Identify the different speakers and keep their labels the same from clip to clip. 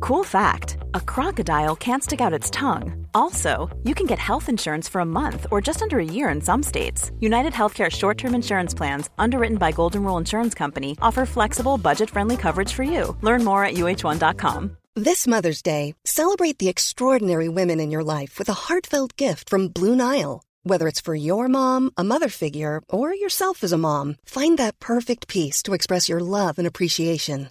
Speaker 1: Cool fact a crocodile can't stick out its tongue. Also, you can get health insurance for a month or just under a year in some states. United Healthcare short term insurance plans, underwritten by Golden Rule Insurance Company, offer flexible, budget friendly coverage for you. Learn more at uh1.com.
Speaker 2: This Mother's Day, celebrate the extraordinary women in your life with a heartfelt gift from Blue Nile. Whether it's for your mom, a mother figure, or yourself as a mom, find that perfect piece to express your love and appreciation.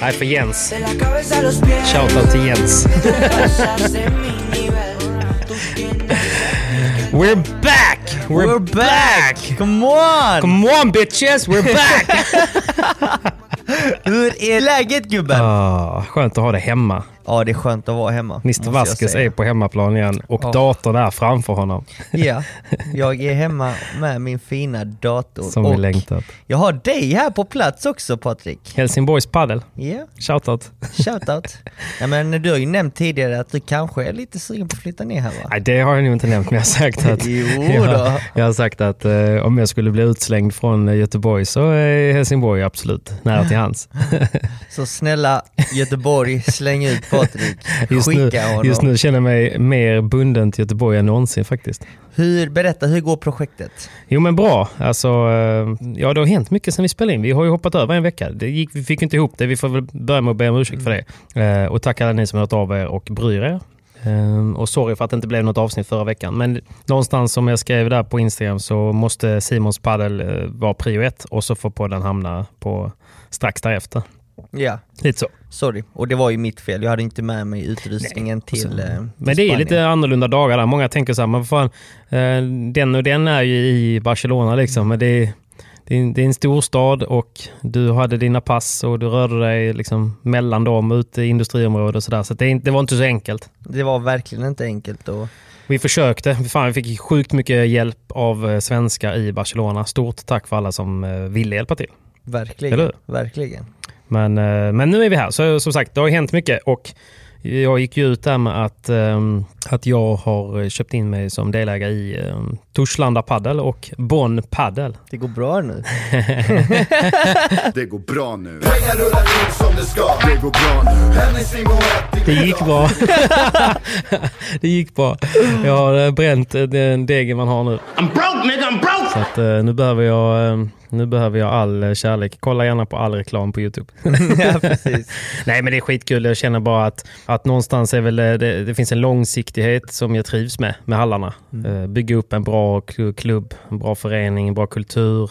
Speaker 3: Nej, för Jens.
Speaker 4: de la cabeza a los pies.
Speaker 3: Shoutout till Jens.
Speaker 4: Estás en mi nivel. Tú tienes
Speaker 3: We're back! We're, back!
Speaker 5: Come on!
Speaker 3: Come on bitches, we're back!
Speaker 5: Hur är läget gubben?
Speaker 3: Ah, skönt att ha det hemma.
Speaker 5: Ja, det är skönt att vara hemma. måste
Speaker 3: Mr
Speaker 5: jag
Speaker 3: Vasquez
Speaker 5: säga.
Speaker 3: är på hemmaplan igen och
Speaker 5: Ja.
Speaker 3: datorn är framför honom.
Speaker 5: Ja, jag är hemma med min fina dator.
Speaker 3: Som vi längtat.
Speaker 5: Jag har dig här på plats också Patrik.
Speaker 3: Helsingborgs padel.
Speaker 5: Ja,
Speaker 3: Shoutout.
Speaker 5: shoutout. ja, men du har ju nämnt tidigare att du kanske är lite sugen på att flytta ner här va?
Speaker 3: Nej, det har jag nog inte nämnt, men jag har sagt att,
Speaker 5: Jo då.
Speaker 3: jag, jag har sagt att eh, om jag skulle bli utslängd från eh, Göteborg så är Helsingborg absolut nära till hands.
Speaker 5: Så snälla Göteborg, släng ut Patrik.
Speaker 3: Just nu,
Speaker 5: Skicka honom.
Speaker 3: just nu känner jag mig mer bunden till Göteborg än någonsin faktiskt.
Speaker 5: Hur, berätta, hur går projektet?
Speaker 3: Jo men bra, alltså, eh, ja det har hänt mycket sen vi spelade in. Vi har ju hoppat över en vecka. Det gick, vi fick inte ihop det, vi får väl börja med att be om ursäkt för det. Eh, Och tack alla ni som har hört av er och bryr er. Eh, Och sorry för att det inte blev något avsnitt förra veckan. Men någonstans som jag skrev där på Instagram så måste Simons padel eh, vara prio ett och så får podden hamna på strax därefter.
Speaker 5: Ja,
Speaker 3: Lite så.
Speaker 5: sorry. Och det var ju mitt fel, jag hade inte med mig utrustningen till, eh, till
Speaker 3: Men det är
Speaker 5: Spanien.
Speaker 3: lite annorlunda dagar där. Många tänker så här, men vad fan, eh, den och den är ju i Barcelona liksom. Men det är, det, är, en- det är en storstad och du hade dina pass och du rörde dig liksom mellan dem ute i industriområdet och sådär. Så, att det, är inte- det var inte så enkelt.
Speaker 5: Det var verkligen inte enkelt och
Speaker 3: Vi försökte. Fan, vi fick sjukt mycket hjälp av eh, svenskar i Barcelona. Stort tack för alla som eh, ville hjälpa till.
Speaker 5: verkligen,
Speaker 3: Eller hur?
Speaker 5: verkligen.
Speaker 3: Men, eh, men nu är vi här. Så som sagt, det har hänt mycket och jag gick ju ut där med att, ehm, att jag har köpt in mig som delägare i ehm, Torslanda Paddel och Bonn Paddel.
Speaker 5: Det går bra nu.
Speaker 6: Det går bra nu. Pengar rullar in som det ska. Det går bra nu. Hennes Singoetti.
Speaker 3: Det gick bra. det gick bra. Jag har eh, bränt eh, den degen man har nu.
Speaker 7: I'm broke, nigga. I'm broke.
Speaker 3: Så att, eh, nu, behöver jag, eh, nu behöver jag all eh, kärlek. Kolla gärna på all reklam på YouTube.
Speaker 5: ja, precis.
Speaker 3: Nej men det är skitkul. Jag känner bara att, att någonstans är väl, eh, det, det finns en långsiktighet som jag trivs med, med hallarna. Eh, Bygga upp en bra kl- klubb, en bra förening, en bra kultur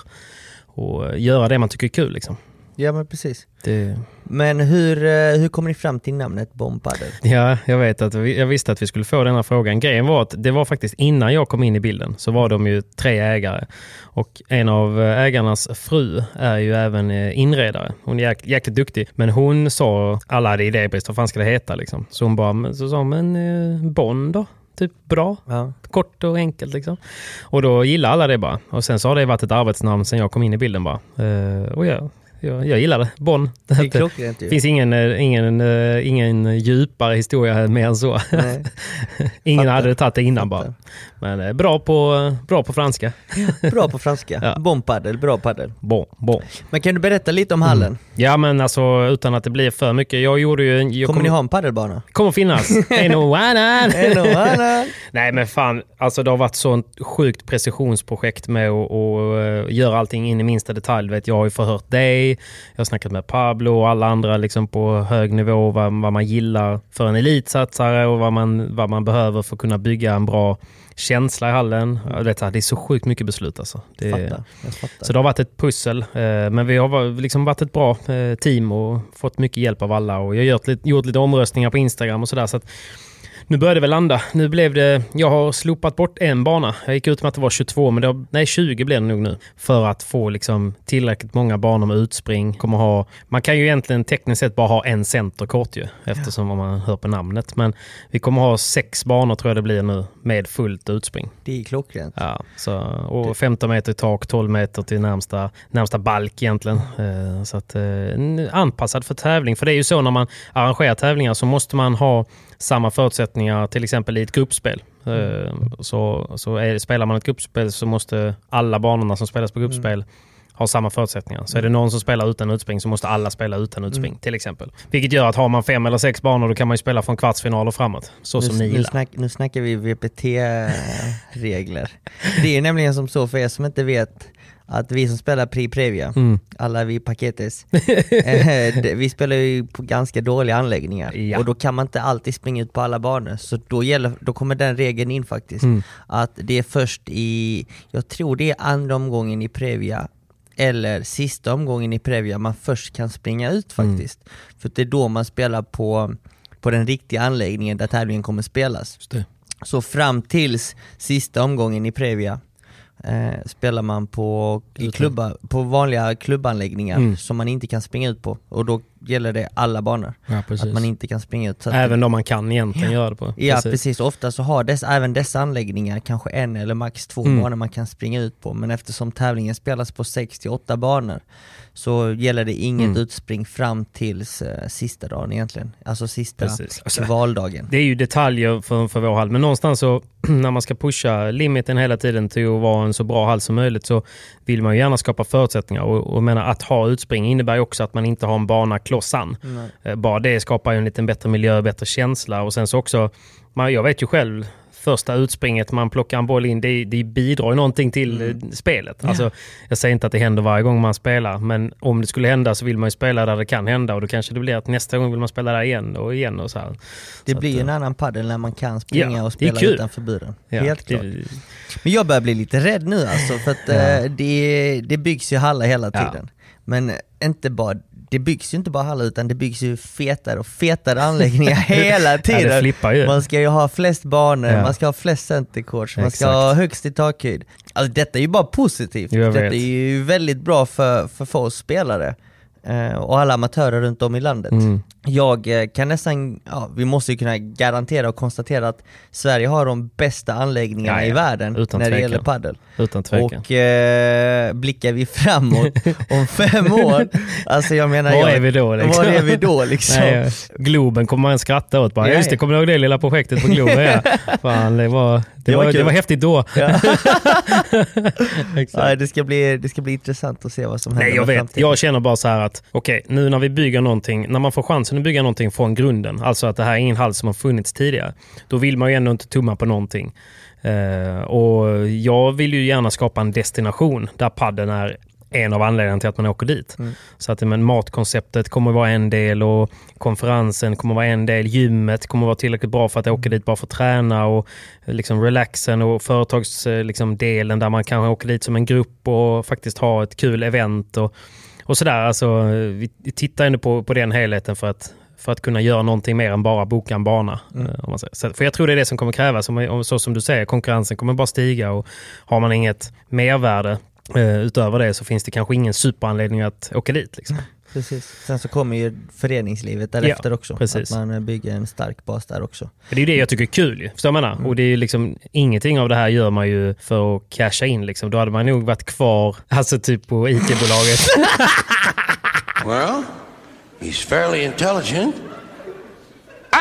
Speaker 3: och eh, göra det man tycker är kul. Liksom.
Speaker 5: Ja, men precis.
Speaker 3: Det,
Speaker 5: Men hur, eh, hur kom ni fram till namnet Bombpadel?
Speaker 3: ja, jag vet att vi, jag visste att vi skulle få den här frågan. Grejen var att det var faktiskt innan jag kom in i bilden så var de ju tre ägare och en av eh, ägarnas fru är ju även eh, inredare. Hon är jäk, jäkligt duktig, men hon sa alla hade idébrist, vad fan ska det heta liksom? Så hon bara, men, så sa hon, men eh, Bonn då? Typ bra.
Speaker 5: Ja.
Speaker 3: Kort och enkelt liksom. Och då gillar alla det bara. Och sen så har det varit ett arbetsnamn sen jag kom in i bilden bara. Eh, och jag, jag, jag gillar det. Bonn.
Speaker 5: Det är klockrent
Speaker 3: Det
Speaker 5: ju.
Speaker 3: finns ingen, eh, ingen, eh, ingen djupare historia mer än så.
Speaker 5: Nej.
Speaker 3: ingen
Speaker 5: Fattar.
Speaker 3: hade tagit det innan
Speaker 5: Fattar.
Speaker 3: bara. Men eh, bra på, bra på franska.
Speaker 5: Bra på franska.
Speaker 3: Ja.
Speaker 5: Bombpadel, bra padel.
Speaker 3: Bon, bon.
Speaker 5: Men kan du berätta lite om hallen?
Speaker 3: Ja men alltså utan att det blir för mycket. Jag gjorde ju... en- Jag
Speaker 5: Kommer ni ha en padelbana?
Speaker 3: Kommer finnas. En och annan.
Speaker 5: En och annan.
Speaker 3: Nej men fan, alltså det har varit sånt sjukt precisionsprojekt med att att, eh, göra allting in i minsta detalj. Du Vet, jag har ju förhört dig, dig. Jag har snackat med Pablo och alla andra liksom på hög nivå vad, vad man gillar för en elitsatsare och vad man, vad man behöver för att kunna bygga en bra känsla i hallen. Jag vet, så här, det är så sjukt mycket beslut alltså. Det,
Speaker 5: Fattar. Jag fattar.
Speaker 3: så det har varit ett pussel. eh, Men vi har var- liksom varit ett bra eh, team och fått mycket hjälp av alla. Och jag har gjort lite, gjort lite omröstningar på Instagram och sådär. Så att nu börjar det väl landa. Nu blev det... Jag har slopat bort en bana. Jag gick ut med att det var 22, men det har, nej, 20 blir det nog nu. För att få liksom tillräckligt många banor med utspring. Kommer ha, man kan ju egentligen tekniskt sett bara ha en centerkort ju, eftersom vad man hör på namnet. Men vi kommer ha sex banor tror jag det blir nu, med fullt utspring.
Speaker 5: Det är klockrent.
Speaker 3: Ja, så, och 15 meter i tak, 12 meter till närmsta, närmsta balk egentligen. Eh, Så att, eh, n- anpassad för tävling. För det är ju så när man arrangerar tävlingar så måste man ha samma förutsättningar till exempel i ett gruppspel. Eh, Så, så är, spelar man ett gruppspel så måste alla banorna som spelas på gruppspel ha samma förutsättningar. Så är det någon som spelar utan utspring så måste alla spela utan utspring till exempel. Vilket gör att har man fem eller sex banor då kan man ju spela från kvartsfinal och framåt. Så som ni
Speaker 5: nu, nu,
Speaker 3: gillar.
Speaker 5: snack, nu snackar vi VPT-regler. det är nämligen som så, för er som inte vet, att vi som spelar Pri Previa,
Speaker 3: Mm.
Speaker 5: alla vi paketes, eh, det- vi spelar ju på ganska dåliga anläggningar.
Speaker 3: Ja.
Speaker 5: Och då kan man inte alltid springa ut på alla banor. Så då, gäller, då kommer den regeln in faktiskt. Att det är först i, jag tror det är andra omgången i Previa, eller sista omgången i Previa man först kan springa ut faktiskt. För det är då man spelar på, på den riktiga anläggningen där tävlingen kommer spelas. Så fram tills sista omgången i Previa eh, spelar man på, i klubba, på vanliga klubbanläggningar
Speaker 3: Mm.
Speaker 5: som man inte kan springa ut på. Och då gäller det alla banor.
Speaker 3: Ja, precis.
Speaker 5: Att man inte kan springa ut. Så att,
Speaker 3: Även om man kan egentligen göra det på.
Speaker 5: ja precis. ofta så har dess, även dessa anläggningar kanske en eller max två
Speaker 3: Mm.
Speaker 5: banor man kan springa ut på. Men eftersom tävlingen spelas på 6-8 banor så gäller det inget
Speaker 3: Mm.
Speaker 5: utspring fram tills eh, sista dagen egentligen. Alltså sista
Speaker 3: Precis. Och så-
Speaker 5: valdagen.
Speaker 3: Det är ju detaljer för, för vår hall, men någonstans så när man ska pusha limiten hela tiden till att vara en så bra hall som möjligt så vill man ju gärna skapa förutsättningar. Och, och menar, att ha utspring innebär ju också att man inte har en bana klossan. Eh, Bara det skapar ju en liten bättre miljö, bättre känsla och sen så också, man, jag vet ju själv, första utspringet man plockar en boll in, det, det bidrar ju någonting till eh, spelet. Alltså, jag säger inte att det händer varje gång man spelar, men om det skulle hända så vill man ju spela där det kan hända och då kanske det blir att nästa gång vill man spela där igen och igen och så här.
Speaker 5: Det
Speaker 3: Så
Speaker 5: blir
Speaker 3: att,
Speaker 5: ju
Speaker 3: eh,
Speaker 5: en annan padel när man kan springa
Speaker 3: Ja,
Speaker 5: och
Speaker 3: det är
Speaker 5: spela
Speaker 3: kul.
Speaker 5: utanför buren.
Speaker 3: Ja,
Speaker 5: Helt
Speaker 3: det-
Speaker 5: klart. Men jag börjar bli lite rädd nu alltså för att eh, det, det byggs ju hallar hela
Speaker 3: Ja.
Speaker 5: tiden. Men inte bara, det byggs ju inte bara hallar utan det byggs ju fetare och fetare anläggningar hela
Speaker 3: Ja,
Speaker 5: tiden.
Speaker 3: det flippar ju.
Speaker 5: Man ska ju ha flest banor,
Speaker 3: Ja.
Speaker 5: man ska ha flest centercourts, man ska
Speaker 3: Exakt.
Speaker 5: ha högst i takhöjd. Alltså detta är ju bara positivt.
Speaker 3: Jag
Speaker 5: Detta
Speaker 3: vet.
Speaker 5: är ju väldigt bra för, för, för oss spelare eh, och alla amatörer runt om i landet.
Speaker 3: Mm.
Speaker 5: Jag eh, kan nästan, ja, vi måste ju kunna garantera och konstatera att Sverige har de bästa anläggningarna
Speaker 3: Ja, ja.
Speaker 5: i världen
Speaker 3: Utan
Speaker 5: när det
Speaker 3: tvekan.
Speaker 5: gäller padel.
Speaker 3: Utan tvekan.
Speaker 5: Och eh, blickar vi framåt om fem år, alltså jag menar...
Speaker 3: Var
Speaker 5: jag,
Speaker 3: är vi då, liksom?
Speaker 5: Var är vi då liksom?
Speaker 3: Nej, Globen kommer man skratta åt. Bara,
Speaker 5: Ja,
Speaker 3: ja, just det,
Speaker 5: ja.
Speaker 3: kommer du ihåg det lilla projektet på Globen? Ja. Fan, det, var, det,
Speaker 5: Det var
Speaker 3: var, det
Speaker 5: kul.
Speaker 3: var häftigt då.
Speaker 5: Ja.
Speaker 3: Exakt.
Speaker 5: Ja, det, ska bli, det ska bli intressant att se vad som händer
Speaker 3: Nej, jag
Speaker 5: med
Speaker 3: vet.
Speaker 5: framtiden.
Speaker 3: Jag känner bara så här att, okej, nu när vi bygger någonting, när man får chansen att bygga någonting från grunden, alltså att det här är ingen hall som har funnits tidigare, då vill man ju ändå inte tumma på någonting. Eh, och jag vill ju gärna skapa en destination där padden är en av anledningarna till att man åker dit. Så att men, matkonceptet kommer vara en del och konferensen kommer vara en del. Gymmet kommer vara tillräckligt bra för att åka dit bara för att träna och eh, liksom, relaxen och företagsdelen liksom, delen där man kanske åker dit som en grupp och faktiskt ha ett kul event. Och, och sådär, alltså, eh, vi tittar ändå på, på den helheten för att, för att kunna göra någonting mer än bara boka en bana. eh, Om man säger. Så, för jag tror det är det som kommer krävas. Om, om, så som du säger, konkurrensen kommer bara stiga och har man inget mervärde eh, utöver det så finns det kanske ingen superanledning att åka dit. Liksom.
Speaker 5: Precis. Sen så kommer ju föreningslivet därefter också.
Speaker 3: precis.
Speaker 5: Att man bygger en stark bas där också.
Speaker 3: Men Det är ju det jag tycker är kul. ju. Förstår du vad jag menar? Och det är ju liksom, ingenting av det här gör man ju för att casha in. Liksom. Då hade man nog varit kvar alltså typ på IT-bolaget.
Speaker 7: Well, he's fairly intelligent. Ah,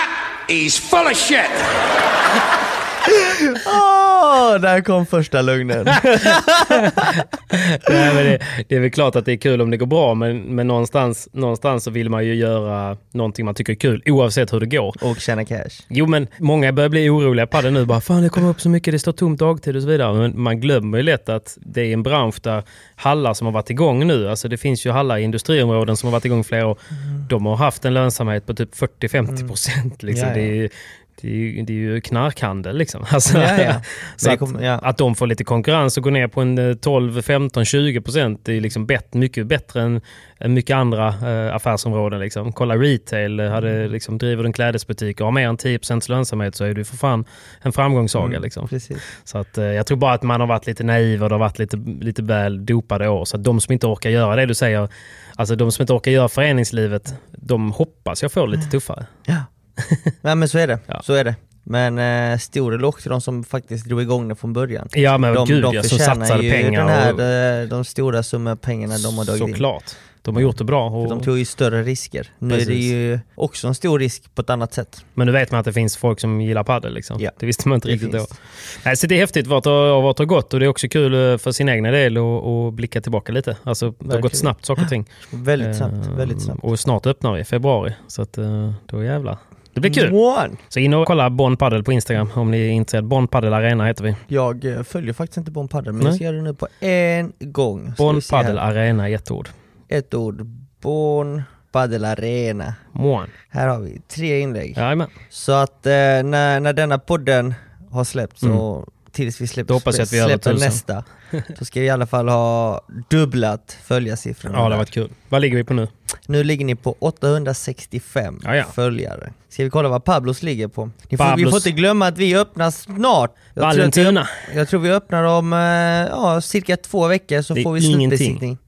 Speaker 7: he's full of shit.
Speaker 5: Åh, Åh, där kom första lögnen.
Speaker 3: Nej, men det, det är väl klart att det är kul om det går bra, men, men någonstans, någonstans så vill man ju göra någonting man tycker är kul, oavsett hur det går.
Speaker 5: Och tjäna cash.
Speaker 3: Jo, men många börjar bli oroliga på det nu. Bara, Fan, det kommer upp så mycket, det står tomt dagtid och så vidare. Men man glömmer ju lätt att det är en bransch där hallar som har varit igång nu, alltså det finns ju hallar i industriområden som har varit igång i flera år.
Speaker 5: Mm.
Speaker 3: De har haft en lönsamhet på typ 40-50 procent. Liksom.
Speaker 5: Ja, ja.
Speaker 3: Det är ju- det är ju, det är ju knarkhandel liksom. Alltså,
Speaker 5: Ja, ja.
Speaker 3: Så
Speaker 5: Det
Speaker 3: att,
Speaker 5: kommer- ja.
Speaker 3: att de får lite konkurrens och går ner på en eh, 12, 15, 20 procent. Det är liksom bet, mycket bättre än, än mycket andra eh, affärsområden. Liksom. Kolla retail, eh, hade, liksom, driver du en klädesbutik och har mer än 10 procents lönsamhet så är du för fan en framgångssaga. Liksom.
Speaker 5: Precis.
Speaker 3: Så att, eh, jag tror bara att man har varit lite naiv och det har varit lite, lite väl dopade år. Så att de som inte orkar göra det du säger, alltså de som inte orkar göra föreningslivet, de hoppas jag får det lite tuffare.
Speaker 5: Ja. Nej men så är det.
Speaker 3: Ja.
Speaker 5: Så är det. Men eh, stor eloge till de som faktiskt drog igång det från början.
Speaker 3: Ja men
Speaker 5: de,
Speaker 3: gud
Speaker 5: de
Speaker 3: ja, som
Speaker 5: förtjänar
Speaker 3: satsade
Speaker 5: ju
Speaker 3: pengar.
Speaker 5: Den här,
Speaker 3: och-
Speaker 5: eh, De stora summor pengarna de har dragit in.
Speaker 3: Såklart. De har gjort det bra.
Speaker 5: För
Speaker 3: Och,
Speaker 5: de tog ju större risker. Nu är det
Speaker 3: Precis.
Speaker 5: ju också en stor risk på ett annat sätt.
Speaker 3: Men nu vet man att det finns folk som gillar padel. Liksom.
Speaker 5: Ja.
Speaker 3: Det visste man inte
Speaker 5: Det
Speaker 3: riktigt
Speaker 5: finns.
Speaker 3: då. Nej, så det är häftigt vart det, har- vart det har gått och det är också kul eh, för sin egna del att- att blicka tillbaka lite. Alltså, det har gått
Speaker 5: Verkligen.
Speaker 3: snabbt saker och ting.
Speaker 5: Väldigt snabbt,
Speaker 3: Eh,
Speaker 5: väldigt snabbt.
Speaker 3: Och snart öppnar vi i februari. Så att, eh, då jävlar. Det blir kul.
Speaker 5: One.
Speaker 3: Så in och kolla Bonn Padel på Instagram om ni är intresserade. Bonn Padel Arena heter vi.
Speaker 5: Jag eh, följer faktiskt inte Bon Paddel, men
Speaker 3: Nej.
Speaker 5: jag ska göra det nu på en gång. Ska
Speaker 3: Bonn
Speaker 5: vi se här.
Speaker 3: Padel Arena, ett ord.
Speaker 5: Ett ord. Bon Paddel Arena.
Speaker 3: Mån.
Speaker 5: Här har vi tre inlägg.
Speaker 3: Jajamän.
Speaker 5: Så att eh, när, när denna podden har släppts och tills vi släpper,
Speaker 3: Mm. Då hoppas jag att vi är över
Speaker 5: släpper
Speaker 3: tusen.
Speaker 5: nästa, då ska vi i alla fall ha dubblat följarsiffrorna.
Speaker 3: Ja, det har
Speaker 5: där.
Speaker 3: varit kul. Vad ligger vi på nu?
Speaker 5: Nu ligger ni på 865
Speaker 3: Ja, ja.
Speaker 5: följare. Ska vi kolla vad Pablos ligger på? Ni får, vi
Speaker 3: Pablos.
Speaker 5: får inte glömma att vi öppnar snart. Jag tror, att vi,
Speaker 3: Vallentuna.
Speaker 5: jag tror vi öppnar om eh, ja, cirka två veckor så
Speaker 3: Det är
Speaker 5: får vi
Speaker 3: ingenting.
Speaker 5: slutbesiktning.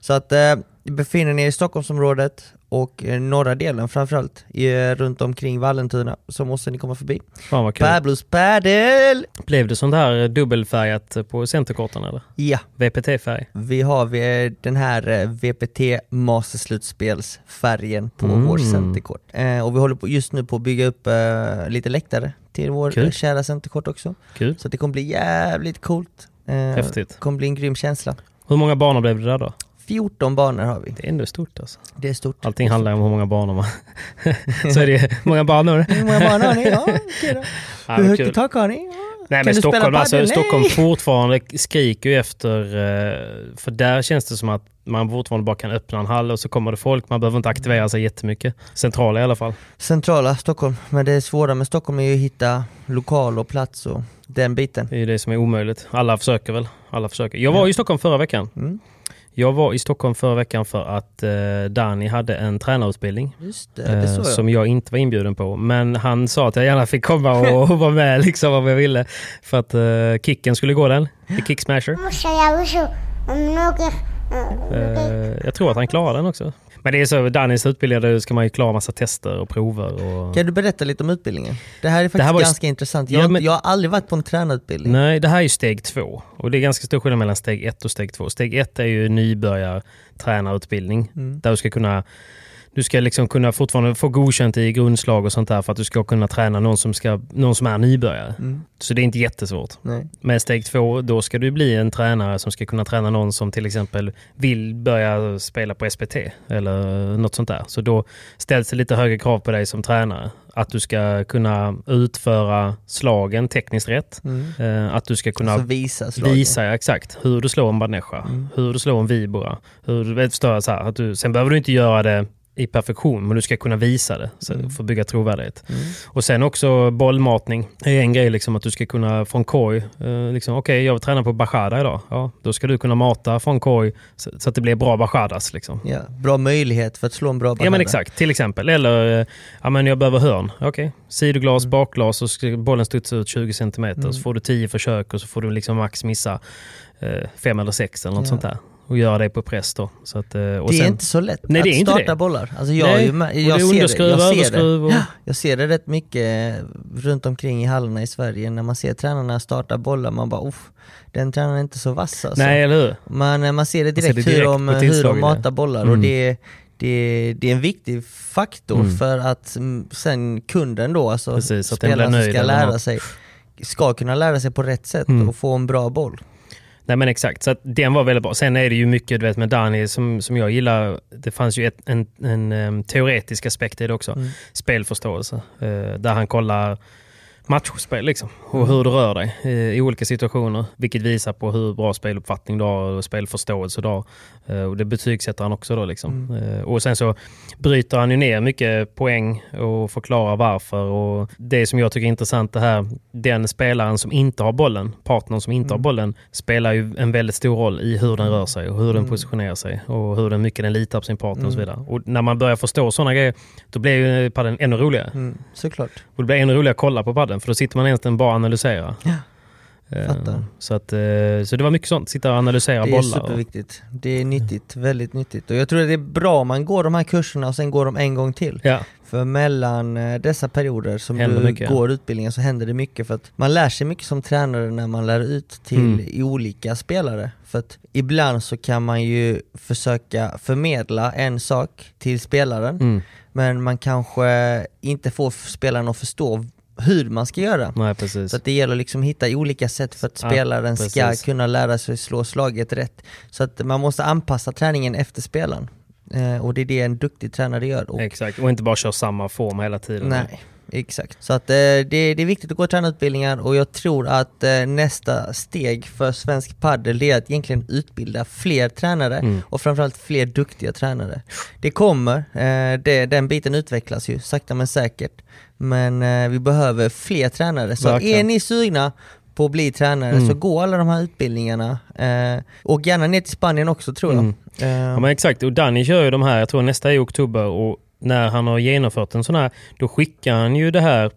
Speaker 5: Så att eh, befinner ni er i Stockholmsområdet och eh, norra delen framförallt, i, eh, runt omkring Vallentuna, så måste ni komma förbi.
Speaker 3: Fan vad kul.
Speaker 5: Pablos Padel!
Speaker 3: Blev det sånt här eh, dubbelfärgat eh, på centerkorten eller?
Speaker 5: Ja,
Speaker 3: VPT-färg?
Speaker 5: vi har vi- den här eh, VPT Masterslutspelsfärgen på
Speaker 3: Mm.
Speaker 5: vår centerkort. Eh, och vi håller på, just nu på att bygga upp eh, lite läktare till vår
Speaker 3: Kul.
Speaker 5: eh, kära centerkort också.
Speaker 3: Kul.
Speaker 5: Så det kommer bli jävligt coolt. Eh,
Speaker 3: Häftigt.
Speaker 5: kommer bli en grym känsla.
Speaker 3: Hur många banor blev det där då?
Speaker 5: 14 banor har vi.
Speaker 3: Det är ändå stort alltså.
Speaker 5: Det är stort.
Speaker 3: Allting handlar ju om hur många banor man... så är det ju- många banor.
Speaker 5: Hur många banor har ni? Ja, okej då.
Speaker 3: Ja,
Speaker 5: Hur
Speaker 3: men
Speaker 5: högt
Speaker 3: kul.
Speaker 5: i tak har ni? Ja.
Speaker 3: Nej men
Speaker 5: Kan du spela
Speaker 3: Stockholm, alltså,
Speaker 5: padel?
Speaker 3: Stockholm
Speaker 5: Nej.
Speaker 3: fortfarande skriker ju efter, eh, för där känns det som att man fortfarande bara kan öppna en hall och så kommer det folk, man behöver inte aktivera sig jättemycket. Centrala i alla fall.
Speaker 5: Centrala Stockholm. Men det svåra med Stockholm är ju att hitta lokal och plats och den biten.
Speaker 3: Det är ju det som är omöjligt. Alla försöker väl. Alla försöker. Jag var i Stockholm förra veckan.
Speaker 5: Mm.
Speaker 3: Jag var i Stockholm förra veckan för att eh, Dani hade en tränarutbildning.
Speaker 5: Just det, det
Speaker 3: eh,
Speaker 5: såg jag.
Speaker 3: som jag inte var inbjuden på. Men han sa att jag gärna fick komma och, och vara med liksom, om jag ville. För att eh, kicken skulle gå den. The kick smasher. Eh, jag tror att han klarade den också. Men det är så, Danis utbildade ska man ju klara massa tester och prover. Och...
Speaker 5: Kan du berätta lite om utbildningen? Det här är faktiskt
Speaker 3: här var ju-
Speaker 5: ganska intressant. Jag,
Speaker 3: Ja,
Speaker 5: har inte-
Speaker 3: men-
Speaker 5: jag har aldrig varit på en tränarutbildning.
Speaker 3: Nej, det här är ju steg två. Och det är ganska stor skillnad mellan steg ett och steg två. Steg ett är ju nybörjartränarutbildning.
Speaker 5: Mm.
Speaker 3: Där du ska kunna du ska liksom kunna fortfarande få godkänt i grundslag och sånt där för att du ska kunna träna någon som, ska, någon som är nybörjare. Så det är inte jättesvårt.
Speaker 5: Mm. Nej.
Speaker 3: Med steg två, då ska du bli en tränare som ska kunna träna någon som till exempel vill börja spela på SPT eller något sånt där. Så då ställs det lite högre krav på dig som tränare. Att du ska kunna utföra slagen tekniskt rätt. Eh, Att du ska kunna
Speaker 5: Mm. Alltså visa slaget.
Speaker 3: visa ja, exakt hur du slår en banesha, hur du slår en vibora. Hur du vet, förstår jag, så här, att du, sen behöver du inte göra det i perfektion, men du ska kunna visa det så, för att bygga trovärdighet. Och sen också bollmatning. Det är en grej liksom att du ska kunna från korg, eh, liksom, okej jag tränar på bachada idag. Ja, då ska du kunna mata från korg så, så att det blir bra bachadas. Liksom.
Speaker 5: Ja, bra möjlighet för att slå en bra
Speaker 3: Ja men
Speaker 5: banana.
Speaker 3: exakt, till exempel. Eller, eh, ja men jag behöver hörn. Okej,
Speaker 5: Mm.
Speaker 3: sidoglas, bakglas och ska bollen studsa ut 20 cm. Så får du 10 försök och så får du liksom max missa eh, fem eller sex eller något
Speaker 5: Ja.
Speaker 3: sånt där. Och göra det på press då. Så att, eh, och
Speaker 5: Det är
Speaker 3: sen,
Speaker 5: inte så lätt
Speaker 3: Nej,
Speaker 5: att
Speaker 3: det är inte
Speaker 5: starta
Speaker 3: det.
Speaker 5: bollar. Alltså jag, är
Speaker 3: Nej,
Speaker 5: ju med-
Speaker 3: och det är
Speaker 5: jag ser
Speaker 3: underskruv,
Speaker 5: det. Jag ser det.
Speaker 3: överskruv och-
Speaker 5: Ja, jag ser det rätt mycket eh, runt omkring i hallarna i Sverige. När man ser tränarna starta bollar, man bara Off, den tränaren är inte så vass alltså.
Speaker 3: Nej eller hur?
Speaker 5: Man, eh, man ser det
Speaker 3: ser
Speaker 5: direkt,
Speaker 3: det direkt
Speaker 5: hur, de,
Speaker 3: på
Speaker 5: hur
Speaker 3: tillslagen,
Speaker 5: de
Speaker 3: ja. Mm.
Speaker 5: matar bollar och det, det, det är en viktig faktor för att mm, sen kunden då, alltså
Speaker 3: Precis, att den blir
Speaker 5: spelaren som
Speaker 3: nöjd
Speaker 5: ska
Speaker 3: eller
Speaker 5: lära
Speaker 3: något. Mm.
Speaker 5: sig ska kunna lära sig på rätt sätt och få en bra boll.
Speaker 3: Nej men exakt, så att den var väldigt bra. Sen är det ju mycket du vet, med Dani som, som jag gillar. Det fanns ju ett, en, en, em, teoretisk aspekt i det också.
Speaker 5: Mm.
Speaker 3: Spelförståelse. Eh, där han kollar matchspel liksom. Och hur du rör dig eh, i olika situationer. Vilket visar på hur bra speluppfattning du har och spelförståelse du har. Eh, och det betygsätter han också då liksom. Eh, och sen så bryter han ju ner mycket poäng och förklarar varför. Och det som jag tycker är intressant det här, den spelaren som inte har bollen, partnern som inte har bollen, spelar ju en väldigt stor roll i hur den rör sig och hur den positionerar sig och hur den, mycket den litar på sin partner och så vidare. Och när man börjar förstå sådana grejer, då blir ju padden ännu roligare.
Speaker 5: Mm, såklart.
Speaker 3: Och det blir ännu roligare att kolla på padden för då sitter man egentligen bara och analyserar.
Speaker 5: Ja,
Speaker 3: Eh,
Speaker 5: fattar.
Speaker 3: Så, att, eh, så det var mycket sånt, sitta och analysera
Speaker 5: Det är
Speaker 3: bollar. och-
Speaker 5: superviktigt. Det är nyttigt, väldigt nyttigt. Och jag tror att det är bra om man går de här kurserna och sen går de en gång till.
Speaker 3: Ja,
Speaker 5: För mellan eh, dessa perioder som
Speaker 3: Händer
Speaker 5: du
Speaker 3: mycket, ja.
Speaker 5: går utbildningen så händer det mycket för att man lär sig mycket som tränare när man lär ut till
Speaker 3: Mm.
Speaker 5: i olika spelare. För att ibland så kan man ju försöka förmedla en sak till spelaren
Speaker 3: mm.
Speaker 5: men man kanske inte får f- spelaren att förstå hur man ska göra.
Speaker 3: nej precis.
Speaker 5: Så att det gäller liksom att hitta olika sätt för att
Speaker 3: Ja,
Speaker 5: spelaren ska
Speaker 3: precis.
Speaker 5: kunna lära sig slå slaget rätt. Så att man måste anpassa träningen efter spelaren. Eh, och det är det en duktig tränare gör. Och
Speaker 3: Exakt, och inte bara köra samma form hela tiden.
Speaker 5: Nej, exakt. Så att, eh, det, det är viktigt att gå tränarutbildningar och jag tror att eh, nästa steg för svensk padel det är att egentligen utbilda fler tränare
Speaker 3: Mm.
Speaker 5: och framförallt fler duktiga tränare. Det kommer, eh, det, den biten utvecklas ju sakta men säkert. Men eh, vi behöver fler tränare. Så
Speaker 3: Verkligen. Mm.
Speaker 5: är ni sugna på att bli tränare så gå alla de här utbildningarna. Eh, och gärna ner till Spanien också tror jag. Eh,
Speaker 3: Mm. Ja, men exakt, och Danny kör ju de här, jag tror nästa är i oktober och när han har genomfört en sån här, då skickar han ju det här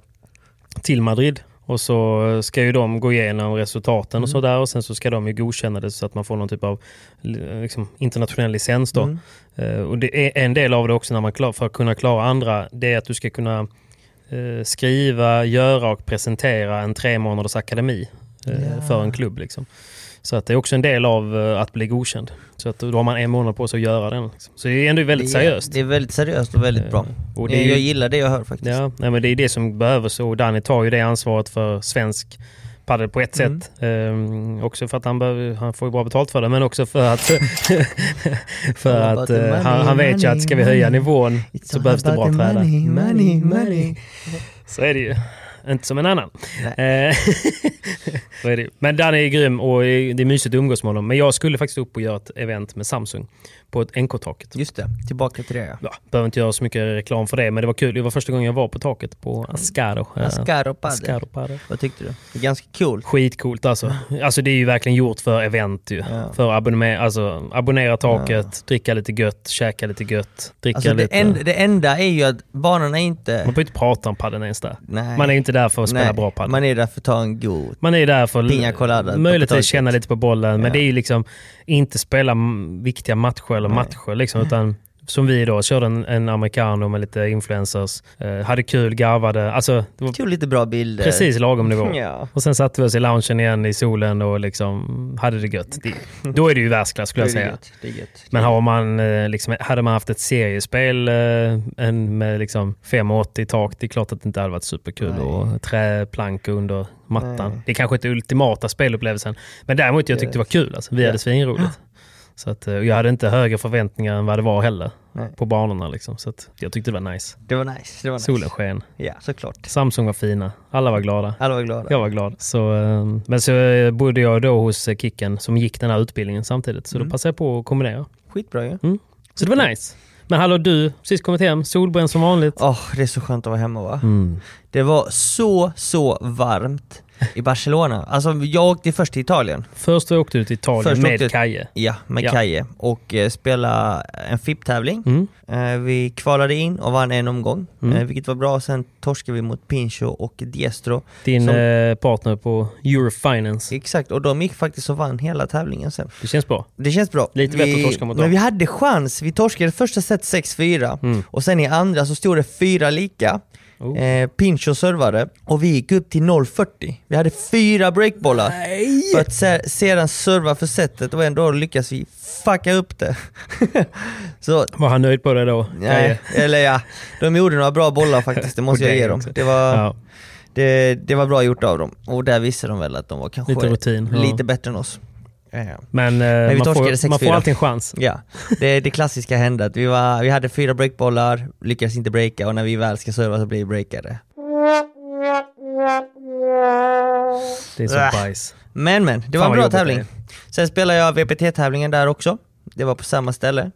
Speaker 3: till Madrid. Och så ska ju de gå igenom resultaten och sådär och sen så ska de ju godkänna det så att man får någon typ av li- liksom, internationell licens då. Eh, och det är en del av det också när man klar, för att kunna klara andra, det är att du ska kunna eh, skriva, göra och presentera en tre månaders akademi eh,
Speaker 5: Ja.
Speaker 3: för en klubb. Liksom. Så att det är också en del av eh, att bli godkänd. Så att då har man en månad på sig att göra den. Liksom. Så det är ändå väldigt
Speaker 5: det är-
Speaker 3: seriöst.
Speaker 5: Det är väldigt seriöst och väldigt bra.
Speaker 3: Eh, och det är ju-
Speaker 5: jag gillar det jag hör faktiskt.
Speaker 3: Ja, nej, men det är det som behövs och Danny tar ju det ansvaret för svensk padel på ett
Speaker 5: Mm.
Speaker 3: sätt. Ehm, också för att han, behöver, han får ju bra betalt för det men också för att, för
Speaker 5: All about
Speaker 3: att
Speaker 5: the
Speaker 3: eh,
Speaker 5: money,
Speaker 3: han, han vet ju
Speaker 5: money,
Speaker 3: att ska vi höja
Speaker 5: money.
Speaker 3: nivån
Speaker 5: It's
Speaker 3: så
Speaker 5: all
Speaker 3: behövs det bra
Speaker 5: about the
Speaker 3: tränare.
Speaker 5: money, money, money.
Speaker 3: Så är det ju. Inte som en annan. Eh, så är det. ju. Men Danny är grym och det är mysigt att umgås med honom. Men jag skulle faktiskt upp och göra ett event med Samsung på ett NK-taket.
Speaker 5: Just det, tillbaka till det ja.
Speaker 3: Ja, behöver inte göra så mycket reklam för det, men det var kul. Det var första gången jag var på taket på Ascaro. Eh,
Speaker 5: Ascaro padel.
Speaker 3: Ascaro Padel.
Speaker 5: Vad tyckte du? Det är ganska kul.
Speaker 3: Skitcoolt alltså. Alltså det är ju verkligen gjort för event ju.
Speaker 5: Ja.
Speaker 3: För abonnera, alltså, abonnera taket, dricka lite gött, käka lite gött, dricka
Speaker 5: Alltså det,
Speaker 3: lite...
Speaker 5: en, det enda är ju att banorna är inte...
Speaker 3: Man får ju inte prata om padden ens där.
Speaker 5: Nej.
Speaker 3: Man är ju inte där för att spela bra padel.
Speaker 5: Man är där för att ta en god...
Speaker 3: Man är där för
Speaker 5: Pina colada
Speaker 3: att
Speaker 5: på
Speaker 3: möjligtvis
Speaker 5: taket.
Speaker 3: känna lite på bollen, men
Speaker 5: Ja.
Speaker 3: det är ju liksom inte spela m- viktiga matcher eller matcher liksom,
Speaker 5: Mm.
Speaker 3: utan som vi då, körde en, en americano med lite influencers, eh, hade kul, garvade, alltså det var
Speaker 5: Tog lite bra bilder.
Speaker 3: precis lagom nivå.
Speaker 5: Ja.
Speaker 3: Och sen satte vi oss i loungen igen i solen och liksom hade det gött. Det, då är det ju världsklass skulle jag
Speaker 5: Det är
Speaker 3: säga.
Speaker 5: gött, Det är gött.
Speaker 3: Men har man, eh, liksom, hade man haft ett seriespel eh, en med liksom 5,80 i tak, det är klart att det inte hade varit superkul.
Speaker 5: Nej.
Speaker 3: Och träplanka under mattan.
Speaker 5: Nej.
Speaker 3: Det är kanske inte ultimata spelupplevelsen. Men däremot jag tyckte det var kul. Alltså. Vi hade svinroligt. Så att, eh, och jag hade inte högre förväntningar än vad det var heller
Speaker 5: Nej.
Speaker 3: på banorna. Liksom. Så att jag tyckte det var nice.
Speaker 5: Det var nice. Det var nice.
Speaker 3: Solen sken.
Speaker 5: Ja, såklart.
Speaker 3: Samsung var fina. Alla var glada.
Speaker 5: Alla var glada.
Speaker 3: Jag var glad. Så, eh, men så eh, bodde jag då hos eh, Kicken som gick den här utbildningen samtidigt.
Speaker 5: Mm.
Speaker 3: Så då passade jag på att kombinera.
Speaker 5: Skitbra ju.
Speaker 3: Så det var nice. Men hallå du, precis kommit hem, solbränd som vanligt.
Speaker 5: Åh, det är så skönt att vara hemma va?
Speaker 3: Mm.
Speaker 5: Det var så, så varmt i Barcelona. Alltså jag åkte först till Italien.
Speaker 3: Först åkte du till Italien
Speaker 5: Först
Speaker 3: med
Speaker 5: åkte-
Speaker 3: Kaje.
Speaker 5: Ja, med
Speaker 3: Ja.
Speaker 5: Kaje och eh, spela en FIP-tävling.
Speaker 3: Mm.
Speaker 5: Eh, Vi kvalade in och vann en omgång,
Speaker 3: Mm.
Speaker 5: eh, vilket var bra. Sen torskade vi mot Pincho och Diestro.
Speaker 3: Din
Speaker 5: Som-
Speaker 3: eh, partner på Eurofinance.
Speaker 5: Exakt, och de gick faktiskt och vann hela tävlingen sen.
Speaker 3: Det känns bra.
Speaker 5: Det känns bra.
Speaker 3: Lite bättre att torska mot
Speaker 5: Men
Speaker 3: dem. Mm.
Speaker 5: vi hade chans. Vi torskade första set 6-4 och sen i andra så stod det 4 lika.
Speaker 3: Oh.
Speaker 5: Eh, Pincho servade och vi gick upp till 0-40. Vi hade fyra breakbollar. För att se- sedan serva för setet och ändå lyckas vi fucka upp det. så
Speaker 3: Var han nöjd på det då?
Speaker 5: Nej, eller ja. De gjorde några bra bollar faktiskt, det måste
Speaker 3: Och
Speaker 5: jag
Speaker 3: det
Speaker 5: ge dem.
Speaker 3: också.
Speaker 5: Det var,
Speaker 3: Ja.
Speaker 5: det, det var bra gjort av dem. Och där visade de väl att de var kanske
Speaker 3: Lite rutin, ja.
Speaker 5: lite bättre än oss. Eh,
Speaker 3: Men, eh,
Speaker 5: vi
Speaker 3: man,
Speaker 5: torskade
Speaker 3: får, man
Speaker 5: 6-4.
Speaker 3: får alltid en chans.
Speaker 5: Ja, det, det klassiska hände att vi, var, vi hade fyra breakbollar, lyckades inte breaka och när vi väl ska serva så blir vi breakade.
Speaker 3: Det är
Speaker 5: Äh.
Speaker 3: så bajs.
Speaker 5: Men men, det var
Speaker 3: Fan, vad
Speaker 5: en bra
Speaker 3: jobbigt
Speaker 5: tävling.
Speaker 3: det
Speaker 5: Sen spelade jag VPT-tävlingen där också. Det var på samma ställe.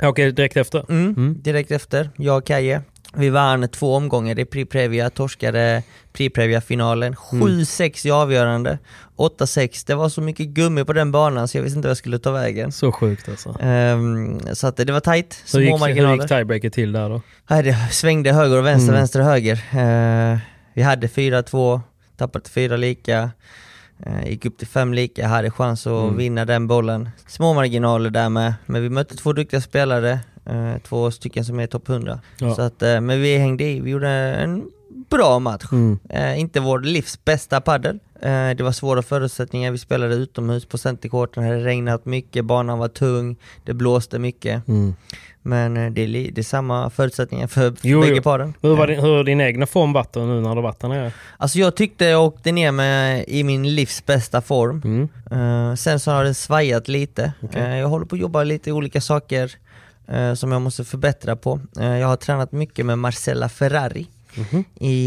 Speaker 3: Jag åker direkt efter.
Speaker 5: Mm, Direkt efter, jag och Kaje. Vi vann två omgångar i Priprevia, torskade Priprevia-finalen.
Speaker 3: Mm.
Speaker 5: 7-6 i avgörande, 8-6. Det var så mycket gummi på den banan så jag visste inte vad jag skulle ta vägen.
Speaker 3: Så sjukt alltså.
Speaker 5: Ehm, så att det var tight, små
Speaker 3: Hur gick, hur
Speaker 5: marginaler.
Speaker 3: gick tiebreaker till där då?
Speaker 5: Nej, det svängde höger och vänster, vänster och höger. Eh, vi hade 4-2, tappade till 4 lika, eh, gick upp till 5 lika, hade chans att
Speaker 3: Mm.
Speaker 5: vinna den bollen. Små marginaler där med, men vi mötte två duktiga spelare, eh, två stycken som är i topp 100.
Speaker 3: Ja.
Speaker 5: Så att, eh, men vi hängde i, vi gjorde en bra match.
Speaker 3: Mm.
Speaker 5: Eh, inte vår livs bästa padel. Eh, det var svåra förutsättningar, vi spelade utomhus på centercourten, det hade regnat mycket, banan var tung, det blåste mycket.
Speaker 3: Mm.
Speaker 5: Men eh, det är, li- det är samma förutsättningar för för
Speaker 3: Jo,
Speaker 5: bägge
Speaker 3: jo.
Speaker 5: paren.
Speaker 3: Hur, var din, hur har din egna form varit då nu när du har varit där nere?
Speaker 5: Alltså jag tyckte jag åkte ner med i min livs bästa form. Eh, sen så har den svajat lite. Eh, jag håller på att jobba lite i olika saker eh, som jag måste förbättra på. Eh, jag har tränat mycket med Marcella Ferrari i,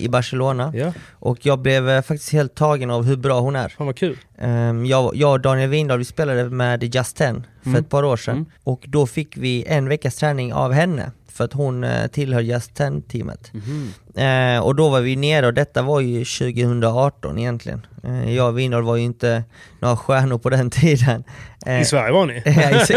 Speaker 5: i Barcelona.
Speaker 3: Ja.
Speaker 5: Och jag blev eh, faktiskt helt tagen av hur bra hon är.
Speaker 3: Fan vad kul.
Speaker 5: Ehm, jag, jag och Daniel Windahl vi spelade med Just 10 för
Speaker 3: Mm.
Speaker 5: ett par år sedan och då fick vi en veckas träning av henne för att hon eh, tillhör Just 10 teamet.
Speaker 3: Mhm.
Speaker 5: Eh, och då var vi nere och detta var ju 2018 egentligen. Eh, jag och Windahl var ju inte några stjärnor på den tiden. Eh,
Speaker 3: I Sverige var ni?
Speaker 5: Ja,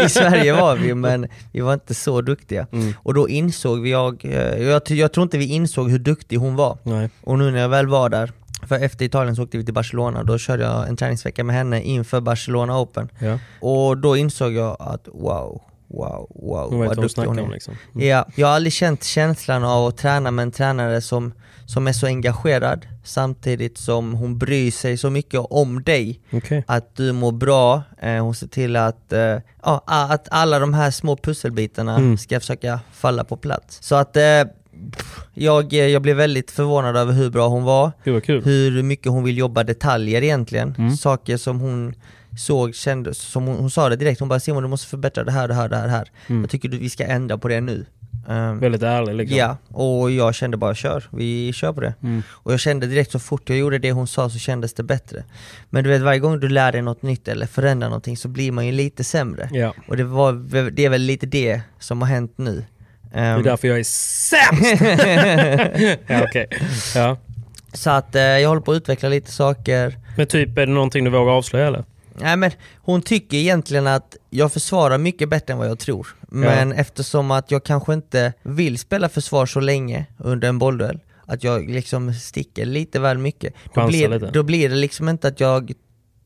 Speaker 5: I, I Sverige var vi, men vi var inte så duktiga.
Speaker 3: Mm.
Speaker 5: Och då insåg vi, jag, eh, jag, ty- jag tror inte vi insåg hur duktig hon var.
Speaker 3: Nej.
Speaker 5: Och nu när jag väl var där, för efter Italien så åkte vi till Barcelona, då körde jag en träningsvecka med henne inför Barcelona Open.
Speaker 3: Ja.
Speaker 5: Och då insåg jag att wow, wow, wow
Speaker 3: Hon vet vad
Speaker 5: vad
Speaker 3: hon
Speaker 5: duktig hon
Speaker 3: snackar om
Speaker 5: är.
Speaker 3: liksom.
Speaker 5: Ja, jag har aldrig känt känslan av att träna med en tränare som, som är så engagerad samtidigt som hon bryr sig så mycket om dig.
Speaker 3: Okej.
Speaker 5: Att du mår bra, eh, hon ser till att, eh, ja, a- att alla de här små pusselbitarna
Speaker 3: Mm.
Speaker 5: ska försöka falla på plats. Så att eh, pff, jag, eh, jag blev väldigt förvånad över hur bra hon var,
Speaker 3: Gud vad kul.
Speaker 5: hur mycket hon vill jobba detaljer egentligen.
Speaker 3: Mm.
Speaker 5: Saker som hon såg, kände, som hon, hon sa det direkt, hon bara Simon du måste förbättra det här, det här, det här, det här. Jag tycker du, vi ska ändra på det nu. Ehm,
Speaker 3: Mm. Väldigt ärlig liksom.
Speaker 5: Ja, och jag kände bara kör, vi kör på det.
Speaker 3: Mm.
Speaker 5: Och jag kände direkt så fort jag gjorde det hon sa så kändes det bättre. Men du vet varje gång du lär dig något nytt eller förändrar någonting så blir man ju lite sämre.
Speaker 3: Ja.
Speaker 5: Och det, var, det är väl lite det som har hänt nu.
Speaker 3: Det är
Speaker 5: Ehm,
Speaker 3: därför jag är sämst! ja, okej. ja.
Speaker 5: så att eh, jag håller på att utveckla lite saker.
Speaker 3: Men typ, är det någonting du vågar avslöja eller?
Speaker 5: Nej men hon tycker egentligen att jag försvarar mycket bättre än vad jag tror. Men eftersom att jag kanske inte vill spela försvar så länge under en bollduell, att jag liksom sticker lite väl mycket, då
Speaker 3: Chansar
Speaker 5: blir,
Speaker 3: lite.
Speaker 5: då blir det liksom inte att jag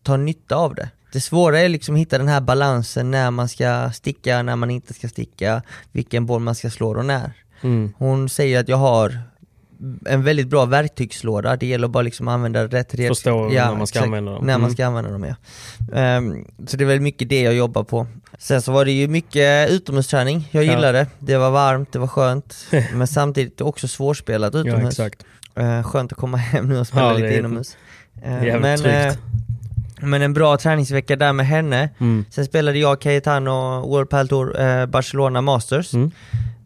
Speaker 5: tar nytta av det. Det svåra är liksom att hitta den här balansen när man ska sticka, när man inte ska sticka, vilken boll man ska slå och när.
Speaker 3: Mm.
Speaker 5: Hon säger att jag har en väldigt bra verktygslåda, det gäller bara liksom att använda rätt redskap.
Speaker 3: Förstå när man ska använda dem.
Speaker 5: När man
Speaker 3: Mm.
Speaker 5: ska använda dem ja. Ehm, så det är väl mycket det jag jobbar på. Sen så var det ju mycket utomhusträning, jag
Speaker 3: Ja.
Speaker 5: gillade det. Det var varmt, det var skönt. men samtidigt också svårspelat utomhus.
Speaker 3: Ja, exakt.
Speaker 5: Eh, skönt att komma hem nu och spela
Speaker 3: Ja, det
Speaker 5: lite
Speaker 3: är
Speaker 5: inomhus. Eh,
Speaker 3: jävligt
Speaker 5: men,
Speaker 3: tryggt.
Speaker 5: eh, men en bra träningsvecka där med henne.
Speaker 3: Mm.
Speaker 5: Sen spelade jag, Cayetano, World Padel Tour, eh, Barcelona Masters.
Speaker 3: Mm.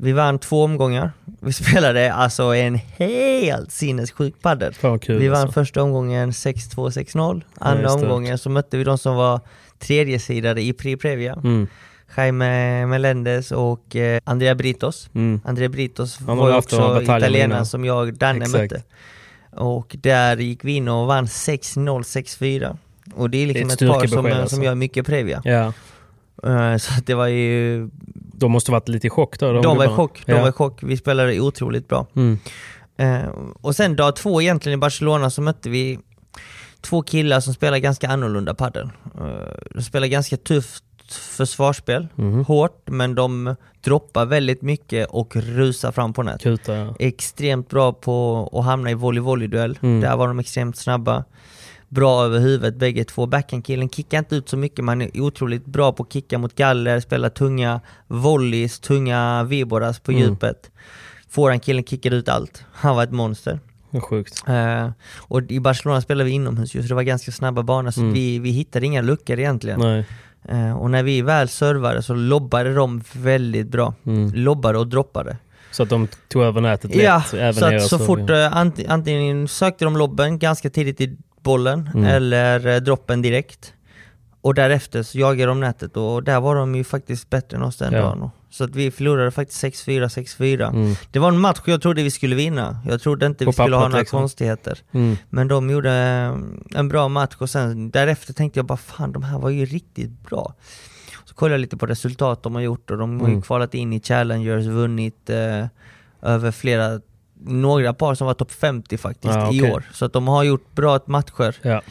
Speaker 5: Vi vann två omgångar. Vi spelade alltså en helt sinnessjuk padel.
Speaker 3: Fan vad kul
Speaker 5: Vi vann
Speaker 3: alltså.
Speaker 5: första omgången 6-2, 6-0. Andra
Speaker 3: just det.
Speaker 5: omgången så mötte vi de som var tredje sidare i Pri Previa.
Speaker 3: Mm.
Speaker 5: Jaime Melendez och eh, Andrea Britos.
Speaker 3: Mm.
Speaker 5: Andrea Britos
Speaker 3: men
Speaker 5: var
Speaker 3: vi
Speaker 5: ju
Speaker 3: har haft några
Speaker 5: också
Speaker 3: bataljer
Speaker 5: italienaren
Speaker 3: innan.
Speaker 5: som jag, Danne,
Speaker 3: Exakt.
Speaker 5: mötte. Och där gick vi in och vann 6-0, 6-4. Och det är liksom
Speaker 3: Det är
Speaker 5: ett,
Speaker 3: ett
Speaker 5: par som,
Speaker 3: styrkebesked, alltså.
Speaker 5: som gör mycket Previa.
Speaker 3: Ja.
Speaker 5: Eh, Så att det var ju
Speaker 3: De måste varit lite i chock då.
Speaker 5: de var i
Speaker 3: gubbarna.
Speaker 5: chock, de
Speaker 3: ja.
Speaker 5: var i chock. Vi spelade otroligt bra.
Speaker 3: Mm.
Speaker 5: Eh, och sen dag två egentligen i Barcelona så mötte vi två killar som spelar ganska annorlunda padel. Eh, de spelar ganska tufft försvarsspel,
Speaker 3: Mhm.
Speaker 5: hårt, men de droppar väldigt mycket och rusar fram på nät.
Speaker 3: Kuta, ja.
Speaker 5: Extremt bra på att hamna i volley-volley-duell.
Speaker 3: Mm.
Speaker 5: Där var de extremt snabba. Bra över huvudet bägge två. Backhandkillen kickar inte ut så mycket, man är otroligt bra på att kicka mot galler, spela tunga
Speaker 3: Mm.
Speaker 5: volleys, tunga viboras på djupet. Forehandkillen kickade ut allt. Han var ett monster.
Speaker 3: Vad sjukt.
Speaker 5: Eh, och i Barcelona spelade vi inomhus just, det var ganska snabba banor så
Speaker 3: Mm.
Speaker 5: vi, vi hittade inga luckor egentligen.
Speaker 3: Nej.
Speaker 5: Eh, och när vi väl servade så lobbade de väldigt bra.
Speaker 3: Mm.
Speaker 5: Lobbade och droppade.
Speaker 3: Så att de tog över nätet lätt.
Speaker 5: Ja,
Speaker 3: även
Speaker 5: så
Speaker 3: i
Speaker 5: att så
Speaker 3: Öresund.
Speaker 5: fort eh, ant- antingen sökte de lobben ganska tidigt i bollen
Speaker 3: Mm.
Speaker 5: eller eh, droppen direkt. Och därefter så jagade de nätet och där var de ju faktiskt bättre än oss den
Speaker 3: Ja.
Speaker 5: dagen. Så att vi förlorade faktiskt 6-4, 6-4.
Speaker 3: Mm.
Speaker 5: Det var en match jag trodde vi skulle vinna. Jag trodde inte
Speaker 3: På
Speaker 5: vi skulle ha
Speaker 3: pappret
Speaker 5: några
Speaker 3: liksom.
Speaker 5: konstigheter.
Speaker 3: Mm.
Speaker 5: Men de gjorde eh, en bra match och sen därefter tänkte jag bara fan de här var ju riktigt bra. Så kollade jag lite på resultat de har gjort och de har ju
Speaker 3: Mm.
Speaker 5: kvalat in i Challengers, vunnit eh, över flera, några par som var topp 50 faktiskt
Speaker 3: Ja,
Speaker 5: i
Speaker 3: okej.
Speaker 5: år. Så att de har gjort bra matcher.
Speaker 3: Ja.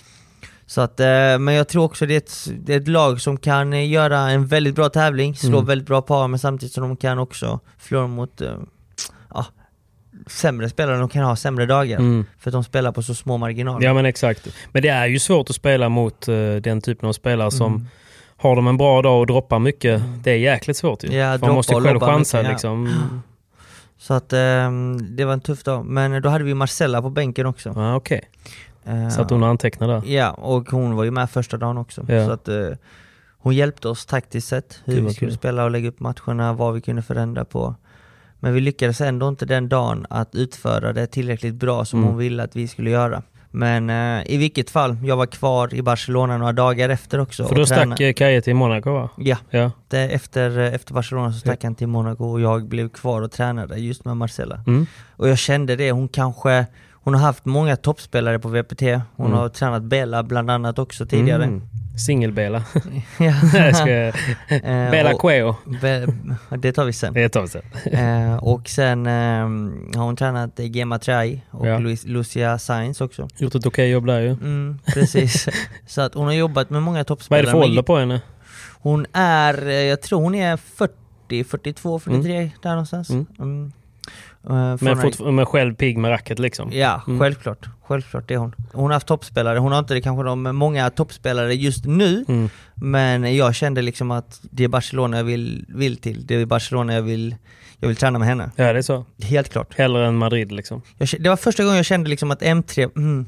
Speaker 5: Så att, eh, men jag tror också det är, ett, det är ett lag som kan eh, göra en väldigt bra tävling, slå
Speaker 3: Mm.
Speaker 5: väldigt bra par men samtidigt som de kan också förlora mot eh, ja, sämre spelare, de kan ha sämre dagar.
Speaker 3: Mm.
Speaker 5: För att de spelar på så små marginaler.
Speaker 3: ja, men exakt. Men det är ju svårt att spela mot eh, den typen av spelare
Speaker 5: Mm.
Speaker 3: som har de en bra dag och droppar mycket. Det är jäkligt svårt ju.
Speaker 5: Ja,
Speaker 3: För
Speaker 5: droppa
Speaker 3: man måste ju
Speaker 5: och
Speaker 3: själv
Speaker 5: lobba
Speaker 3: chansa
Speaker 5: mycket, ja.
Speaker 3: liksom.
Speaker 5: Så att ehm, det var en tuff dag. Men då hade vi Marcella på bänken också.
Speaker 3: Ja, okej.
Speaker 5: Eh,
Speaker 3: Så att hon antecknar där.
Speaker 5: Ja, och hon var ju med första dagen också.
Speaker 3: Ja.
Speaker 5: Så att eh, hon hjälpte oss taktiskt sett, hur
Speaker 3: Gud,
Speaker 5: vi
Speaker 3: vad
Speaker 5: skulle
Speaker 3: kul.
Speaker 5: spela och lägga upp matcherna, vad vi kunde förändra på. Men vi lyckades ändå inte den dagen att utföra det tillräckligt bra som
Speaker 3: Mm.
Speaker 5: hon ville att vi skulle göra. Men eh, i vilket fall, jag var kvar i Barcelona några dagar efter också.
Speaker 3: För då
Speaker 5: och tränade.
Speaker 3: stack eh, Kaje till Monaco va?
Speaker 5: Ja,
Speaker 3: Ja.
Speaker 5: det, efter, efter Barcelona så stack han till Monaco och jag blev kvar och tränade just med Marcella.
Speaker 3: Mm.
Speaker 5: Och jag kände det, hon kanske, hon har haft många toppspelare på VPT. Hon
Speaker 3: Mm.
Speaker 5: har tränat Bella bland annat också tidigare.
Speaker 3: Mm. Singelbela.
Speaker 5: Ja.
Speaker 3: Jag ska-
Speaker 5: Eh,
Speaker 3: Bela
Speaker 5: och-
Speaker 3: Cueo.
Speaker 5: Be- det tar vi sen.
Speaker 3: Det är ett tag sedan.
Speaker 5: Eh, och sen eh, har hon tränat eh, Gemma Trai och
Speaker 3: Ja.
Speaker 5: Luis, Lucia Sainz också.
Speaker 3: Gjort ett okej jobb där ju.
Speaker 5: Mm, precis. Så att hon har jobbat med många
Speaker 3: Vad är
Speaker 5: toppspelare.
Speaker 3: det för
Speaker 5: men
Speaker 3: ålder på henne?
Speaker 5: Hon är, eh, jag tror hon är 40, 42, 43 där någonstans.
Speaker 3: Mm.
Speaker 5: Mm. Eh,
Speaker 3: Men,
Speaker 5: från-
Speaker 3: fortfar- men själv pigg med racket liksom.
Speaker 5: Ja,
Speaker 3: Mm.
Speaker 5: självklart. Självklart det är hon. Hon har haft toppspelare, hon har inte det kanske de många toppspelare just nu,
Speaker 3: Mm.
Speaker 5: men jag kände liksom att det är Barcelona jag vill, vill till. Det är Barcelona jag vill, jag vill träna med henne.
Speaker 3: Ja, det är så.
Speaker 5: Helt klart.
Speaker 3: Hellre än Madrid liksom.
Speaker 5: Jag, kä- det var första gången jag kände liksom att M3, mm,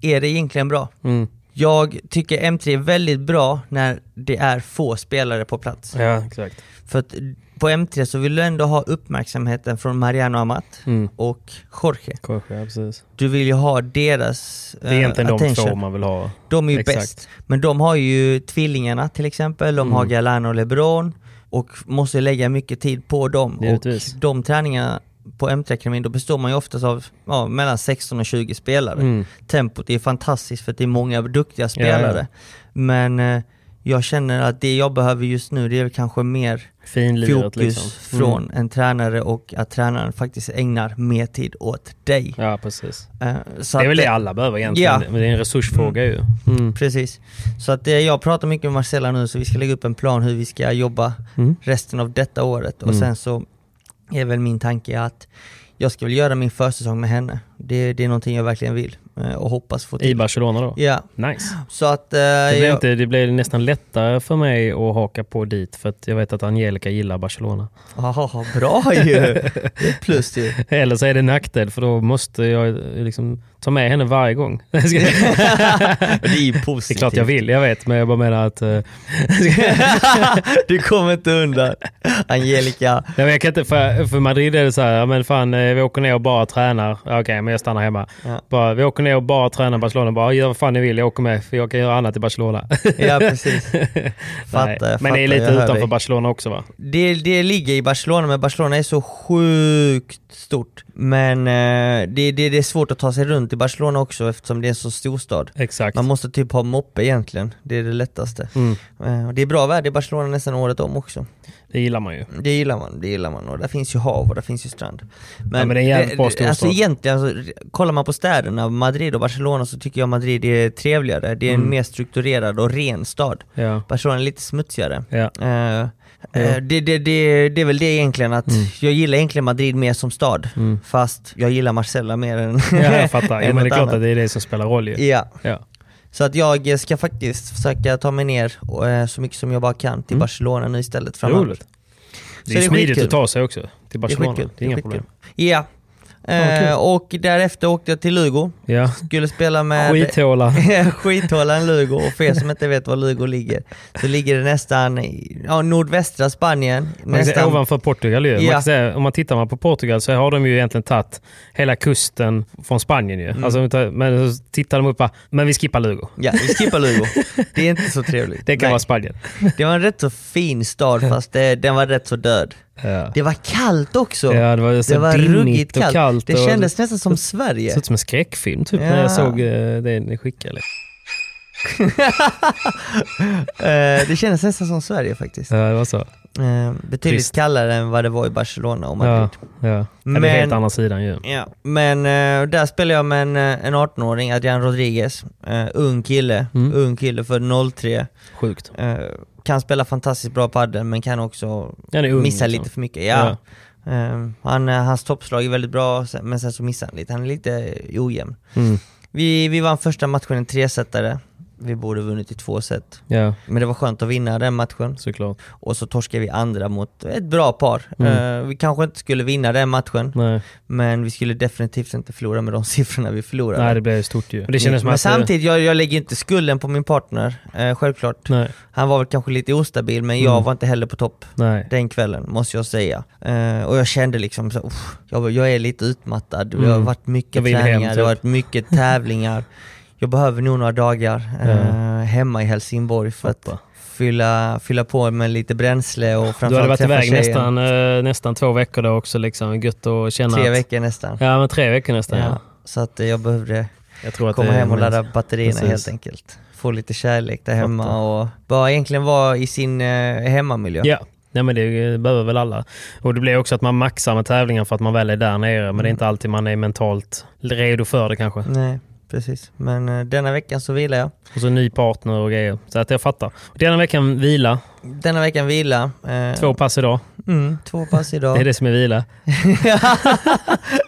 Speaker 5: är det egentligen bra?
Speaker 3: Mm.
Speaker 5: Jag tycker M3 är väldigt bra när det är få spelare på plats.
Speaker 3: Ja, exakt.
Speaker 5: För att på M3 så vill du ändå ha uppmärksamheten från Mariano Amat
Speaker 3: Mm.
Speaker 5: och Jorge.
Speaker 3: Kanske, ja, precis.
Speaker 5: Du vill ju ha deras
Speaker 3: Det är
Speaker 5: eh,
Speaker 3: egentligen de
Speaker 5: attention.
Speaker 3: två man vill ha.
Speaker 5: De är ju
Speaker 3: Exakt.
Speaker 5: bäst. Men de har ju tvillingarna till exempel, de har
Speaker 3: Mm.
Speaker 5: Galano och LeBron och måste lägga mycket tid på dem.
Speaker 3: Givetvis.
Speaker 5: Och de träningarna på M3-akademin, då består man ju oftast av ja, mellan 16 och 20 spelare.
Speaker 3: Mm.
Speaker 5: Tempot är fantastiskt för att det är många duktiga spelare. Men eh, jag känner att det jag behöver just nu det är väl kanske mer
Speaker 3: Finliret
Speaker 5: fokus
Speaker 3: liksom. Mm.
Speaker 5: från en tränare och att tränaren faktiskt ägnar mer tid åt dig.
Speaker 3: Ja, precis.
Speaker 5: Eh, så
Speaker 3: det är
Speaker 5: att
Speaker 3: väl det alla behöver egentligen.
Speaker 5: Ja.
Speaker 3: Men det är en resursfråga ju. Mm.
Speaker 5: Precis. Så att eh, jag pratar mycket med Marcella nu så vi ska lägga upp en plan hur vi ska jobba
Speaker 3: Mm.
Speaker 5: resten av detta året och
Speaker 3: Mm.
Speaker 5: sen så är väl min tanke att jag ska väl göra min försäsong med henne. Det, det är någonting jag verkligen vill eh, och hoppas få
Speaker 3: I
Speaker 5: till.
Speaker 3: Barcelona då?
Speaker 5: Ja,
Speaker 3: Nice.
Speaker 5: så att... eh,
Speaker 3: Det blir,
Speaker 5: jag,
Speaker 3: inte, det blir nästan lättare för mig att haka på dit för att jag vet att Angelica gillar Barcelona.
Speaker 5: Haha, bra ju! Det är plus ju.
Speaker 3: Eller så är det en nackdel för då måste jag eh, liksom ta med henne varje gång. det
Speaker 5: Det är ju
Speaker 3: är
Speaker 5: positivt.
Speaker 3: klart jag vill, jag vet, men jag bara menar att... eh,
Speaker 5: du kommer inte undan. Angelica,
Speaker 3: Nej, men jag kan inte, för, för Madrid är det så här, ja, men fan eh, vi åker ner och bara tränar. Ja, Okej, men jag stannar hemma.
Speaker 5: Ja.
Speaker 3: Bara, vi åker ner och bara tränar Barcelona. Bara, gör vad fan ni vill, jag åker med för jag kan göra annat i Barcelona.
Speaker 5: ja precis.
Speaker 3: Nej,
Speaker 5: Fattar,
Speaker 3: men det är
Speaker 5: fattar,
Speaker 3: lite
Speaker 5: jag hör
Speaker 3: utanför
Speaker 5: dig.
Speaker 3: Barcelona också va?
Speaker 5: Det, det ligger i Barcelona, men Barcelona är så sjukt stort. Men eh, det, det, det är svårt att ta sig runt i Barcelona också eftersom det är en så stor stad.
Speaker 3: Exakt.
Speaker 5: Man måste typ ha moppe egentligen, det är det lättaste.
Speaker 3: Mm.
Speaker 5: Eh, och det är bra väder i Barcelona nästan året om också.
Speaker 3: Det gillar man ju.
Speaker 5: Det gillar man, det gillar man. Och där finns ju hav och där finns ju strand.
Speaker 3: Ja, men det är en jävligt bra storstad.
Speaker 5: Alltså egentligen, alltså, kollar man på städerna, Madrid och Barcelona, så tycker jag Madrid är trevligare. Det är
Speaker 3: Mm.
Speaker 5: en mer strukturerad och ren stad.
Speaker 3: Ja.
Speaker 5: Barcelona är lite smutsigare.
Speaker 3: Ja. Mm.
Speaker 5: Eh, eh, det, det, det, det är väl det egentligen att jag gillar egentligen Madrid mer som stad. Fast jag gillar Marcella mer än
Speaker 3: Ja, jag fattar. Jo, men
Speaker 5: än
Speaker 3: det är
Speaker 5: något
Speaker 3: klart
Speaker 5: annat.
Speaker 3: att det är det som spelar roll ju.
Speaker 5: Ja.
Speaker 3: Ja.
Speaker 5: Så att jag ska faktiskt försöka ta mig ner och, eh, så mycket som jag bara kan
Speaker 3: Mm.
Speaker 5: till Barcelona nu istället framöver.
Speaker 3: Roligt. Det
Speaker 5: Så
Speaker 3: är
Speaker 5: det är
Speaker 3: smidigt
Speaker 5: skitkul.
Speaker 3: att ta sig också till
Speaker 5: Det är
Speaker 3: Barcelona.
Speaker 5: skitkul.
Speaker 3: Det är inga problem.
Speaker 5: skitkul. Ja. Eh, och därefter åkte jag till Lugo.
Speaker 3: Ja.
Speaker 5: Skulle spela med...
Speaker 3: Skithåla.
Speaker 5: Skithålan Lugo. Och för er som inte vet var Lugo ligger, så ligger det nästan i ja, nordvästra Spanien.
Speaker 3: Man kan säga
Speaker 5: Nästan,
Speaker 3: Ovanför Portugal ju. Man
Speaker 5: Ja.
Speaker 3: kan säga, om man tittar på Portugal så har de ju egentligen tagit hela kusten från Spanien ju.
Speaker 5: Mm.
Speaker 3: Alltså, om vi tar- men så tittar de upp bara, men vi skippar Lugo.
Speaker 5: ja, vi skippar Lugo. Det är inte så trevligt.
Speaker 3: Det kan
Speaker 5: Nej.
Speaker 3: vara Spanien.
Speaker 5: Det var en rätt så fin stad fast det, den var rätt så död.
Speaker 3: Ja.
Speaker 5: Det var kallt också.
Speaker 3: Ja, det var så dimmigt och kallt
Speaker 5: Det
Speaker 3: och-
Speaker 5: kändes nästan som Sverige.
Speaker 3: Det ser ut som en skräckfilm typ
Speaker 5: Ja.
Speaker 3: när jag såg eh, det ni skickade.
Speaker 5: Eh, det kändes nästan som Sverige faktiskt.
Speaker 3: Ja, det var så.
Speaker 5: Eh, betydligt
Speaker 3: Trist.
Speaker 5: kallare än vad det var i Barcelona och Madrid.
Speaker 3: Ja, ja. Men... Det är
Speaker 5: Men-
Speaker 3: helt andra sidan ju.
Speaker 5: Ja, men eh, där spelade jag med en, eh, en 18-åring, Adrian Rodriguez. Eh, ung kille,
Speaker 3: Mm.
Speaker 5: ung kille för 03.
Speaker 3: Sjukt.
Speaker 5: Eh, kan spela fantastiskt bra padel men kan också
Speaker 3: Han är ung,
Speaker 5: missa
Speaker 3: liksom.
Speaker 5: lite för mycket. Ja. Eh, han, eh, hans toppslag är väldigt bra sen- men sen så missar han lite, han är lite eh, ojämn.
Speaker 3: Mm.
Speaker 5: Vi, vi vann första matchen i tresetare, vi borde vunnit i två set.
Speaker 3: Ja,
Speaker 5: Men det var skönt att vinna den matchen.
Speaker 3: såklart.
Speaker 5: Och så torskade vi andra mot ett bra par. Eh, vi kanske inte skulle vinna den matchen,
Speaker 3: Mm. Nej,
Speaker 5: men vi skulle definitivt inte förlora med de siffrorna vi förlorade.
Speaker 3: Nej det blev ju stort ju. Men det kändes som
Speaker 5: men
Speaker 3: att...
Speaker 5: samtidigt, jag, jag lägger ju inte skulden på min partner, eh, självklart.
Speaker 3: Nej, Mm.
Speaker 5: Han var väl kanske lite ostabil, men jag var inte heller på topp
Speaker 3: nej.
Speaker 5: den kvällen, måste jag säga. Eh, och jag kände liksom så, "Uff, jag, jag är lite utmattad, det har
Speaker 3: Mm.
Speaker 5: varit
Speaker 3: Jag
Speaker 5: mycket
Speaker 3: vill hem,
Speaker 5: träningar, det har
Speaker 3: typ.
Speaker 5: varit mycket tävlingar. Jag behöver nog några dagar eh, hemma i Helsingborg för att fylla, fylla på med lite bränsle och
Speaker 3: Du hade
Speaker 5: framförallt
Speaker 3: varit
Speaker 5: träffa
Speaker 3: iväg
Speaker 5: tjejen.
Speaker 3: nästan, eh, nästan två veckor då också. Liksom. Gött att känna
Speaker 5: Tre
Speaker 3: att...
Speaker 5: veckor nästan.
Speaker 3: Ja, men tre veckor nästan. Ja.
Speaker 5: Ja. Så att eh, jag behövde
Speaker 3: Jag tror att
Speaker 5: komma
Speaker 3: det är
Speaker 5: hem och ladda batterierna
Speaker 3: Precis.
Speaker 5: helt enkelt. Få lite kärlek där hemma och bara egentligen vara i sin eh, hemmamiljö.
Speaker 3: Ja. Nej, men det behöver väl alla. Och Det blir också att man maxar med tävlingen för att man väl är där nere. Men det är inte alltid man är mentalt redo för det kanske.
Speaker 5: Nej, precis. Men eh, denna veckan så vilar jag.
Speaker 3: Och så ny partner och grejer. Så att jag fattar. Denna veckan vila.
Speaker 5: Denna veckan vila. Eh,
Speaker 3: Två pass idag.
Speaker 5: Mm, två pass idag.
Speaker 3: Det är det som är vila.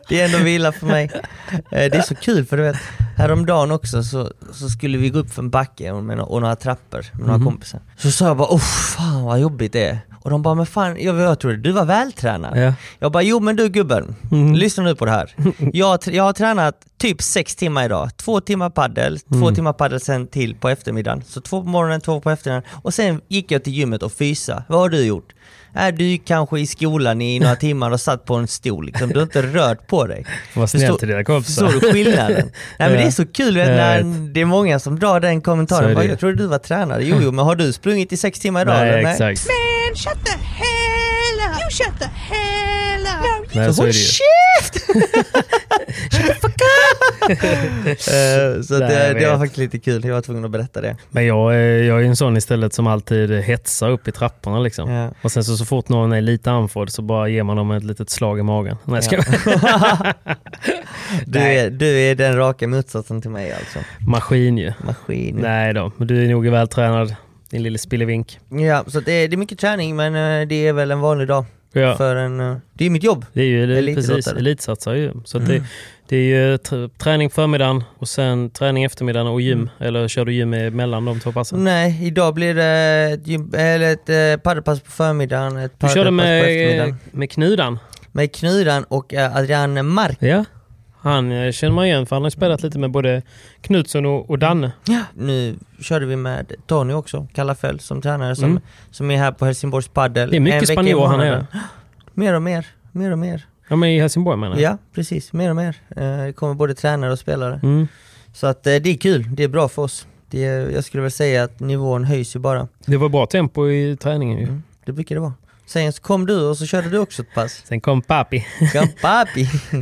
Speaker 5: Det är ändå vila för mig. Eh, Det är så kul för du vet, häromdagen också så, så skulle vi gå upp för en backe och, med, nå- och några trappor med några kompisar. Så sa jag bara oh fan vad jobbigt det är. Och de bara men fan jag, jag trodde du var vältränad.
Speaker 3: Ja.
Speaker 5: Jag bara jo men du gubben, lyssna nu på det här. Jag, har tr- jag har tränat typ sex timmar idag. Två timmar paddel, två timmar paddel sen till på eftermiddagen. Så två på morgonen, två på eftermiddagen. Och sen gick jag till gymmet och fysa. Vad har du gjort? Är du gick kanske i skolan i några timmar och satt på en stol liksom. Du har inte rört på dig.
Speaker 3: Vad snällt
Speaker 5: Förstår-
Speaker 3: till dina kompisar.
Speaker 5: Förstår du skillnaden? Nej men
Speaker 3: Ja.
Speaker 5: det är så kul vet,
Speaker 3: Ja, jag
Speaker 5: när
Speaker 3: vet.
Speaker 5: det är många som drar den
Speaker 3: Så är
Speaker 5: kommentaren.
Speaker 3: det
Speaker 5: Bara,
Speaker 3: ju.
Speaker 5: jag trodde du var tränare. Jo, jo men har du sprungit i sex timmar idag?
Speaker 3: Nej,
Speaker 5: eller?
Speaker 3: exakt.
Speaker 4: Man, shut the hell up. You shut the hell up. No,
Speaker 3: Nej,
Speaker 5: Så
Speaker 3: så är
Speaker 5: håll
Speaker 3: det ju.
Speaker 5: käft! Eh, så att
Speaker 3: Nej, jag
Speaker 5: det, det var
Speaker 3: vet.
Speaker 5: faktiskt lite kul, jag var tvungen att berätta det.
Speaker 3: Men jag, är- jag är ju en sån istället som alltid hetsar upp i trapporna. Liksom.
Speaker 5: Ja.
Speaker 3: Och sen så, så fort någon är lite andfådd så bara ger man dem ett litet slag i magen. Nej, ska
Speaker 5: Du är, du är den raka motsatsen till mig alltså.
Speaker 3: Maskin ju.
Speaker 5: Maskin.
Speaker 3: Nej då, men du är nog vältränad. Din lille spillevink.
Speaker 5: Ja, så att det, är, det är mycket träning men eh, det är väl en vanlig dag.
Speaker 3: Ja.
Speaker 5: För en, eh, det är Mm. mitt jobb.
Speaker 3: Det är ju det, är precis,
Speaker 5: Elitidrottare.
Speaker 3: elitsatsar ju. Så att det, det är ju tr- träning på förmiddagen och sen träning eftermiddagen och gym. Eller kör du gym emellan de två passen?
Speaker 5: Mm. Nej, idag blir det ett, gym, eller ett eh, padelpass på förmiddagen, ett
Speaker 3: Du körde
Speaker 5: padelpass på
Speaker 3: med, eh,
Speaker 5: eftermiddagen.
Speaker 3: med knudan.
Speaker 5: Med Knudan och eh, Adrian Mark.
Speaker 3: Ja. Han eh, känner man igen för han har spelat lite med både Knutsson och, och Danne.
Speaker 5: Nu körde vi med Tony också, Kallafell som tränare som,
Speaker 3: Mm.
Speaker 5: som är här på Helsingborgs padel.
Speaker 3: Det är mycket
Speaker 5: En vecka i
Speaker 3: spanjor han är.
Speaker 5: månaden. Mer och mer, mer och mer.
Speaker 3: Ja men i Helsingborg menar jag.
Speaker 5: Ja, precis. Mer och mer. Eh, Det kommer både tränare och spelare.
Speaker 3: Mm.
Speaker 5: Så att eh, det är kul, det är bra för oss. Det är, jag skulle väl säga att nivån höjs ju bara.
Speaker 3: Det var bra tempo i träningen ju.
Speaker 5: Det brukar det vara. Sen så kom du och så körde du också ett pass.
Speaker 3: Sen kom papi.
Speaker 5: Gampapi!
Speaker 3: Ja,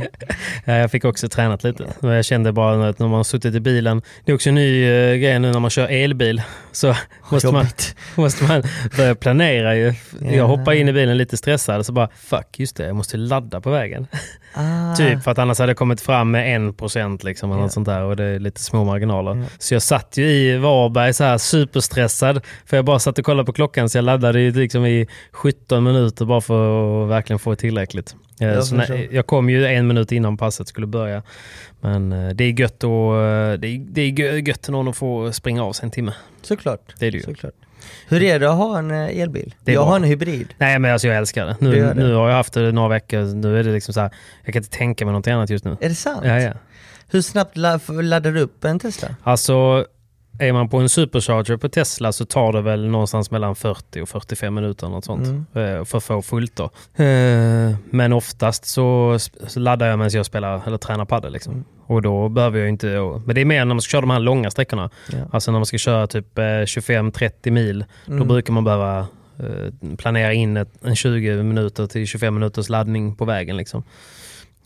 Speaker 3: Eh, jag fick också tränat lite. Men Jag kände bara att när man har suttit i bilen, det är också en ny eh, grej nu när man kör elbil, så måste man,
Speaker 5: Jobbigt.
Speaker 3: måste man börja planera ju. Jag hoppar in i bilen lite stressad, så bara fuck, just det, jag måste ladda på vägen.
Speaker 5: Ah.
Speaker 3: Typ, för att annars hade jag kommit fram med en procent liksom, eller något sånt där, och det är lite små marginaler. Så jag satt ju i Varberg så här superstressad, för jag bara satt och kollade på klockan, så jag laddade ju liksom i 17 15 minuter bara för att verkligen få tillräckligt. Eh,
Speaker 5: Ja,
Speaker 3: så
Speaker 5: men
Speaker 3: när-
Speaker 5: så.
Speaker 3: jag kom ju en minut innan passet skulle börja. Men eh, det är gött, och, eh, det är, det är gö- gött någon att få springa av sig en timme.
Speaker 5: Såklart.
Speaker 3: Det är det ju.
Speaker 5: Såklart. Hur är det att ha en eh, elbil?
Speaker 3: Det är
Speaker 5: jag
Speaker 3: bra.
Speaker 5: har en hybrid.
Speaker 3: Nej men alltså jag älskar det.
Speaker 5: Du
Speaker 3: Nu,
Speaker 5: gör det.
Speaker 3: nu har jag haft det några veckor. Nu är det liksom så här, jag kan inte tänka mig någonting annat just nu.
Speaker 5: Är det sant?
Speaker 3: Ja, ja.
Speaker 5: Hur snabbt la- f- laddar du upp en Tesla?
Speaker 3: Alltså, är man på en supercharger på Tesla så tar det väl någonstans mellan 40 och 45 minuter något sånt eh, för att få fullt. Då. Eh, Men oftast så, så laddar jag medan jag spelar eller tränar padel. Liksom. Och då behöver jag inte... och- Men det är mer när man ska köra de här långa sträckorna.
Speaker 5: Ja.
Speaker 3: Alltså när man ska köra typ eh, 25-30 mil, då brukar man behöva eh, planera in ett, en 20 minuter till 25 minuters laddning på vägen. Liksom.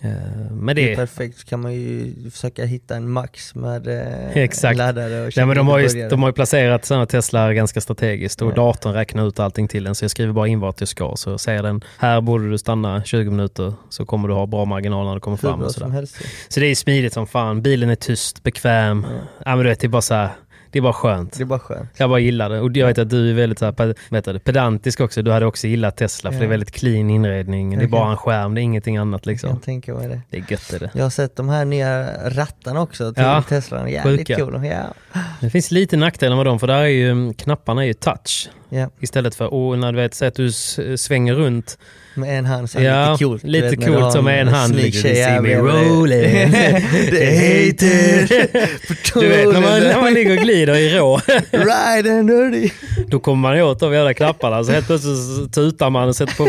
Speaker 3: Eh, Men
Speaker 5: Det är
Speaker 3: det,
Speaker 5: perfekt, så kan man ju försöka hitta en max med eh,
Speaker 3: Exakt.
Speaker 5: en laddare och
Speaker 3: Nej, men de, har ju,
Speaker 5: börjare.
Speaker 3: de har ju placerat sina Tesla ganska strategiskt och
Speaker 5: Ja.
Speaker 3: datorn räknar ut allting till den. Så jag skriver bara in vart jag ska. Så säger den, här borde du stanna 20 minuter så kommer du ha bra marginal när du kommer
Speaker 5: Hur
Speaker 3: fram.
Speaker 5: bra
Speaker 3: Och sådär.
Speaker 5: som helst.
Speaker 3: Så det är smidigt som fan. Bilen är tyst, bekväm. Ja. men du vet, det, är bara så här, det är bara skönt.
Speaker 5: Det är bara skönt.
Speaker 3: Jag bara gillar det. Och jag vet att du är väldigt så här, ped- vet du, pedantisk också. Du hade också gillat Tesla för
Speaker 5: Ja.
Speaker 3: det är väldigt clean inredning. Det är
Speaker 5: Okej.
Speaker 3: bara en skärm, det är ingenting annat.
Speaker 5: Jag
Speaker 3: Liksom.
Speaker 5: kan tänka mig det.
Speaker 3: Det är gött. Är det.
Speaker 5: Jag har sett de här nya rattarna också till
Speaker 3: Ja.
Speaker 5: Teslan, jävligt
Speaker 3: Sjuka.
Speaker 5: coola. Ja.
Speaker 3: det finns lite nackdelar med dem för där är ju, mm, knapparna är ju touch.
Speaker 5: Ja.
Speaker 3: Istället för, och när du vet, säg att du s- svänger runt
Speaker 5: Med en hand så
Speaker 3: Ja,
Speaker 5: lite coolt. du
Speaker 3: lite
Speaker 5: vet, när
Speaker 3: coolt
Speaker 5: du har
Speaker 3: som med en hand,
Speaker 5: snygg
Speaker 3: liksom,
Speaker 5: tjej
Speaker 3: "You see
Speaker 5: jävel
Speaker 3: me
Speaker 5: eller-
Speaker 3: rolling."
Speaker 5: The hated.
Speaker 3: Du vet när man, när man ligger och glider i rå,
Speaker 5: Ride and dirty.
Speaker 3: då kommer man ju åt de jävla knapparna. Så helt plötsligt så tutar man och sätter på,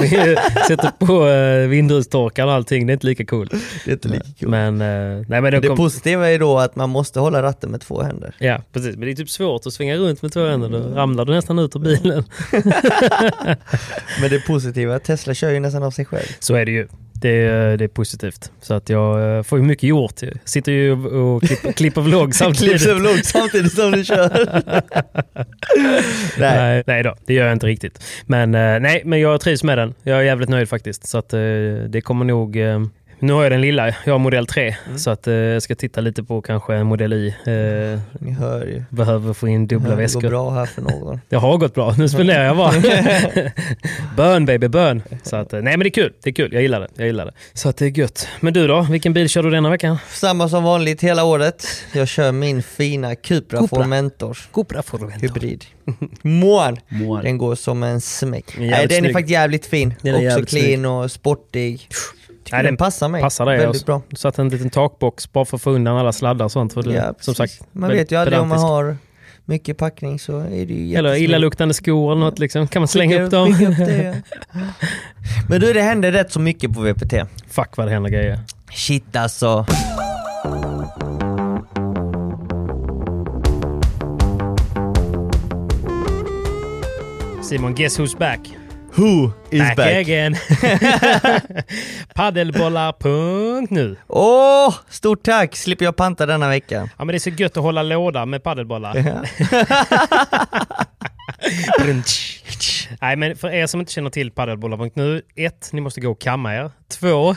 Speaker 3: sätter på eh, vindrutetorkaren och allting. Det är inte lika coolt.
Speaker 5: Det är inte lika coolt.
Speaker 3: Men, eh, nej, men då
Speaker 5: Det
Speaker 3: kom,
Speaker 5: positiva är då att man måste hålla ratten med två händer.
Speaker 3: ja, precis. Men det är typ svårt att svänga runt med två händer. Då ramlar du nästan ut ur bilen.
Speaker 5: Men det positiva är att Tesla kör ju nästan av sig själv.
Speaker 3: Så är det ju. Det är, eh, det är positivt. Så att jag eh, får ju mycket gjort. Jag sitter ju och och klipper, klipper vlogg samtidigt.
Speaker 5: Klipps vlogg samtidigt som du kör. nej.
Speaker 3: Nej. nej då, det gör jag inte riktigt. Men, eh, nej, men jag trivs med den. Jag är jävligt nöjd faktiskt. Så att, eh, det kommer nog... Eh, nu har jag den lilla, jag har modell 3.
Speaker 5: Mm.
Speaker 3: Så att, eh, jag ska titta lite på kanske en modell i. Eh,
Speaker 5: Ni hör ju.
Speaker 3: behöver få in dubbla
Speaker 5: Mm. Ja, det går
Speaker 3: väskor.
Speaker 5: bra här för någon.
Speaker 3: Det har gått bra, nu spenderar jag bara. bön baby, bön. Så att, eh, nej men det är kul, det är kul. Jag gillar det. Jag gillar det. Så att det är gött. Men du då, vilken bil kör du denna veckan?
Speaker 5: Samma som vanligt hela året. Jag kör min fina Cupra
Speaker 3: Cupra.
Speaker 5: Formentor.
Speaker 3: Cupra Formentor.
Speaker 5: Hybrid. Mån!
Speaker 6: Mån.
Speaker 5: Den går som en smäck.
Speaker 3: är jävligt
Speaker 5: Nej, den är
Speaker 3: snygg.
Speaker 5: faktiskt jävligt fin.
Speaker 3: Den är
Speaker 5: Också
Speaker 3: jävligt
Speaker 5: clean
Speaker 3: snygg.
Speaker 5: och sportig. Tycker
Speaker 3: Nej,
Speaker 5: den
Speaker 3: den
Speaker 5: passar mig
Speaker 3: Passar dig
Speaker 5: väldigt
Speaker 3: alltså.
Speaker 5: bra.
Speaker 3: Du satte en liten takbox bara för att få undan alla sladdar och sånt. För du,
Speaker 5: Ja,
Speaker 3: som
Speaker 5: precis.
Speaker 3: sagt,
Speaker 5: man
Speaker 3: väldigt
Speaker 5: vet ju aldrig om man
Speaker 3: pedantisk.
Speaker 5: har mycket packning så är det ju
Speaker 3: Eller
Speaker 5: jättesnyggt.
Speaker 3: illaluktande skor eller något liksom. Kan man slänga
Speaker 5: Skicka-
Speaker 3: upp dem?
Speaker 5: skicka upp det, ja. Men du, det händer rätt så mycket på VPT.
Speaker 3: Fuck vad det händer grejer.
Speaker 5: Shit alltså.
Speaker 3: Simon, guess who's back?
Speaker 5: Who is
Speaker 3: back, again! Paddelbollar.nu
Speaker 5: Åh, stort tack! Slipper jag panta denna vecka.
Speaker 3: Ja men det är så gött att hålla låda med paddelbollar. Nej men för er som inte känner till paddelbollar.nu, ett, Ni måste gå och kamma er. Två,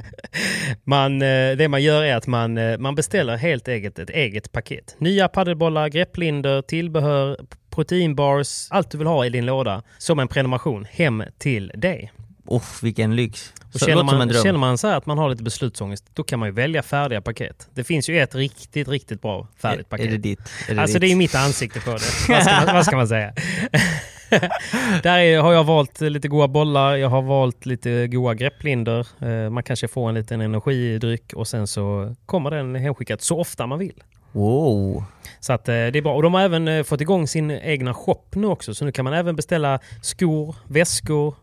Speaker 3: man, eh, det man gör är att man, eh, man beställer helt eget ett eget paket. Nya paddelbollar, grepplindor, tillbehör, proteinbars, allt du vill ha i din låda som en prenumeration hem till dig.
Speaker 5: Uff, vilken lyx.
Speaker 3: Och
Speaker 5: Så,
Speaker 3: känner,
Speaker 5: låter som en
Speaker 3: man,
Speaker 5: dröm.
Speaker 3: känner man så här att man har lite beslutsångest, då kan man ju välja färdiga paket. Det finns ju ett riktigt, riktigt bra färdigt
Speaker 5: är,
Speaker 3: paket.
Speaker 5: är det ditt? Är det
Speaker 3: alltså
Speaker 5: ditt?
Speaker 3: det är ju mitt ansikte på det. Vad ska man, vad ska man säga? Där är, har jag valt lite goa bollar, jag har valt lite goa grepplindor. Eh, Man kanske får en liten energidryck och sen så kommer den hemskickat så ofta man vill.
Speaker 5: Wow.
Speaker 3: Så att eh, det är bra. Och de har även eh, fått igång sin egna shop nu också. Så nu kan man även beställa skor, väskor.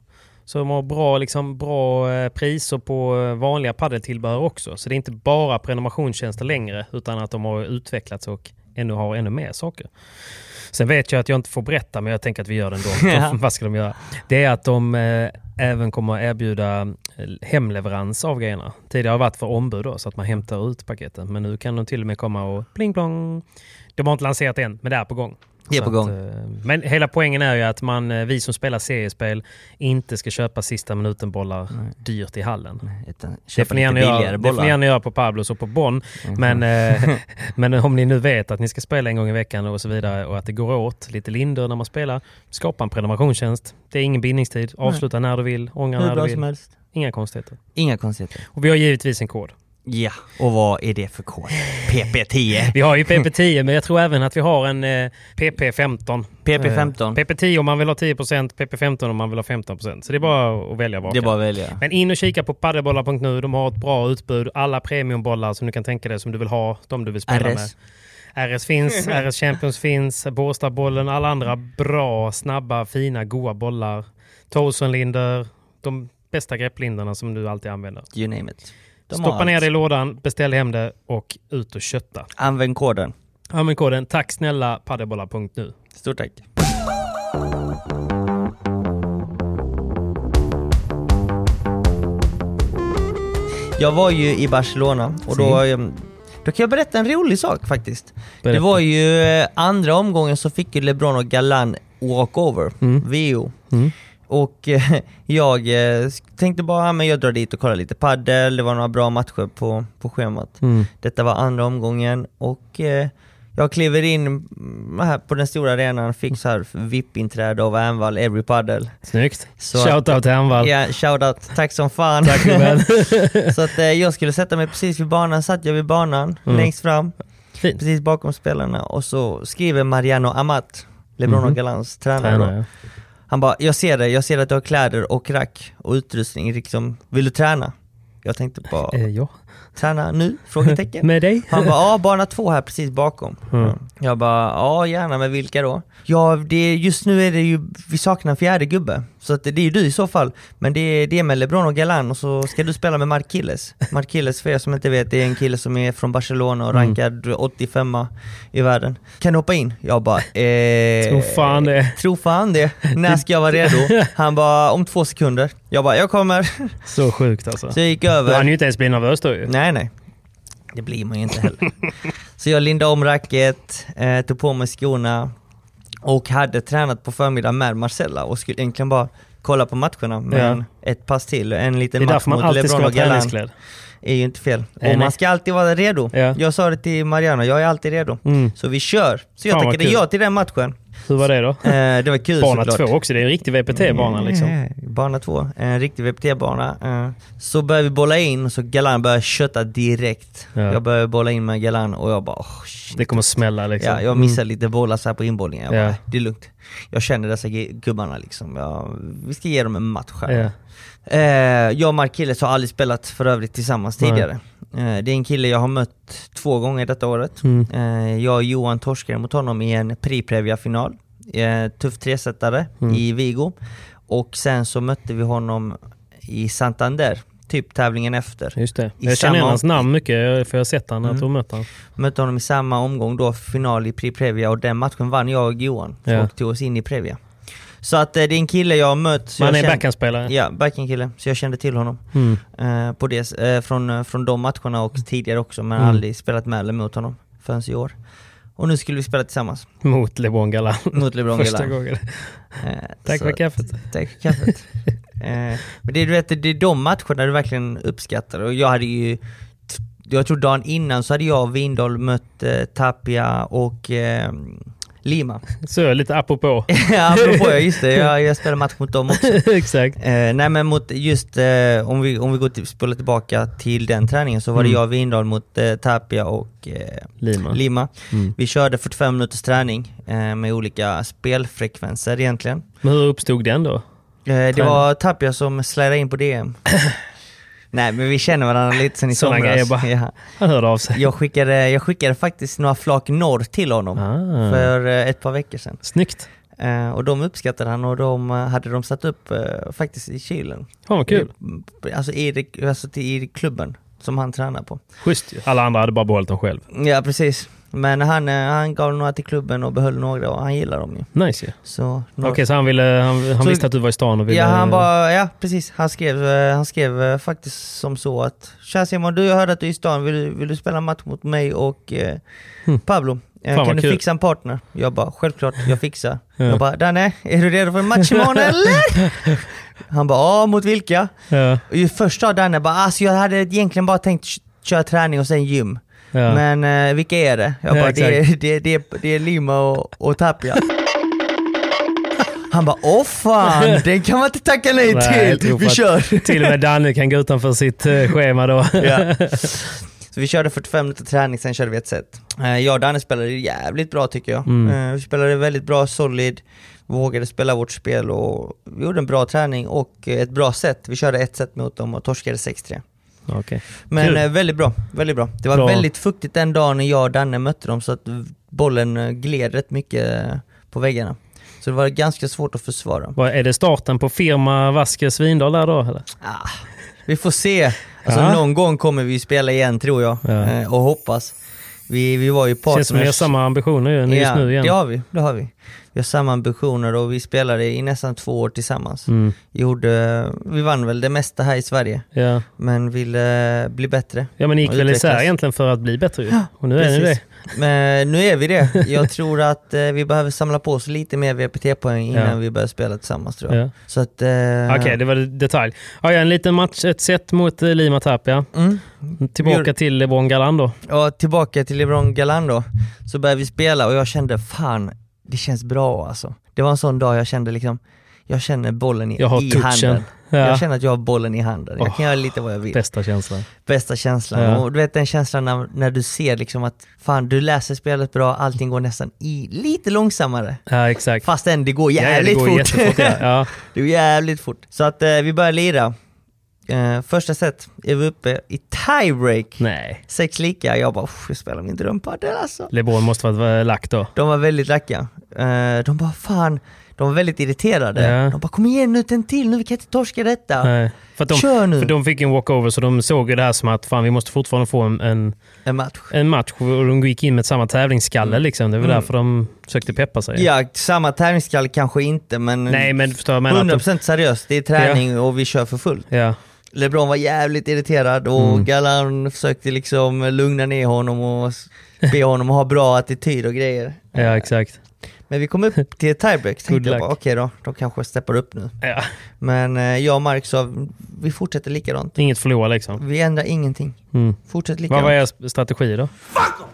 Speaker 3: Så de har bra, liksom, bra eh, priser på eh, vanliga paddeltillbehör också. Så det är inte bara prenumerationstjänster längre utan att de har utvecklats och ännu har ännu mer saker. Sen vet jag att jag inte får berätta men jag tänker att vi gör det ändå.
Speaker 5: Ja.
Speaker 3: Vad ska de göra? Det är att de eh, även kommer att erbjuda eh, hemleverans av grejerna. Tidigare har det varit för ombud då, så att man hämtar ut paketen. Men nu kan de till och med komma och pling plong. De har inte lanserat än, men det är på gång.
Speaker 5: Det är
Speaker 3: Så
Speaker 5: på gång.
Speaker 3: Att, eh, men hela poängen är ju att man, eh, vi som spelar seriespel inte ska köpa sista minuten-bollar dyrt i hallen.
Speaker 5: Utan
Speaker 3: Det
Speaker 5: köpa
Speaker 3: får, ni
Speaker 5: lite
Speaker 3: gärna
Speaker 5: billigare
Speaker 3: göra, det får ni
Speaker 5: bollar. Mhm.
Speaker 3: gärna göra på Pablos och på Bonn. Men, eh, men om ni nu vet att ni ska spela en gång i veckan och så vidare och att det går åt lite lindor när man spelar, skapa en prenumerationstjänst. Det är ingen bindningstid. Avsluta när du vill, ångra
Speaker 5: Hur
Speaker 3: när du
Speaker 5: bra som
Speaker 3: vill.
Speaker 5: helst.
Speaker 3: Inga konstigheter.
Speaker 5: Inga konstigheter.
Speaker 3: Och vi har givetvis en kod.
Speaker 5: Ja, och vad är det för kod? PP10.
Speaker 3: Vi har ju PP10 men jag tror även att vi har en eh, PP15.
Speaker 5: PP15.
Speaker 3: Eh, PP10 om man vill ha 10%, PP15 om man vill ha 15%. Så det är bara att välja vad.
Speaker 5: Det är bara att välja.
Speaker 3: Men in och kika på padelbollar.nu. De har ett bra utbud. Alla premiumbollar som du kan tänka dig som du vill ha. De du vill spela med.
Speaker 5: RS.
Speaker 3: RS finns, RS Champions finns, Båstadbollen, alla andra bra, snabba, fina, goa bollar. Tosenlinder, de bästa grepplinderna som du alltid använder.
Speaker 5: You name it. De har
Speaker 3: Stoppa ner
Speaker 5: allt.
Speaker 3: det i lådan, beställ hem det och ut och kötta.
Speaker 5: Använd koden.
Speaker 3: Använd koden tack snälla padelbollar.nu.
Speaker 5: Stort tack. Jag var ju i Barcelona och då, ehm, då kan jag berätta en rolig sak faktiskt.
Speaker 3: Berätta.
Speaker 5: Det var ju eh, andra omgången så fick ju LeBron och Galan walkover,
Speaker 3: Mm.
Speaker 5: VO. Och eh, jag eh, tänkte bara, ah, men jag drar dit och kollar lite paddel. det var några bra matcher på, på schemat.
Speaker 3: Mm.
Speaker 5: Detta var andra omgången och eh, jag kliver in mm, här på den stora arenan, fick så här VIP-inträde av Anvall Every Paddle.
Speaker 3: Snyggt!
Speaker 5: Så-
Speaker 3: Shoutout till Anvall.
Speaker 5: Ja, shoutout. Tack som fan.
Speaker 3: Tack gubben.
Speaker 5: så att eh, jag skulle sätta mig precis vid banan, satt jag vid banan,
Speaker 3: Mm.
Speaker 5: längst fram,
Speaker 3: Fint.
Speaker 5: precis bakom spelarna och så skriver Mariano Amat, LeBron och Galans tränare, då.
Speaker 3: Mhm. Tränare.
Speaker 5: Han bara, jag ser det, jag ser att du har kläder och rack och utrustning liksom, vill du träna? Jag tänkte bara,
Speaker 3: Eh, ja.
Speaker 5: träna nu? Frågetecken.
Speaker 3: Med dig?
Speaker 5: Han bara, ja bana två här precis bakom.
Speaker 3: Mm.
Speaker 5: Jag bara, ja gärna, men vilka då? Ja, det, just nu är det ju, vi saknar en fjärde gubbe. Så att det, det är ju du i så fall. Men det, är- det är med LeBron och Galan och så ska du spela med Markilles. Markilles, för er som inte vet, det är en kille som är från Barcelona
Speaker 3: Mm.
Speaker 5: och rankad 85 i världen. Kan du hoppa in? Jag bara, eh,
Speaker 3: Tror fan det.
Speaker 5: Tro fan det. När ska jag vara redo? Han bara, om två sekunder. Jag bara, jag kommer.
Speaker 3: Så sjukt alltså.
Speaker 5: Så jag gick
Speaker 3: Då
Speaker 5: över.
Speaker 3: hann ju inte ens bli nervös då ju.
Speaker 5: Nej, nej. Det blir man ju inte heller. så jag lindade om racket, eh, tog på mig skorna och hade tränat på förmiddagen med Marcella och skulle egentligen bara kolla på matcherna. Men ett pass till, en
Speaker 3: Det
Speaker 5: liten
Speaker 3: är
Speaker 5: match
Speaker 3: därför man
Speaker 5: mot
Speaker 3: alltid ska
Speaker 5: LeBron
Speaker 3: vara
Speaker 5: och Galan
Speaker 3: träningsklädd.
Speaker 5: är ju inte fel.
Speaker 3: Nej,
Speaker 5: och man
Speaker 3: nej.
Speaker 5: ska alltid vara redo.
Speaker 3: Ja.
Speaker 5: Jag sa det till Mariano, jag är alltid redo.
Speaker 3: Mm.
Speaker 5: Så vi kör. Så jag
Speaker 3: Fan, vad
Speaker 5: tackade
Speaker 3: kul.
Speaker 5: ja till den matchen.
Speaker 3: Hur var det då?
Speaker 5: Eh, det var kul
Speaker 3: Bana
Speaker 5: såklart.
Speaker 3: två också, det är en riktig VPT-bana liksom.
Speaker 5: Eh, Bana två, en riktig VPT-bana. Eh, Så börjar vi bolla in och så Galan börjar kötta direkt.
Speaker 3: Ja.
Speaker 5: Jag börjar bolla in med Galan och jag bara oh, shit.
Speaker 3: Det kommer smälla liksom.
Speaker 5: Ja, jag missar lite bollar så här på inbollningen. Jag
Speaker 3: Ja.
Speaker 5: bara, det är lugnt. Jag känner dessa ge- gubbarna liksom. Jag, vi ska ge dem en match här.
Speaker 3: Ja.
Speaker 5: Eh, jag och Markilles har aldrig spelat för övrigt tillsammans
Speaker 3: Nej.
Speaker 5: tidigare. Eh, det är en kille jag har mött två gånger detta året.
Speaker 3: Mm.
Speaker 5: Eh, jag och Johan torskade mot honom i en Pri-Previa-final. Eh, tuff tresetare
Speaker 3: Mm.
Speaker 5: i Vigo. Och sen så mötte vi honom i Santander, typ tävlingen efter.
Speaker 3: Just det.
Speaker 5: I
Speaker 3: Jag känner igen
Speaker 5: samma- Mm.
Speaker 3: hans namn mycket, för jag har sett han när jag mött han.
Speaker 5: Mötte honom i samma omgång då, final i Pri-Previa och den matchen vann jag och Johan
Speaker 3: Ja.
Speaker 5: och tog oss in i Previa. Så att eh, det är en kille jag har mött. så
Speaker 3: Man
Speaker 5: jag
Speaker 3: är
Speaker 5: känner-
Speaker 3: backhandspelare.
Speaker 5: Ja, backhandkille. Så jag kände till honom.
Speaker 3: Mm.
Speaker 5: eh, på det, eh, från, eh, från de matcherna och tidigare också, men
Speaker 3: Mm.
Speaker 5: aldrig spelat med eller mot honom förrän i år. Och nu skulle vi spela tillsammans
Speaker 3: Mot LeBron Galan.
Speaker 5: mot LeBron
Speaker 3: Första
Speaker 5: Galan.
Speaker 3: gången.
Speaker 5: Eh,
Speaker 3: Tack
Speaker 5: så
Speaker 3: för
Speaker 5: att-
Speaker 3: kaffet.
Speaker 5: Tack för kaffet. eh, men det, du vet, det är de matcherna du verkligen uppskattar och jag hade ju jag tror dagen innan så hade jag och Windahl mött eh, Tapia och eh, Lima.
Speaker 3: Så lite apropå.
Speaker 5: Apropå, ja, just det, jag, jag spelade match mot dem också.
Speaker 3: Exakt.
Speaker 5: Eh, nej men mot just, eh, om vi, om vi går till, spolar tillbaka till den träningen så var det
Speaker 3: Mm.
Speaker 5: jag och Windahl mot eh, Tapia och eh,
Speaker 3: Lima.
Speaker 5: Lima.
Speaker 3: Mm.
Speaker 5: Vi körde 45 minuters träning eh, med olika spelfrekvenser egentligen.
Speaker 3: Men hur uppstod den då?
Speaker 5: Eh, det
Speaker 3: Träning.
Speaker 5: var Tapia som slädade in på DM. nej men vi känner varandra lite sen i
Speaker 3: Såna
Speaker 5: somras.
Speaker 3: grejer bara.
Speaker 5: Ja.
Speaker 3: Han hörde av sig.
Speaker 5: Jag, skickade, jag skickade faktiskt några flak norr till honom
Speaker 3: Ah.
Speaker 5: för eh, ett par veckor sedan.
Speaker 3: Snyggt.
Speaker 5: Eh, och de uppskattade han och de eh, hade de satt upp eh, faktiskt i kylen.
Speaker 3: Fan vad kul.
Speaker 5: Alltså i, alltså till, i klubben som han tränar på.
Speaker 3: Schysst ju. Alla andra hade bara behållit dem själv.
Speaker 5: Ja precis. Men han, eh, han gav några till klubben och behöll några och han gillar dem ju.
Speaker 3: Nice ju.
Speaker 5: Så,
Speaker 3: Okej, så han, ville, han, han
Speaker 5: Så-
Speaker 3: visste att du var i stan och ville...
Speaker 5: Ja han bara, ja precis. Han skrev, eh, han skrev eh, faktiskt som så att Tja Simon, du jag hörde att du är i stan, vill, du- vill du spela match mot mig och eh, Pablo? Eh,
Speaker 3: Hm. Fan,
Speaker 5: kan
Speaker 3: vad
Speaker 5: du
Speaker 3: kul.
Speaker 5: fixa en partner? Jag bara, självklart, jag fixar. Jag bara, Danne, är du redo för en match imorgon eller? Han bara, ja mot vilka?
Speaker 3: Ja.
Speaker 5: Och ju först sa Danne bara, alltså jag hade egentligen bara tänkt k- köra träning och sen gym.
Speaker 3: Ja.
Speaker 5: Men eh, vilka är det? Jag
Speaker 3: Ja,
Speaker 5: bara, det, är,
Speaker 3: exakt.
Speaker 5: det, är- det, är- det är Lima och, och Tapia. Han bara, åh fan, den kan man inte tacka
Speaker 3: Nej,
Speaker 5: nej
Speaker 3: jag
Speaker 5: till.
Speaker 3: tror
Speaker 5: Vi
Speaker 3: på att-
Speaker 5: kör.
Speaker 3: Till och med Danne kan gå utanför sitt eh, schema då.
Speaker 5: Ja. Så vi körde 45 minuter träning, sen körde vi ett set. Eh, Jag och Danne spelade jävligt bra tycker jag.
Speaker 3: Mm.
Speaker 5: Eh, Vi spelade väldigt bra, solid, vågade spela vårt spel och vi gjorde en bra träning och eh, ett bra set. Vi körde ett set mot dem och torskade 6-3.
Speaker 3: Okej.
Speaker 5: Men
Speaker 3: Kul.
Speaker 5: eh, väldigt bra, väldigt bra. Det var
Speaker 3: Bra.
Speaker 5: väldigt fuktigt den dagen när jag och Danne mötte dem så att bollen eh, gled rätt mycket eh, på väggarna. Så det var ganska svårt att försvara.
Speaker 3: Vad Är det starten på firma Vaskes Vindal där då? Eller?
Speaker 5: Ah, vi får se. Alltså,
Speaker 3: Ja.
Speaker 5: Någon gång kommer vi spela igen tror jag
Speaker 3: Ja.
Speaker 5: eh, och hoppas. Vi, vi var ju partners.
Speaker 3: Känns som ni har samma ambitioner ju, nu- just
Speaker 5: ja,
Speaker 3: nu igen.
Speaker 5: Det har vi, det har vi. Vi har samma ambitioner och vi spelade i nästan två år tillsammans.
Speaker 3: Mm.
Speaker 5: Gjorde, vi vann väl det mesta här i Sverige,
Speaker 3: Ja.
Speaker 5: men ville eh, bli bättre.
Speaker 3: ja, men ni gick
Speaker 5: och
Speaker 3: väl isär
Speaker 5: utvecklas.
Speaker 3: egentligen för att bli bättre ju. Och nu är ni det.
Speaker 5: Precis. Men eh, nu är vi det. Jag tror att eh, vi behöver samla på oss lite mer VPT-poäng innan
Speaker 3: Ja.
Speaker 5: vi börjar spela tillsammans tror jag.
Speaker 3: Ja.
Speaker 5: Så att... Eh,
Speaker 3: Okej, det var detalj. Ja, ja, en liten match, ett set mot eh, Lima Tapia.
Speaker 5: mm. Vi
Speaker 3: Tillbaka till Lebron Galan då.
Speaker 5: Och tillbaka till LeBron Galan då, så började vi spela och jag kände fan, det känns bra alltså. Det var en sån dag jag kände liksom, jag känner bollen i,
Speaker 3: Jag har
Speaker 5: i
Speaker 3: touchen.
Speaker 5: handen.
Speaker 3: Ja.
Speaker 5: Jag känner att jag har bollen i handen. Jag
Speaker 3: Åh,
Speaker 5: kan göra lite vad jag vill.
Speaker 3: Bästa känslan.
Speaker 5: Bästa känslan.
Speaker 3: Ja.
Speaker 5: Och du vet den känslan när, när du ser liksom att fan, du läser spelet bra, allting går nästan i lite långsammare.
Speaker 3: Ja, exakt.
Speaker 5: Fastän det går
Speaker 3: Ja,
Speaker 5: jävligt
Speaker 3: det går
Speaker 5: fort.
Speaker 3: jättefort. Ja. Ja.
Speaker 5: Det var jävligt fort. Så att eh, vi började lira. Eh, första set är vi uppe i tiebreak.
Speaker 3: Nej,
Speaker 5: Sex lika, jag bara "Uff, jag spelar min drömpadel alltså.
Speaker 3: LeBron måste vara lack då.
Speaker 5: De var väldigt lacka. Eh, De bara fan, de var väldigt irriterade.
Speaker 3: Ja.
Speaker 5: De bara kom igen nu, en till, nu vi kan inte torska detta.
Speaker 3: Nej. För, att de,
Speaker 5: Kör nu.
Speaker 3: för de fick en walkover så de såg ju det här som att fan, vi måste fortfarande få en, en,
Speaker 5: En match.
Speaker 3: en match och de gick in med samma tävlingsskalle. Liksom. Det var därför de försökte peppa sig.
Speaker 5: Mm. Ja, samma tävlingsskall kanske inte men,
Speaker 3: Nej, men du förstår vad jag menar. typ. att de-
Speaker 5: 100% seriöst, det är träning och vi kör för fullt.
Speaker 3: Ja.
Speaker 5: LeBron var jävligt irriterad och
Speaker 3: Mm.
Speaker 5: Galan försökte liksom lugna ner honom och s- be honom ha bra attityd och grejer.
Speaker 3: ja, exakt.
Speaker 5: Men vi kom upp till ett tiebreak,
Speaker 3: Good
Speaker 5: tänkte jag
Speaker 3: luck.
Speaker 5: bara okej då, de kanske steppar upp nu.
Speaker 3: Ja.
Speaker 5: Men eh, jag och Mark sa, vi fortsätter likadant.
Speaker 3: Inget förlora liksom.
Speaker 5: Vi ändrar ingenting.
Speaker 3: Mm.
Speaker 5: Fortsätt
Speaker 3: Vad
Speaker 5: likadant.
Speaker 3: var er strategi då?
Speaker 6: Fuck him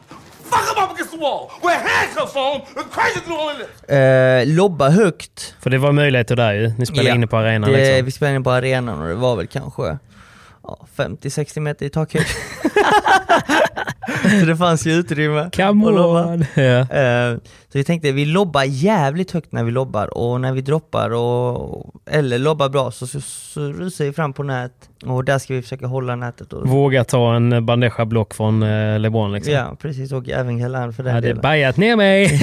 Speaker 6: up against the wall! Wear handcuffs on him and crazy through all of this!
Speaker 5: Eh, lobba högt.
Speaker 3: För det var möjligheter där ju. Ni spelade
Speaker 5: Ja.
Speaker 3: inne på arenan.
Speaker 5: Det,
Speaker 3: liksom.
Speaker 5: Vi spelade in på arenan och det var väl kanske ja, 50-60 meter i takhöjd. Så det fanns ju utrymme.
Speaker 3: Come
Speaker 5: att lobba.
Speaker 3: on! Ja.
Speaker 5: Eh, Så vi tänkte, vi lobbar jävligt högt när vi lobbar och när vi droppar och, eller lobbar bra så, så, så rusar vi fram på nät och där ska vi försöka hålla nätet. Och,
Speaker 3: Våga ta en bandeja block från eh, LeBron liksom.
Speaker 5: ja, precis. Och även Galan för den
Speaker 3: Hade
Speaker 5: delen.
Speaker 3: bajat ner mig!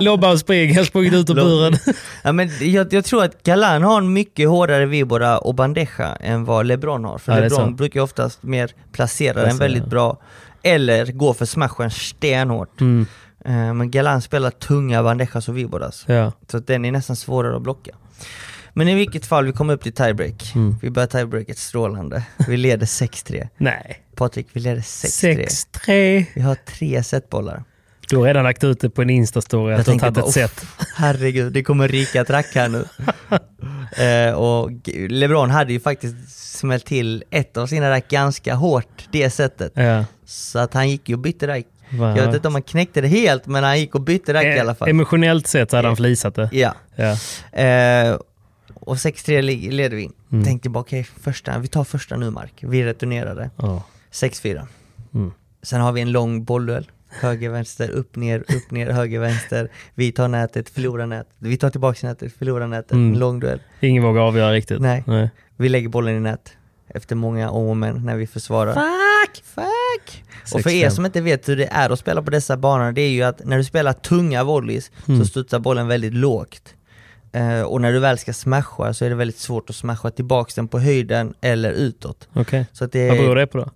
Speaker 3: Lobba och spring, jag har sprungit ut ur
Speaker 5: Lobb-
Speaker 3: buren.
Speaker 5: Ja, men jag, jag tror att Galan har en mycket hårdare vibora och bandeja än vad LeBron har. För
Speaker 3: Ja, det är
Speaker 5: LeBron
Speaker 3: sant.
Speaker 5: brukar ju oftast mer placera den
Speaker 3: Placera.
Speaker 5: väldigt bra, eller gå för smashen stenhårt.
Speaker 3: Mm.
Speaker 5: Eh, Men Galan spelar tunga bandejas och viboras,
Speaker 3: Ja.
Speaker 5: så att den är nästan svårare att blocka. Men i vilket fall, vi kom upp till tiebreak.
Speaker 3: Mm.
Speaker 5: Vi började tiebreaket strålande. Vi leder 6-3.
Speaker 3: Nej.
Speaker 5: Patrik, vi leder 6-3.
Speaker 3: 6-3.
Speaker 5: Vi har tre setbollar.
Speaker 3: Du har redan lagt ut det på en Insta-story att du har tagit ett
Speaker 5: bara,
Speaker 3: set.
Speaker 5: "Uff, herregud, det kommer ryka ett rack här nu. eh, och G- LeBron hade ju faktiskt smält till ett av sina rack ganska hårt, det sättet.
Speaker 3: Ja.
Speaker 5: Så att han gick ju och bytte rack.
Speaker 3: Va?
Speaker 5: Jag vet inte om han knäckte det helt, men han gick och bytte
Speaker 3: Eh,
Speaker 5: rack i alla fall.
Speaker 3: Emotionellt sett så hade han flisat det.
Speaker 5: ja.
Speaker 3: Ja.
Speaker 5: Eh, och 6-3 li- leder vi. Tänkte bara okej, första, vi tar första nu Mark. Vi returnerade.
Speaker 3: Ja.
Speaker 5: 6-4. Sen har vi en lång bollduell. Höger, vänster, upp, ner, upp, ner, höger, vänster. Vi tar nätet, förlorar nätet. Vi tar tillbaka nätet, förlorar nätet. En lång duell.
Speaker 3: Ingen vågar avgöra riktigt.
Speaker 5: Nej. Vi lägger bollen i nät. Efter många om och men när vi försvarar. Fuck! Fuck! Och för er
Speaker 3: 6-5.
Speaker 5: som inte vet hur det är att spela på dessa banor, det är ju att när du spelar tunga volleys
Speaker 3: Mm.
Speaker 5: så studsar bollen väldigt lågt. Eh, och när du väl ska smasha så är det väldigt svårt att smasha tillbaka den på höjden eller utåt.
Speaker 3: Okej.
Speaker 5: Så att det
Speaker 3: Vad beror
Speaker 5: är
Speaker 3: det på då?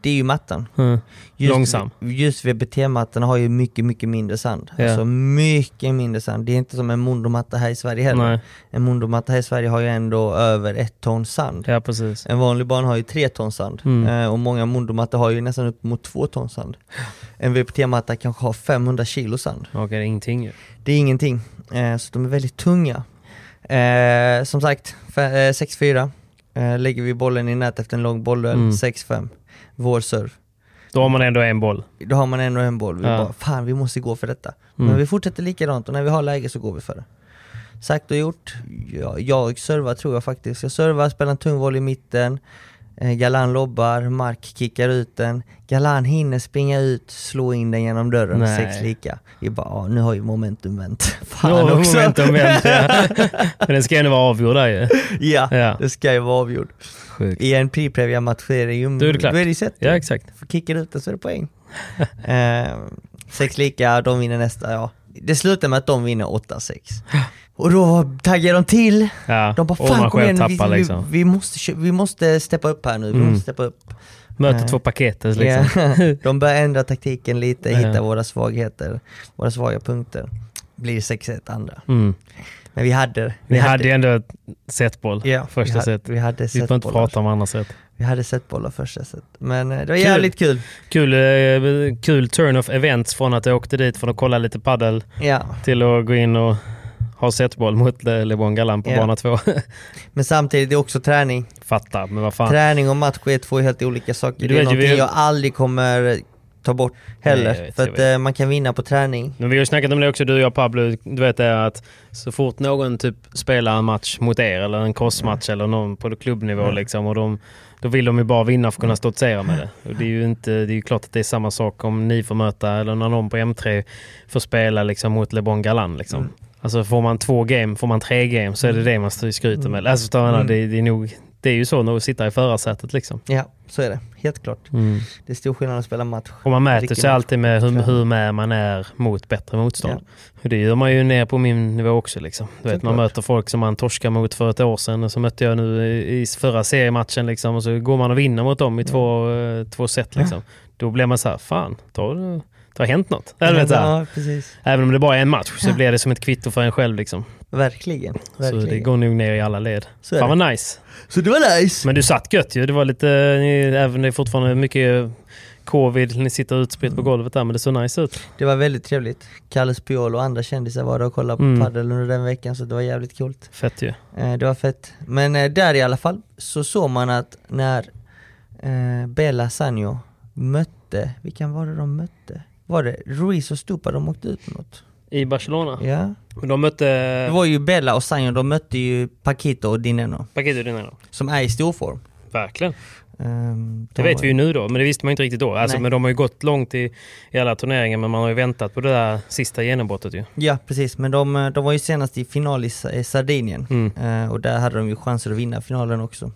Speaker 5: det är ju mattan.
Speaker 3: Mm.
Speaker 5: Just,
Speaker 3: Långsam.
Speaker 5: Just VBT-mattan har ju mycket, mycket mindre sand.
Speaker 3: Ja.
Speaker 5: Alltså mycket mindre sand. Det är inte som en mondomatta här i Sverige heller.
Speaker 3: Nej.
Speaker 5: En mondomatta här i Sverige har ju ändå över ett ton sand.
Speaker 3: Ja, precis.
Speaker 5: En vanlig barn har ju tre ton sand
Speaker 3: Mm.
Speaker 5: eh, och många mondomattor har ju nästan upp mot två ton sand. En VPT-matta kanske har 500 kilo sand.
Speaker 3: Okej, det är ingenting ju.
Speaker 5: Det är ingenting, eh, så de är väldigt tunga. Eh, som sagt, fe- eh, 6-4. Eh, lägger vi bollen i nät efter en lång bollduell,
Speaker 3: Mm.
Speaker 5: 6-5. Vår serve.
Speaker 3: Då har man ändå en boll.
Speaker 5: Då har man ändå en boll. Vi
Speaker 3: Ja.
Speaker 5: bara, fan vi måste gå för detta.
Speaker 3: Mm.
Speaker 5: Men vi fortsätter likadant och när vi har läge så går vi för det. Sagt och gjort. Jag, jag servar tror jag faktiskt. Jag servar, spelar en tung volley i mitten. Eh, Galan lobbar, Mark kickar ut den. Galan hinner springa ut, slå in den genom dörren,
Speaker 3: Nej.
Speaker 5: sex lika. Vi bara, "Ah, nu har ju momentum vänt.
Speaker 3: Nu
Speaker 5: Fan
Speaker 3: har
Speaker 5: också.
Speaker 3: momentum vänt. Ja. Men den ska ju ändå vara avgjord där ju.
Speaker 5: ja,
Speaker 3: Ja.
Speaker 5: det ska ju vara avgjord.
Speaker 3: Sjukt.
Speaker 5: I en pre-previa-match är det ju...
Speaker 3: Då är det klart.
Speaker 5: Då är det set.
Speaker 3: Ja, exakt.
Speaker 5: kickar ut den så är det poäng. eh, sex lika, de vinner nästa, ja. Det slutar med att de vinner 8-6. Och då taggar de till.
Speaker 3: Ja.
Speaker 5: De bara
Speaker 3: och
Speaker 5: fan
Speaker 3: man
Speaker 5: kom
Speaker 3: själv
Speaker 5: igen, vi,
Speaker 3: tappar
Speaker 5: vi,
Speaker 3: liksom.
Speaker 5: vi, måste, kö- vi måste steppa upp här nu. Vi
Speaker 3: Mm.
Speaker 5: måste steppa upp.
Speaker 3: Möter
Speaker 5: Nej.
Speaker 3: två paket liksom.
Speaker 5: Ja. de börjar ändra taktiken lite, hitta
Speaker 3: Ja.
Speaker 5: våra svagheter, våra svaga punkter. Blir 6-1 andra.
Speaker 3: Mm.
Speaker 5: Men vi hade Vi,
Speaker 3: Vi hade ju ändå ett setboll.
Speaker 5: ja, vi
Speaker 3: första
Speaker 5: hade,
Speaker 3: set. Vi,
Speaker 5: Vi hade
Speaker 3: behöver inte
Speaker 5: setbollar.
Speaker 3: prata om andra set.
Speaker 5: Vi hade setbollar första set. Men eh, det var
Speaker 3: Kul.
Speaker 5: jävligt kul.
Speaker 3: Kul, eh, kul turn of events från att jag åkte dit för att kolla lite paddel
Speaker 5: Ja.
Speaker 3: till att gå in och ha setboll mot Le- LeBron Galan på
Speaker 5: Ja.
Speaker 3: bana två.
Speaker 5: Men samtidigt, det är också träning.
Speaker 3: Fattar, men vad fan.
Speaker 5: Träning och match är två helt olika saker.
Speaker 3: Du
Speaker 5: det är
Speaker 3: vet ju, vi-
Speaker 5: någonting jag aldrig kommer ta bort heller.
Speaker 3: Nej, jag vet,
Speaker 5: för
Speaker 3: jag
Speaker 5: att
Speaker 3: vet.
Speaker 5: eh, man kan vinna på träning.
Speaker 3: Men vi har ju snackat om det också, du och jag Pablo. Du vet det att så fort någon typ spelar en match mot er eller en crossmatch eller någon på klubbnivå liksom och de, då vill de ju bara vinna för att kunna stoltsera med det. Och det är ju inte, det är ju klart att det är samma sak om ni får möta eller när någon på M3 får spela liksom mot LeBron Galan liksom. Alltså får man två game, får man tre game så är det det man skryter med. Alltså förstår du vad jag menar? det, det är nog, det är ju så att sitta i förarsätet liksom.
Speaker 5: Ja, så är det. Helt klart. Det är stor skillnad att spela match.
Speaker 3: Och man mäter
Speaker 5: Riktig
Speaker 3: sig
Speaker 5: match.
Speaker 3: alltid med hur,
Speaker 5: Träning.
Speaker 3: hur med man är mot bättre motstånd. Och det gör man ju ner på min nivå också. Liksom. Du vet, man
Speaker 5: Såklart.
Speaker 3: möter folk som man torskar mot för ett år sedan och så mötte jag nu i i förra seriematchen liksom, och så går man och vinner mot dem i två, eh, två set. Liksom. Då blir man så här, fan, då, har- det har hänt något. Eller, vet, så här,
Speaker 5: Ja, precis.
Speaker 3: även om det bara är en match så blir det som ett kvitto för en själv. Liksom.
Speaker 5: Verkligen.
Speaker 3: Så
Speaker 5: Verkligen.
Speaker 3: det går nog ner i alla led.
Speaker 5: Så är
Speaker 3: fan vad nice.
Speaker 5: Så det var nice!
Speaker 3: Men du satt gött ju. Det var lite, ni, även det är fortfarande mycket covid, ni sitter utspritt
Speaker 5: Mm.
Speaker 3: på golvet där men det såg nice ut.
Speaker 5: Det var väldigt trevligt. Kalles Piol och andra kändisar var där och kollade på
Speaker 3: Mm.
Speaker 5: padel under den veckan så det var jävligt kul.
Speaker 3: Fett ju.
Speaker 5: Eh, Det var fett. Men eh, där i alla fall så såg man att när eh, Bella Sanjo mötte, vilka var det de mötte? Var det Ruiz och Stupa de åkte ut mot?
Speaker 3: I Barcelona.
Speaker 5: Ja.
Speaker 3: Men de mötte
Speaker 5: Det var ju Bella och Sanjo, de mötte ju Paquito och Dineno
Speaker 3: Paquito Dinero.
Speaker 5: som är i storform.
Speaker 3: Verkligen.
Speaker 5: Ehm,
Speaker 3: Det
Speaker 5: de
Speaker 3: vet
Speaker 5: var-
Speaker 3: vi ju nu då, men det visste man ju inte riktigt då. Alltså,
Speaker 5: Nej.
Speaker 3: men de har ju gått långt i, i alla turneringar, men man har ju väntat på det där sista genombrottet ju.
Speaker 5: Ja precis, men de, eh, de var ju senast i final i Sa- i Sardinien
Speaker 3: Mm.
Speaker 5: Eh, och där hade de ju chanser att vinna finalen också.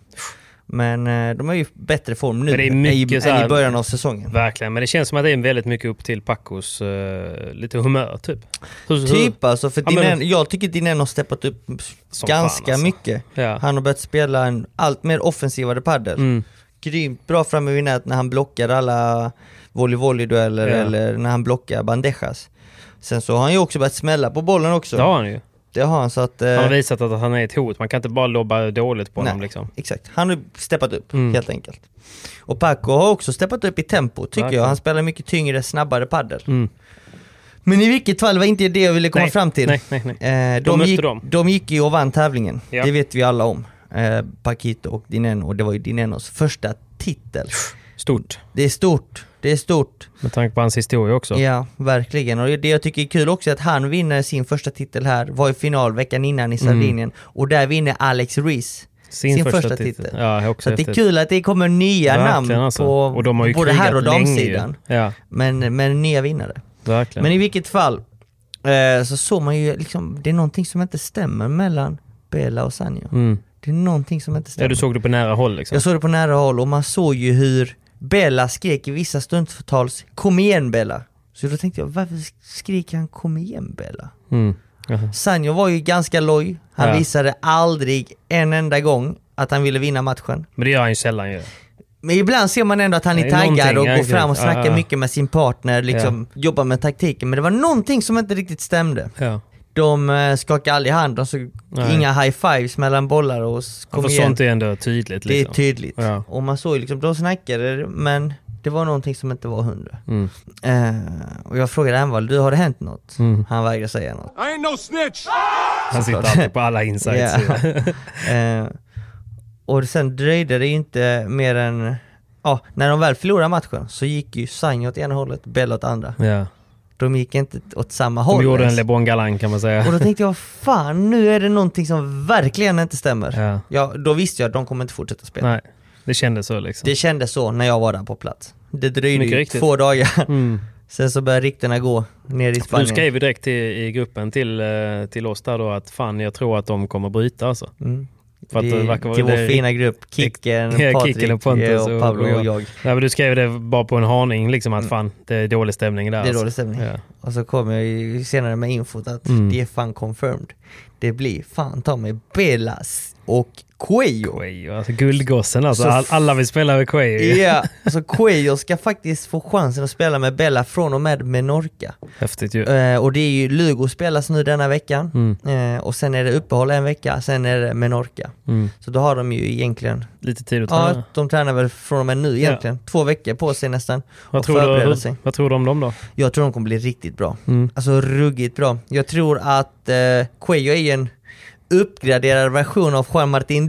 Speaker 5: Men eh, de är ju i bättre form nu
Speaker 3: Men det är
Speaker 5: än i,
Speaker 3: mycket så
Speaker 5: än
Speaker 3: här-
Speaker 5: i början av säsongen.
Speaker 3: Verkligen, men det känns som att det är väldigt mycket upp till Pacos eh, lite humör typ. Hur- hur-
Speaker 5: Typ alltså, för
Speaker 3: Ja, men-
Speaker 5: Dineno, jag tycker Dineno har steppat upp
Speaker 3: Som
Speaker 5: ganska
Speaker 3: fan, alltså.
Speaker 5: mycket.
Speaker 3: Ja.
Speaker 5: Han har börjat spela en allt mer offensivare padel.
Speaker 3: Mm.
Speaker 5: Grymt bra framme vid nät när han blockar alla volley-volley-dueller
Speaker 3: Ja.
Speaker 5: eller när han blockar bandejas. Sen så har han ju också börjat smälla på bollen också.
Speaker 3: Det har han ju.
Speaker 5: Det har han så att... eh,
Speaker 3: Han har visat att han är ett hot. Man kan inte bara lobba dåligt på honom
Speaker 5: nej,
Speaker 3: liksom.
Speaker 5: Exakt, han har steppat upp
Speaker 3: Mm.
Speaker 5: helt enkelt. Och Paco har också steppat upp i tempo tycker
Speaker 3: Verkligen.
Speaker 5: jag. Han spelar mycket tyngre, snabbare padel.
Speaker 3: Mm.
Speaker 5: Men i vilket fall var inte det jag ville komma
Speaker 3: Nej,
Speaker 5: fram till.
Speaker 3: nej, nej, nej.
Speaker 5: Eh,
Speaker 3: Då mötte
Speaker 5: gick,
Speaker 3: de.
Speaker 5: de gick ju och vann tävlingen,
Speaker 3: Ja.
Speaker 5: det vet vi alla om. Eh, Paquito och Dineno, och det var ju Dinenos första titel.
Speaker 3: Stort.
Speaker 5: Det är stort, det är stort.
Speaker 3: Med tanke på hans historia också.
Speaker 5: Ja, verkligen. Och det jag tycker är kul också är att han vinner sin första titel här, var i final veckan innan i Sardinien, och där vinner Alex Rees.
Speaker 3: Mm. Sin, första, titel. Ja, också
Speaker 5: Så att det är
Speaker 3: häftigt.
Speaker 5: kul att det kommer nya namn
Speaker 3: Verkligen, alltså.
Speaker 5: på
Speaker 3: och de har ju
Speaker 5: både
Speaker 3: krigat
Speaker 5: herr och
Speaker 3: länge ju.
Speaker 5: damsidan.
Speaker 3: Ja,
Speaker 5: Men, men nya vinnare.
Speaker 3: verkligen.
Speaker 5: Men i vilket fall, eh, så såg man ju liksom, det är någonting som inte stämmer mellan Bela och Sanjo.
Speaker 3: Mm.
Speaker 5: Det är någonting som inte
Speaker 3: Ja,
Speaker 5: stämmer.
Speaker 3: du såg det på nära håll liksom.
Speaker 5: Jag såg det på nära håll och man såg ju hur Bella skrek i vissa stundtals Kom igen Bella! Så då tänkte jag, varför skriker han Kom igen Bella?
Speaker 3: Mm. Jaha.
Speaker 5: Sanjo var ju ganska loj, han
Speaker 3: Ja.
Speaker 5: visade aldrig en enda gång att han ville vinna matchen.
Speaker 3: Men det gör han ju sällan ju.
Speaker 5: Men ibland ser man ändå att han
Speaker 3: Det
Speaker 5: är
Speaker 3: är
Speaker 5: taggad
Speaker 3: någonting,
Speaker 5: och
Speaker 3: ja,
Speaker 5: går
Speaker 3: exakt.
Speaker 5: fram och snackar
Speaker 3: Ja, ja.
Speaker 5: mycket med sin partner, liksom jobbar med taktiken. Men det var någonting som inte riktigt stämde.
Speaker 3: Ja.
Speaker 5: De eh, skakade aldrig hand, de såg
Speaker 3: Nej.
Speaker 5: inga high-fives mellan bollar och s-
Speaker 3: Ja,
Speaker 5: kom
Speaker 3: för
Speaker 5: igen.
Speaker 3: sånt är ändå tydligt.
Speaker 5: Det är
Speaker 3: Liksom.
Speaker 5: tydligt.
Speaker 3: Ja.
Speaker 5: Och man såg ju liksom, de snackade det, men det var någonting som inte var hundra.
Speaker 3: Mm.
Speaker 5: Eh, och jag frågade Anvald, du har det hänt något?
Speaker 3: Mm.
Speaker 5: Han vägrade säga något.
Speaker 7: I ain't no snitch!
Speaker 3: Han sitter alltid på alla insights.
Speaker 5: Eh, och sen dröjde det ju inte mer än, ja, när de väl förlorade matchen så gick ju Sagne åt ena hållet, Bella åt andra.
Speaker 3: ja.
Speaker 5: De gick inte åt samma
Speaker 3: De
Speaker 5: håll.
Speaker 3: gjorde en
Speaker 5: ens.
Speaker 3: LeBron Galan kan man säga.
Speaker 5: och då tänkte jag, fan nu är det någonting som verkligen inte stämmer.
Speaker 3: Ja.
Speaker 5: Ja, då visste jag att de kommer inte fortsätta spela.
Speaker 3: Nej, det kändes så liksom.
Speaker 5: Det kändes så när jag var där på plats. Det dröjde
Speaker 3: Mycket
Speaker 5: ju
Speaker 3: riktigt.
Speaker 5: två dagar.
Speaker 3: Mm.
Speaker 5: Sen så började ryktena gå ner i
Speaker 3: Du
Speaker 5: Spanien.
Speaker 3: skrev ju direkt till, i gruppen till, eh, till oss där då att fan jag tror att de kommer bryta alltså.
Speaker 5: Mm.
Speaker 3: För att
Speaker 5: Det-
Speaker 3: det verkar vara-
Speaker 5: till vår
Speaker 3: det-
Speaker 5: fina grupp, Kicken,
Speaker 3: Ja,
Speaker 5: Patrik,
Speaker 3: Kicken och Pontus
Speaker 5: eh, och Pablo och jag.
Speaker 3: Nej, men du skrev det bara på en haning liksom att fan det är dålig stämning där.
Speaker 5: Mm. Det
Speaker 3: alltså.
Speaker 5: är dålig stämning.
Speaker 3: Ja.
Speaker 5: Och så kom jag ju senare med infot att
Speaker 3: Mm.
Speaker 5: det är fan confirmed. Det blir fan ta mig Belas och Cuello.
Speaker 3: Quayo, alltså guldgossen alltså.
Speaker 5: Så-
Speaker 3: All, alla vill spela med Quayo.
Speaker 5: Ja, så Cuello ska faktiskt få chansen att spela med Bella från och med Menorca.
Speaker 3: Häftigt ju.
Speaker 5: Eh, och det är ju Lugo spelas nu denna veckan eh, och sen är det uppehåll en vecka, sen är det Menorca.
Speaker 3: Mm.
Speaker 5: Så då har de ju egentligen,
Speaker 3: Lite tid att träna.
Speaker 5: ja de tränar väl från och med nu egentligen, två veckor på sig nästan.
Speaker 3: vad,
Speaker 5: och
Speaker 3: tror du,
Speaker 5: förbereda
Speaker 3: hur,
Speaker 5: sig.
Speaker 3: vad tror du om dem då?
Speaker 5: Jag tror de kommer bli riktigt bra.
Speaker 3: Mm.
Speaker 5: Alltså ruggigt bra. Jag tror att eh, Cuello är ju en uppgraderad version av Juan Martin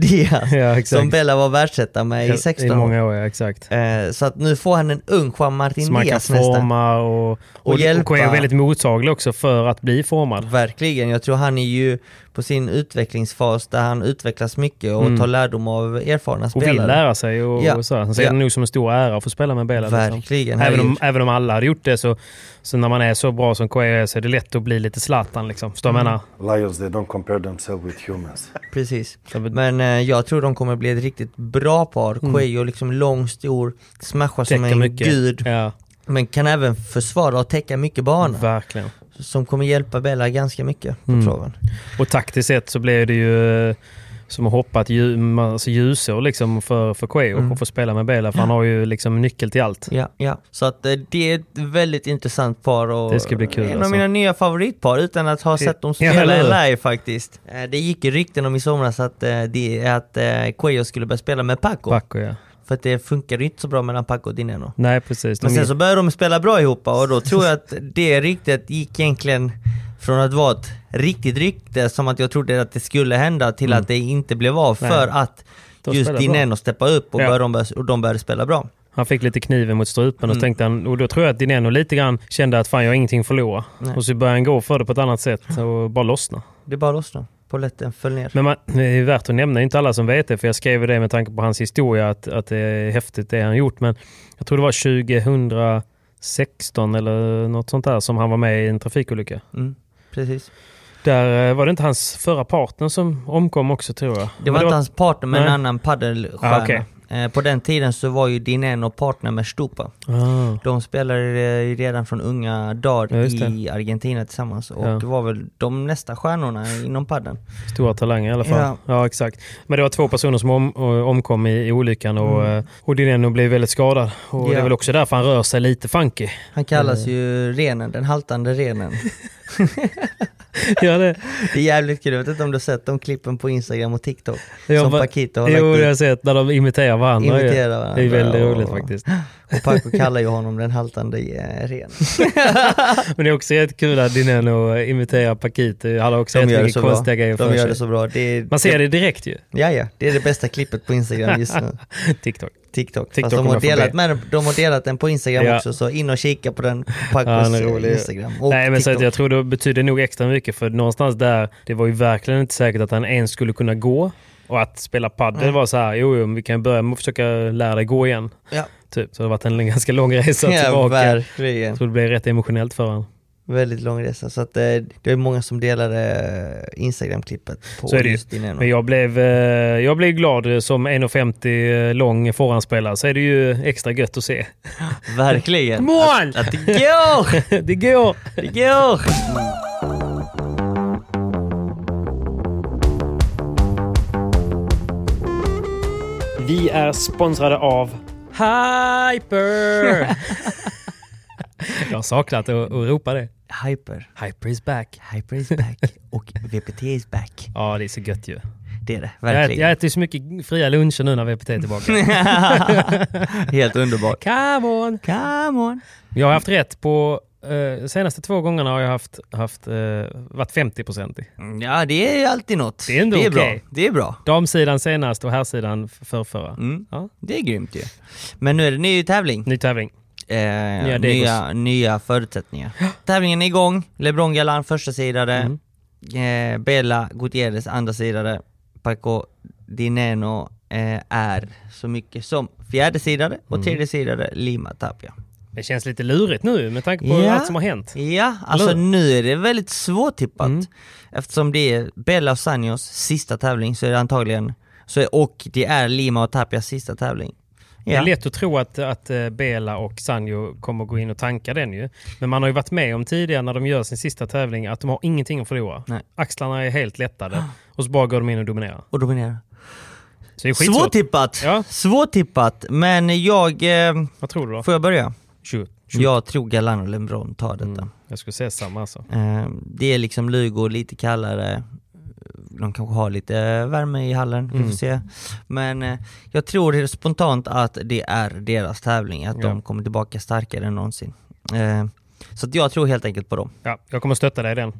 Speaker 5: Diaz
Speaker 3: Ja, exakt.
Speaker 5: som Bella var världsetta med
Speaker 3: Ja,
Speaker 5: i 16
Speaker 3: I
Speaker 5: år.
Speaker 3: många år, ja, exakt.
Speaker 5: Eh, så att nu får han en ung Juan Martin
Speaker 3: Som man kan
Speaker 5: Diaz nästan.
Speaker 3: forma och, och, och,
Speaker 5: hjälpa.
Speaker 3: Quayo är väldigt mottaglig också för att bli formad.
Speaker 5: Verkligen, jag tror han är ju på sin utvecklingsfas där han utvecklas mycket och
Speaker 3: Mm.
Speaker 5: tar lärdom av erfarna
Speaker 3: Och
Speaker 5: spelare.
Speaker 3: vill lära sig och,
Speaker 5: Ja.
Speaker 3: och så. här. Sen ser
Speaker 5: Ja.
Speaker 3: det nog som en stor ära att få spela med Bela. liksom.
Speaker 5: Verkligen,
Speaker 3: Även om,
Speaker 5: herregud.
Speaker 3: även om alla hade gjort det så, så när man är så bra som KRS är så är det lätt att bli lite Zlatan liksom. Förstår du vad jag
Speaker 5: Mm.
Speaker 3: menar?
Speaker 8: Lions, they don't compare themselves with humans.
Speaker 5: Precis.
Speaker 3: men-
Speaker 5: Men eh, jag tror de kommer bli ett riktigt bra par. Mm. Cuello liksom lång, stor, smashar som
Speaker 3: Täcker
Speaker 5: en
Speaker 3: mycket.
Speaker 5: gud.
Speaker 3: Ja,
Speaker 5: Men kan även försvara och täcka mycket bana.
Speaker 3: verkligen.
Speaker 5: Som kommer hjälpa Bella ganska mycket på
Speaker 3: Mm.
Speaker 5: traven.
Speaker 3: Och taktiskt sett så blev det ju eh, som att hoppa ett ljus, alltså ljusår liksom för, för Quayo
Speaker 5: Mm.
Speaker 3: och få spela med Bela. För han har ju liksom nyckel till allt.
Speaker 5: Ja, ja. Så att eh, det är ett väldigt intressant par och
Speaker 3: Det ska bli kul,
Speaker 5: en av
Speaker 3: alltså.
Speaker 5: mina nya favoritpar utan att ha sett dem
Speaker 3: Ja,
Speaker 5: spela
Speaker 3: eller hur?
Speaker 5: live faktiskt. Eh, Det gick ju rykten om i somras att, eh, det, att eh, Cuello skulle börja spela med Paco.
Speaker 3: Paco ja.
Speaker 5: För att det funkar ju inte så bra mellan Paco och Dineno.
Speaker 3: Nej precis.
Speaker 5: Men sen så började de spela bra ihop och då tror jag att det ryktet gick egentligen från att vara ett riktigt rykte som att jag trodde att det skulle hända till att det inte blev av
Speaker 3: Mm. Nej.
Speaker 5: för att
Speaker 3: De
Speaker 5: just
Speaker 3: spelade bra.
Speaker 5: Dineno steppade upp och,
Speaker 3: Ja.
Speaker 5: började de börja, och de började spela bra.
Speaker 3: Han fick lite kniven mot strupen
Speaker 5: Mm.
Speaker 3: och, så tänkte han, och då tror jag att Dineno lite grann kände att fan jag har ingenting att förlora. Och så började han gå för det på ett annat sätt och bara lossna.
Speaker 5: Det bara lossnade. Polletten föll ner.
Speaker 3: Men man, det är ju värt att nämna, det är inte alla som vet det, för jag skrev det med tanke på hans historia, att, att det är häftigt det han gjort. Men jag tror det var 2016 eller något sånt där som han var med i en trafikolycka.
Speaker 5: Mm, precis.
Speaker 3: Där eh, var det inte hans förra partner som omkom också tror jag.
Speaker 5: Det var
Speaker 3: Men
Speaker 5: inte hans partner men en
Speaker 3: Nej.
Speaker 5: annan padelstjärna.
Speaker 3: Ah, okej.
Speaker 5: Eh, På den tiden så var ju Dineno partner med Stupa.
Speaker 3: Ah,
Speaker 5: De spelade eh, redan från unga
Speaker 3: Ja,
Speaker 5: dagar
Speaker 3: just det.
Speaker 5: i Argentina tillsammans och
Speaker 3: Ja.
Speaker 5: det var väl de nästa stjärnorna inom padden.
Speaker 3: stora talanger i alla fall.
Speaker 5: Ja.
Speaker 3: Ja. exakt. Men det var två personer som om, och- omkom i, i olyckan och, mm. och Dineno blev väldigt skadad. Och Det
Speaker 5: Ja.
Speaker 3: är väl också därför han rör sig lite funky.
Speaker 5: Han
Speaker 3: Eh.
Speaker 5: kallas ju renen, den haltande renen.
Speaker 3: ja, det,
Speaker 5: Det är jävligt kul, jag vet inte om du har sett de klippen på Instagram och TikTok
Speaker 3: jag
Speaker 5: som
Speaker 3: bara-
Speaker 5: Paquito har
Speaker 3: Jo, jag har
Speaker 5: lagt ut.
Speaker 3: sett när de imiterar varandra. ju.
Speaker 5: Imiterar varandra
Speaker 3: Det är väldigt
Speaker 5: och-
Speaker 3: roligt faktiskt.
Speaker 5: Och Paco kallar ju honom den haltande eh, renen.
Speaker 3: Men det är också jättekul att Dineno imiterar Paquito. Han har också
Speaker 5: De gör det
Speaker 3: jättemycket
Speaker 5: så bra.
Speaker 3: konstiga grejer för
Speaker 5: De gör
Speaker 3: sig.
Speaker 5: det så bra. Det är,
Speaker 3: Man ser det direkt ju.
Speaker 5: Ja, ja. Det är det bästa klippet på Instagram just nu.
Speaker 3: TikTok.
Speaker 5: TikTok.
Speaker 3: TikTok
Speaker 5: Fast de
Speaker 3: kommer
Speaker 5: har,
Speaker 3: jag få
Speaker 5: delat
Speaker 3: be.
Speaker 5: med, den- de har delat den på Instagram
Speaker 3: Ja.
Speaker 5: också, så in och kika på den. Pacos
Speaker 3: Ja, han är rolig.
Speaker 5: Instagram och
Speaker 3: Nej, men så att
Speaker 5: TikTok.
Speaker 3: jag tror det betyder nog extra mycket för någonstans där, det var ju verkligen inte säkert att han ens skulle kunna gå. Och att spela padel var så här, jo, jo, men vi kan börja med att försöka lära dig gå igen.
Speaker 5: Ja,
Speaker 3: Typ. Så det har varit en ganska lång resa
Speaker 5: ja
Speaker 3: tillbaka.
Speaker 5: verkligen.
Speaker 3: Jag tror det blev rätt emotionellt för honom.
Speaker 5: Väldigt lång resa. Så att, eh, det är många som delade eh, Instagram-klippet på
Speaker 3: Så är det ju.
Speaker 5: just din ena.
Speaker 3: Men jag blev, eh, jag blev glad eh, som 1,50 eh, lång förhandsspelare, så är det ju extra gött att se.
Speaker 5: Verkligen.
Speaker 3: on!
Speaker 5: Att det går!
Speaker 3: det går!
Speaker 5: Det går!
Speaker 3: Vi är sponsrade av Hyper! Jag har saknat att, att ropa det.
Speaker 5: Hyper.
Speaker 3: Hyper is back.
Speaker 5: Hyper is back. Och VPT is back.
Speaker 3: Ja, det är så gött ju.
Speaker 5: Det är det,
Speaker 3: Jag äter,
Speaker 5: verkligen.
Speaker 3: jag äter så mycket fria luncher nu när VPT är tillbaka.
Speaker 5: Helt underbart.
Speaker 3: Come on!
Speaker 5: Come on.
Speaker 3: Jag har haft rätt på... Eh, senaste två gångerna har jag haft, haft eh, varit 50-procentig.
Speaker 5: Ja, det är ju alltid något.
Speaker 3: Det är ändå
Speaker 5: det är
Speaker 3: okej.
Speaker 5: bra. Det är bra.
Speaker 3: Damsidan senast och herrsidan förrförra.
Speaker 5: Mm.
Speaker 3: Ja.
Speaker 5: Det är grymt ju. Men nu är det ny tävling.
Speaker 3: Ny tävling.
Speaker 5: Eh, nya,
Speaker 3: Degos.
Speaker 5: nya, förutsättningar. Tävlingen är igång. LeBron Galan första sidare.
Speaker 3: Mm.
Speaker 5: Eh, Bella Gutierrez andra sidare. Paco Dineno eh, är så mycket som fjärde sidare och
Speaker 3: Mm.
Speaker 5: tredje sidare Lima Tapia.
Speaker 3: Det känns lite lurigt nu med tanke på
Speaker 5: Ja.
Speaker 3: allt som har hänt.
Speaker 5: Ja, alltså
Speaker 3: Eller hur? Mm.
Speaker 5: nu är det väldigt svårtippat. Eftersom det är Bella och Sanjos sista tävling så är det antagligen, så är, och det är Lima och Tapias sista tävling.
Speaker 3: Det är
Speaker 5: Ja.
Speaker 3: lätt att tro att, att eh, Bela och Sanjo kommer gå in och tanka den ju. Men man har ju varit med om tidigare när de gör sin sista tävling att de har ingenting att förlora.
Speaker 5: Nej. Ah.
Speaker 3: Axlarna är helt lättade och så bara går de in och dominerar.
Speaker 5: Och dominerar.
Speaker 3: Så det är skitsvårt.
Speaker 5: Svårtippat!
Speaker 3: Ja.
Speaker 5: Svårtippat, men jag... Eh,
Speaker 3: Vad tror du då?
Speaker 5: får jag börja?
Speaker 3: Shoot. Shoot. Mm.
Speaker 5: Jag tror Galan och LeBron tar detta.
Speaker 3: Jag skulle säga samma alltså.
Speaker 5: Eh, det är liksom Lugo, lite kallare. De kanske har lite eh, värme i hallen,
Speaker 3: Mm.
Speaker 5: vi får se. Men eh, jag tror det är spontant att det är deras tävling, att
Speaker 3: Ja.
Speaker 5: de kommer tillbaka starkare än någonsin. Eh, så att jag tror helt enkelt på dem.
Speaker 3: Ja, jag kommer stötta dig i den.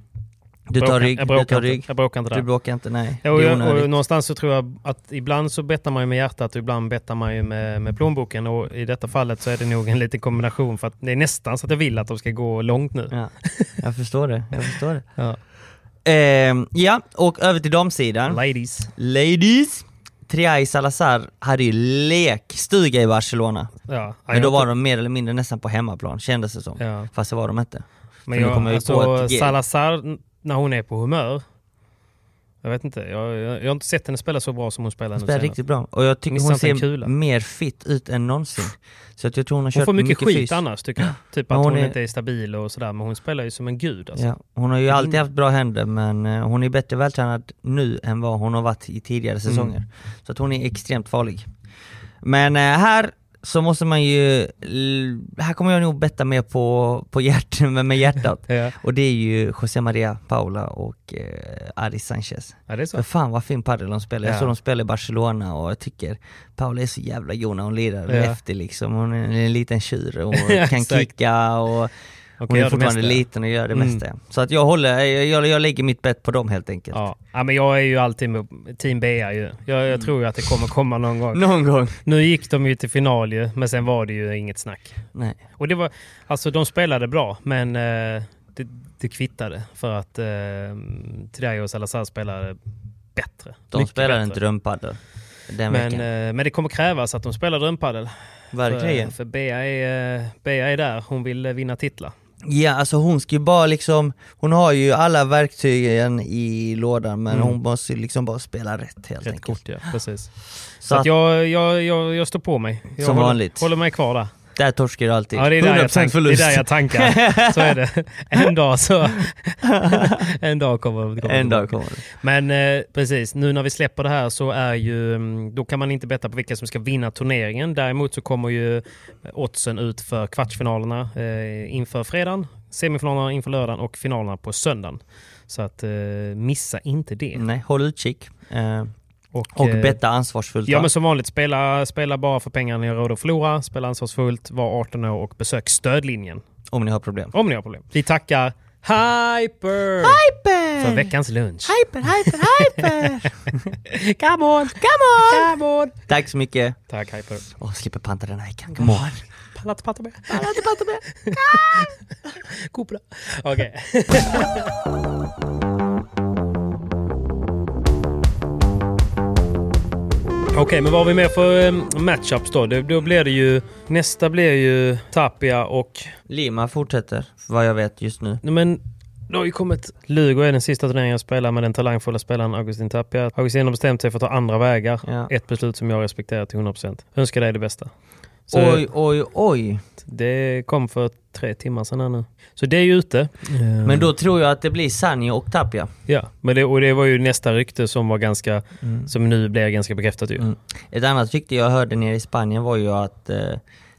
Speaker 5: Du tar
Speaker 3: Bråkar-
Speaker 5: rygg,
Speaker 3: jag
Speaker 5: du
Speaker 3: bråkar
Speaker 5: tar
Speaker 3: inte.
Speaker 5: rygg.
Speaker 3: Jag bråkar inte där.
Speaker 5: Du bråkar inte, nej.
Speaker 3: Ja, och,
Speaker 5: Det är
Speaker 3: jag, och
Speaker 5: onödigt.
Speaker 3: någonstans så tror jag att ibland så bettar man ju med hjärtat och ibland bettar man ju med, med plånboken. Och i detta fallet så är det nog en liten kombination för att det är nästan så att jag vill att de ska gå långt nu.
Speaker 5: Ja, jag förstår det, jag förstår det.
Speaker 3: Ja.
Speaker 5: Eh, ja, och över till damsidan.
Speaker 3: Ladies.
Speaker 5: Ladies! Triay Salazar hade ju lekstuga i Barcelona.
Speaker 3: Ja,
Speaker 5: Men då var de mer eller mindre nästan på hemmaplan kändes det som.
Speaker 3: Ja.
Speaker 5: Fast det var de inte.
Speaker 3: Men
Speaker 5: nu
Speaker 3: jag,
Speaker 5: kommer vi på
Speaker 3: alltså,
Speaker 5: ett G.
Speaker 3: Salazar, n- när hon är på humör. Jag vet inte. Jag, jag, jag har inte sett henne spela så bra som hon spelar
Speaker 5: Hon
Speaker 3: nu
Speaker 5: spelar
Speaker 3: senast.
Speaker 5: riktigt bra. Och jag tycker
Speaker 3: Missar
Speaker 5: hon
Speaker 3: inte en
Speaker 5: ser
Speaker 3: kula.
Speaker 5: mer fit ut än någonsin. Så att jag tror hon
Speaker 3: Hon
Speaker 5: har kört
Speaker 3: får mycket, skit
Speaker 5: fys.
Speaker 3: annars tycker jag. Typ
Speaker 5: Men
Speaker 3: att
Speaker 5: hon
Speaker 3: hon,
Speaker 5: är-
Speaker 3: inte är stabil och sådär. Men hon spelar ju som en gud. Alltså.
Speaker 5: Ja, hon har ju alltid haft bra händer men eh, hon är bättre vältränad nu än vad hon har varit i tidigare säsonger. Så att hon är extremt farlig. Men eh, här så måste man ju, l- här kommer jag nog betta mer på, på hjärt, med med hjärtat.
Speaker 3: Ja.
Speaker 5: Och det är ju José Maria Paula och eh, Aris Sanchez.
Speaker 3: Ja, det är så.
Speaker 5: För fan vad fin padel de spelar. Jag
Speaker 3: Ja.
Speaker 5: såg de spela i Barcelona och jag tycker Paula är så jävla god när hon lirar.
Speaker 3: Ja.
Speaker 5: Häftig liksom. Hon är en liten tjur och kan
Speaker 3: exakt.
Speaker 5: kicka och hon
Speaker 3: gör
Speaker 5: är
Speaker 3: det
Speaker 5: fortfarande
Speaker 3: mesta.
Speaker 5: liten och gör det
Speaker 3: Mm.
Speaker 5: mesta. Så att jag håller, jag, jag, jag lägger mitt bett på dem helt enkelt.
Speaker 3: Ja. ja, men jag är ju alltid med team Bea ju. Jag,
Speaker 5: Mm.
Speaker 3: jag tror ju att det kommer komma någon gång.
Speaker 5: Någon gång.
Speaker 3: Nu gick de ju till final ju, men sen var det ju inget snack.
Speaker 5: Nej.
Speaker 3: Och det var, alltså de spelade bra, men eh, det, det kvittade för att eh, Triay och Salazar spelade bättre.
Speaker 5: De
Speaker 3: Mycket
Speaker 5: spelar en
Speaker 3: bättre.
Speaker 5: drömpadel den
Speaker 3: men,
Speaker 5: veckan.
Speaker 3: eh, men det kommer krävas att de spelar drömpadel.
Speaker 5: Verkligen.
Speaker 3: För, för Bea, är, eh, Bea är där, hon vill eh, vinna titlar.
Speaker 5: Ja, alltså hon ska ju bara liksom, hon har ju alla verktygen i lådan men hon måste ju liksom bara spela rätt helt
Speaker 3: Mm. Rätt
Speaker 5: enkelt.
Speaker 3: kort ja, precis.
Speaker 5: Så
Speaker 3: Så
Speaker 5: att
Speaker 3: att jag, jag, jag, jag står på mig. Jag
Speaker 5: Som
Speaker 3: håller,
Speaker 5: vanligt.
Speaker 3: håller mig kvar där.
Speaker 5: där torskar du alltid.
Speaker 3: Ja, det är, där jag tank, det är där jag tankar. Så är det. En dag så... En dag kommer kommer
Speaker 5: En dag
Speaker 3: tillbaka.
Speaker 5: kommer det.
Speaker 3: Men eh, precis, nu när vi släpper det här så är ju... mm, Då kan man inte betta på vilka som ska vinna turneringen. Däremot så kommer ju eh, oddsen ut för kvartsfinalerna eh, inför fredagen, semifinalerna inför lördagen och finalerna på söndagen. Så att eh, missa inte det.
Speaker 5: Nej, håll utkik. Eh,
Speaker 3: Och,
Speaker 5: Mm. och
Speaker 3: eh,
Speaker 5: betta ansvarsfullt.
Speaker 3: Ja
Speaker 5: va?
Speaker 3: men som vanligt, spela, spela bara för pengarna ni har råd att förlora, spela ansvarsfullt, var 18 år och besök stödlinjen.
Speaker 5: Om ni har problem.
Speaker 3: Om ni har problem. Vi tackar Hyper,
Speaker 5: Hyper!
Speaker 3: för veckans lunch.
Speaker 5: Hyper, hyper, hyper! come on, come on! Come on! Tack så mycket.
Speaker 3: Tack Hyper.
Speaker 5: Åh, slipper panta den här veckan. Come on!
Speaker 3: Pallat patta med.
Speaker 5: Alla till panta med.
Speaker 3: Cobra. Okej. Okej, men vad har vi med för um, matchups då? Det, då blir det ju... Nästa blir ju Tapia och...
Speaker 5: Lima fortsätter, vad jag vet just nu.
Speaker 3: Nej, Men det har ju kommit... Lugo är den sista turneringen jag spelar med den talangfulla spelaren Augustin Tapia. Augustin har bestämt sig för att ta andra vägar.
Speaker 5: Ja.
Speaker 3: Ett beslut som jag respekterar till 100%. Önskar dig det bästa. Så
Speaker 5: Oj, oj, oj.
Speaker 3: Det kom för tre timmar sedan här nu. Så det är ju ute. Eh.
Speaker 5: Men då tror jag att det blir Sanja och Tapia.
Speaker 3: Ja, men det, och det var ju nästa rykte som var ganska,
Speaker 5: Mm.
Speaker 3: som nu blev ganska bekräftat ju.
Speaker 5: Ett annat rykte jag hörde nere i Spanien var ju att eh,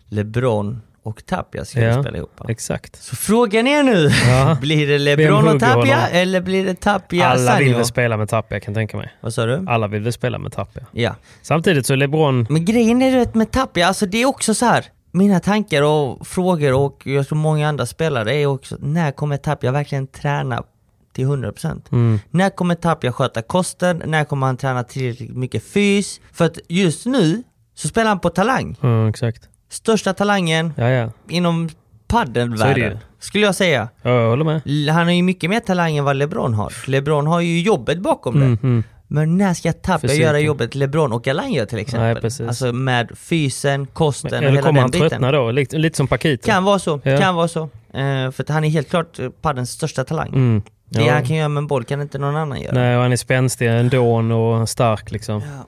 Speaker 5: LeBron och Tapia skulle
Speaker 3: Ja,
Speaker 5: spela ihop.
Speaker 3: Exakt.
Speaker 5: Så frågan är nu,
Speaker 3: Ja.
Speaker 5: blir det
Speaker 3: Vem
Speaker 5: LeBron
Speaker 3: hugger
Speaker 5: och Tapia
Speaker 3: honom?
Speaker 5: eller blir det Tapia
Speaker 3: Alla vill
Speaker 5: Sanjo?
Speaker 3: väl spela med Tapia kan jag tänka mig.
Speaker 5: Vad sa du?
Speaker 3: Alla vill väl spela med Tapia.
Speaker 5: Ja.
Speaker 3: Samtidigt så är LeBron...
Speaker 5: Men grejen är rätt med Tapia, alltså det är också så här. Mina tankar och frågor och jag tror många andra spelare är också, när kommer Tapia verkligen träna till 100%?
Speaker 3: Mm.
Speaker 5: När kommer Tapia sköta kosten? När kommer han träna tillräckligt mycket fys? För att just nu så spelar han på talang.
Speaker 3: Mm, exakt.
Speaker 5: Största talangen
Speaker 3: Ja, ja.
Speaker 5: inom
Speaker 3: Så är det ju.
Speaker 5: padelvärlden skulle jag säga.
Speaker 3: Ja, Jag håller med.
Speaker 5: L- Han har ju mycket mer talang än vad LeBron har. LeBron har ju jobbet bakom
Speaker 3: Mm,
Speaker 5: det.
Speaker 3: mm.
Speaker 5: Men när ska Tapia
Speaker 3: Fysiken.
Speaker 5: göra jobbet LeBron och Alain gör till exempel?
Speaker 3: Nej, precis.
Speaker 5: alltså med fysen, kosten och
Speaker 3: Eller
Speaker 5: hela
Speaker 3: kommer
Speaker 5: den
Speaker 3: han
Speaker 5: biten.
Speaker 3: tröttna då? Lite, lite som Pakito.
Speaker 5: Kan vara så,
Speaker 3: Ja.
Speaker 5: kan vara så. Eh, för att han är helt klart eh, paddens största talang.
Speaker 3: Mm.
Speaker 5: Det
Speaker 3: Ja.
Speaker 5: han kan göra med en boll kan inte någon annan göra.
Speaker 3: Nej, och han är spänstig ändå och stark liksom.
Speaker 5: Ja.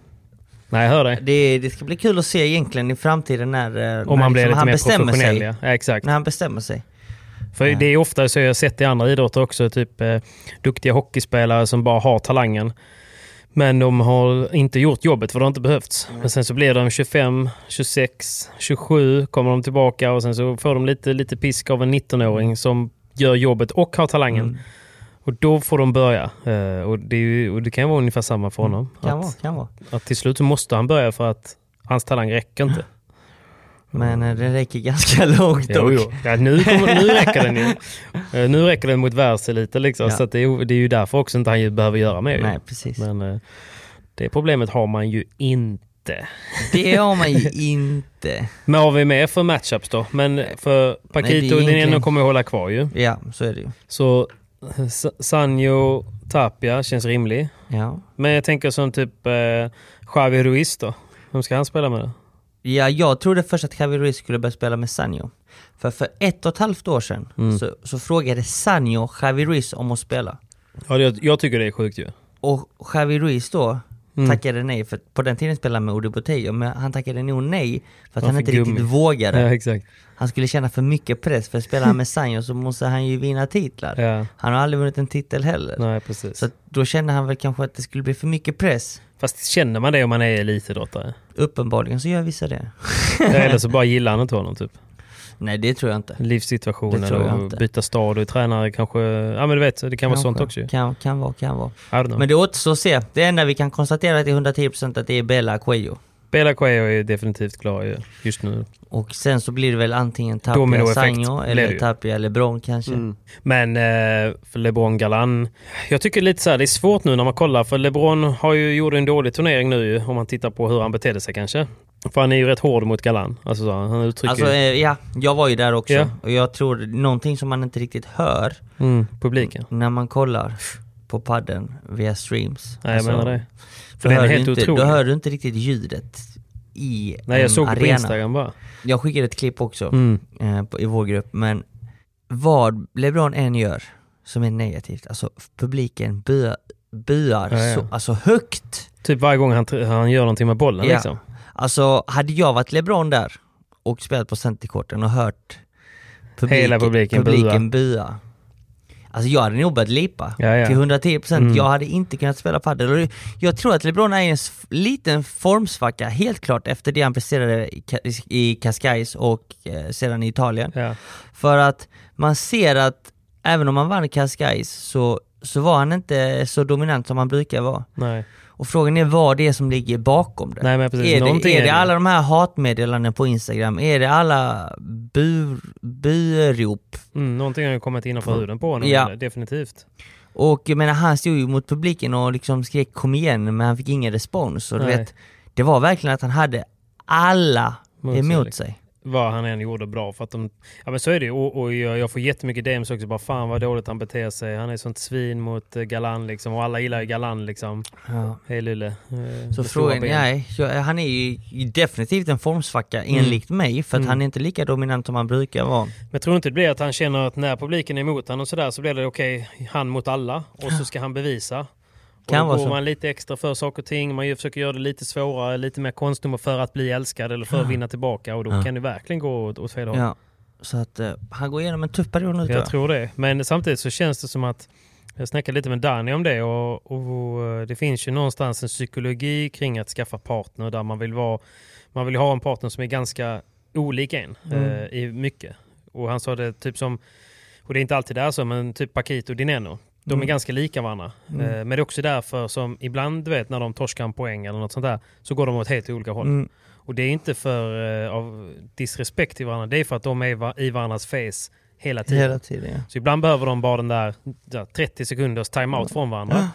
Speaker 3: Nej, jag hör dig.
Speaker 5: Det, det ska bli kul att se egentligen i framtiden när, eh,
Speaker 3: Om
Speaker 5: när
Speaker 3: han blir
Speaker 5: liksom
Speaker 3: lite mer
Speaker 5: bestämmer
Speaker 3: professionell.
Speaker 5: sig.
Speaker 3: Ja. Ja, exakt.
Speaker 5: När han bestämmer sig.
Speaker 3: För det är ofta så jag har sett i andra idrotter också, typ eh, duktiga hockeyspelare som bara har talangen. Men de har inte gjort jobbet för det har inte behövts. Men sen så blir de 25, 26, 27, kommer de tillbaka och sen så får de lite, lite pisk av en 19-åring som gör jobbet och har talangen.
Speaker 5: Mm.
Speaker 3: Och då får de börja. Eh, och, det är ju, och det kan ju vara ungefär samma för honom.
Speaker 5: Mm. Kan
Speaker 3: att,
Speaker 5: vara, kan vara.
Speaker 3: att till slut så måste han börja för att hans talang räcker inte.
Speaker 5: Men eh, det räcker ganska långt
Speaker 3: Jo,
Speaker 5: dock.
Speaker 3: jo. Ja, nu, kommer, nu räcker den ju. Eh, Nu räcker den mot världseliten liksom.
Speaker 5: Ja.
Speaker 3: Så att det, är, det är ju därför också inte han ju behöver göra mer. ju.
Speaker 5: Nej, precis.
Speaker 3: Men eh, det problemet har man ju inte.
Speaker 5: Det har man ju inte.
Speaker 3: Men har vi med för matchups då? Men för Pakito och
Speaker 5: egentligen-
Speaker 3: Dineno kommer ju hålla kvar ju.
Speaker 5: Ja, så är det ju.
Speaker 3: Så eh, S- Sanjo Tapia känns rimlig.
Speaker 5: Ja.
Speaker 3: Men jag tänker som typ eh, Javi Ruiz då. Vem ska han spela med då?
Speaker 5: ja, jag trodde först att Javier Ruiz skulle börja spela med Sanjo. För för ett och ett halvt år sedan
Speaker 3: Mm.
Speaker 5: så, så frågade Sanjo Javier Ruiz om att spela.
Speaker 3: Ja, det, jag tycker det är sjukt ju.
Speaker 5: Och Javier Ruiz då
Speaker 3: Mm.
Speaker 5: tackade nej, för på den tiden spelade han med Ode Botello, men han tackade nog nej för att
Speaker 3: Han
Speaker 5: han
Speaker 3: fick
Speaker 5: inte
Speaker 3: gummi.
Speaker 5: riktigt vågade.
Speaker 3: Ja, exakt.
Speaker 5: Han skulle känna för mycket press, för spelar han med Sanjo så måste han ju vinna titlar.
Speaker 3: Ja.
Speaker 5: Han har aldrig vunnit en titel heller.
Speaker 3: Nej, precis.
Speaker 5: Så att då kände han väl kanske att det skulle bli för mycket press.
Speaker 3: Fast känner man det om man är elitidrottare?
Speaker 5: Uppenbarligen så gör vissa det.
Speaker 3: Eller så bara gillar han inte honom typ.
Speaker 5: Nej, det tror jag inte. Det
Speaker 3: livssituationen
Speaker 5: tror jag
Speaker 3: och
Speaker 5: inte.
Speaker 3: byta stad och tränare kanske. Ja men du vet, det kan vara sånt
Speaker 5: Kanske.
Speaker 3: också ju. I
Speaker 5: Kan, kan vara, kan vara.
Speaker 3: don't know.
Speaker 5: Men det återstår att se. Det enda vi kan konstatera till 110% att det är Bella Cuello.
Speaker 3: Bela Coelho är definitivt klar ju, just nu.
Speaker 5: Och sen så blir det väl antingen Tapia
Speaker 3: Dominoeffekt
Speaker 5: Sanjo
Speaker 3: blir det
Speaker 5: eller
Speaker 3: ju. Mm,
Speaker 5: Tapia LeBron kanske.
Speaker 3: Men eh, för LeBron Galan. Jag tycker lite så här, det är svårt nu när man kollar för LeBron har ju gjort en dålig turnering nu ju, om man tittar på hur han betedde sig kanske. För han är ju rätt hård mot Galan. Alltså så, han uttrycker
Speaker 5: Alltså eh, ja, jag var ju där också.
Speaker 3: Ja.
Speaker 5: Och jag tror någonting som man inte riktigt hör
Speaker 3: mm, publiken.
Speaker 5: när man kollar på padden via streams.
Speaker 3: Nej jag
Speaker 5: Alltså,
Speaker 3: menar det. För
Speaker 5: då
Speaker 3: den
Speaker 5: hör
Speaker 3: är
Speaker 5: du
Speaker 3: helt
Speaker 5: inte,
Speaker 3: otrolig.
Speaker 5: Då hör du inte riktigt ljudet i
Speaker 3: Nej jag
Speaker 5: en
Speaker 3: såg det på
Speaker 5: arena.
Speaker 3: Instagram bara.
Speaker 5: Jag skickade ett klipp också
Speaker 3: Mm.
Speaker 5: eh, på, i vår grupp, men vad LeBron än gör som är negativt, alltså publiken bö, buar
Speaker 3: Ja, ja.
Speaker 5: Så, alltså högt.
Speaker 3: Typ varje gång han, tr- han gör någonting med bollen
Speaker 5: Ja.
Speaker 3: liksom.
Speaker 5: Alltså hade jag varit LeBron där och spelat på centerkorten och hört
Speaker 3: Hela publiken bua.
Speaker 5: publiken bua. Alltså jag hade nog börjat lipa
Speaker 3: Ja, ja. Mm.
Speaker 5: till 110 procent. Jag hade inte kunnat spela padel. Och Jag tror att LeBron är i en s- liten formsvacka, helt klart, efter det han presterade i Ka- i Cascais och eh, sedan i Italien.
Speaker 3: Ja.
Speaker 5: För att man ser att även om han vann Cascais så, så var han inte så dominant som han brukar vara.
Speaker 3: Nej.
Speaker 5: Och frågan är vad det är som ligger bakom det.
Speaker 3: Nej, men precis.
Speaker 5: är,
Speaker 3: Någonting
Speaker 5: det
Speaker 3: är
Speaker 5: är det
Speaker 3: det.
Speaker 5: alla de här hatmeddelanden på Instagram? Är det alla bur, burop?
Speaker 3: Mm, någonting har ju kommit innanför huden på honom.
Speaker 5: Ja.
Speaker 3: Definitivt.
Speaker 5: Och jag menar han stod ju mot publiken och liksom skrek kom igen men han fick ingen respons. Och du
Speaker 3: Nej.
Speaker 5: vet, det var verkligen att han hade alla
Speaker 3: Mot sig,
Speaker 5: emot
Speaker 3: liksom.
Speaker 5: sig.
Speaker 3: vad han än gjorde bra. För att de, ja, men så är det ju. Och, och jag, jag får jättemycket DMs också. Bara, Fan vad dåligt han beter sig. Han är sånt svin mot eh, Galan liksom. Och alla gillar ju Galan liksom.
Speaker 5: Ja.
Speaker 3: Hej Lulle. Eh, med
Speaker 5: Så
Speaker 3: stora
Speaker 5: frågan,
Speaker 3: ben.
Speaker 5: nej, jag, han är ju definitivt en formsvacka enligt
Speaker 3: Mm.
Speaker 5: mig för att han är inte lika dominant som han brukar vara.
Speaker 3: Men tror du inte det blir att han känner att när publiken är emot honom och sådär så blir det okej, han mot alla. Och så ska han bevisa.
Speaker 5: Kan
Speaker 3: och då
Speaker 5: vara
Speaker 3: går
Speaker 5: så.
Speaker 3: man lite extra för saker och ting. Man ju försöker göra det lite svårare, lite mer konstnummer för att bli älskad eller för att vinna tillbaka. Och då
Speaker 5: Ja.
Speaker 3: kan det verkligen gå åt, åt fel håll.
Speaker 5: Ja. Så att eh, han går igenom en tuff period nu
Speaker 3: Jag tror det. Men samtidigt så känns det som att jag snackade lite med Danny om det och, och eh, det finns ju någonstans en psykologi kring att skaffa partner där man vill, vara, man vill ha en partner som är ganska olik en
Speaker 5: Mm.
Speaker 3: eh, i mycket. Och han sa det typ som, och det är inte alltid det är så, men typ Paquito och Dineno. De är
Speaker 5: Mm.
Speaker 3: ganska lika varandra.
Speaker 5: Mm.
Speaker 3: Eh, Men det är också därför som ibland, du vet, när de torskar en poäng eller något sånt där, så går de åt helt olika håll.
Speaker 5: Mm.
Speaker 3: Och det är inte för eh, av disrespekt till varandra, det är för att de är va- i varandras face hela tiden.
Speaker 5: Hela tiden ja.
Speaker 3: Så ibland behöver de bara den där, där 30 sekunders timeout från varandra.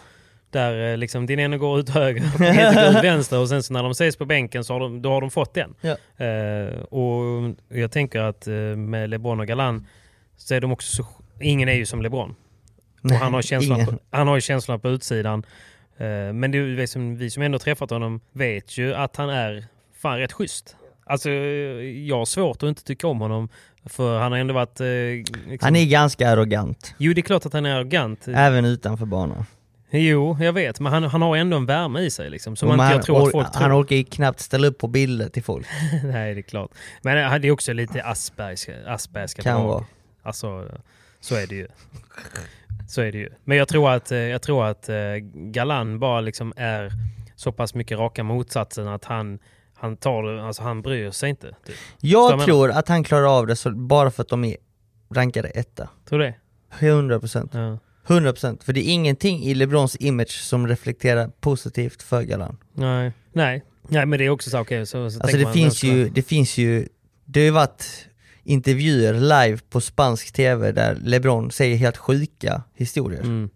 Speaker 3: Där eh, liksom din ena går ut höger och din ena går ut vänster och sen så när de ses på bänken så har de, då har de fått den.
Speaker 5: Ja.
Speaker 3: Eh, och jag tänker att eh, med LeBron och Galan så är de också så, ingen är ju som LeBron.
Speaker 5: Nej,
Speaker 3: och han har, känslan
Speaker 5: ingen.
Speaker 3: på, han har ju känslan på utsidan. Eh, men det är ju liksom, vi som ändå träffat honom vet ju att han är fan rätt schysst. Alltså eh, jag har svårt att inte tycka om honom för han har ändå varit... eh, liksom-
Speaker 5: Han är ganska arrogant.
Speaker 3: Jo, det är klart att han är arrogant.
Speaker 5: Även utanför banan.
Speaker 3: Jo, jag vet. Men han, han har ändå en värme i sig liksom, som man
Speaker 5: Men
Speaker 3: inte
Speaker 5: han,
Speaker 3: jag tror
Speaker 5: or-
Speaker 3: att folk
Speaker 5: han
Speaker 3: tror.
Speaker 5: orkar ju knappt ställa upp på bilder till folk.
Speaker 3: Nej, det är klart. Men han är också lite aspergska, aspergska
Speaker 5: Kan
Speaker 3: drag.
Speaker 5: vara.
Speaker 3: Alltså, så är det ju. Så är det ju. Men jag tror att, eh, jag tror att eh, Galan bara liksom är så pass mycket raka motsatsen att han, han tar det- alltså han bryr sig inte. Typ.
Speaker 5: Jag
Speaker 3: Förstår du vad jag
Speaker 5: tror att han klarar av det så, bara för att de är rankade etta.
Speaker 3: Tror du det?
Speaker 5: 100%.
Speaker 3: Ja.
Speaker 5: 100% för det är ingenting i LeBrons image som reflekterar positivt för Galan.
Speaker 3: Nej. Nej. Nej, men det är också så, okej, så, så
Speaker 5: Alltså
Speaker 3: tänker
Speaker 5: det
Speaker 3: man,
Speaker 5: finns,
Speaker 3: så-
Speaker 5: ju, det finns ju, det har ju varit intervjuer live på spansk tv där LeBron säger helt sjuka historier.
Speaker 3: Mm.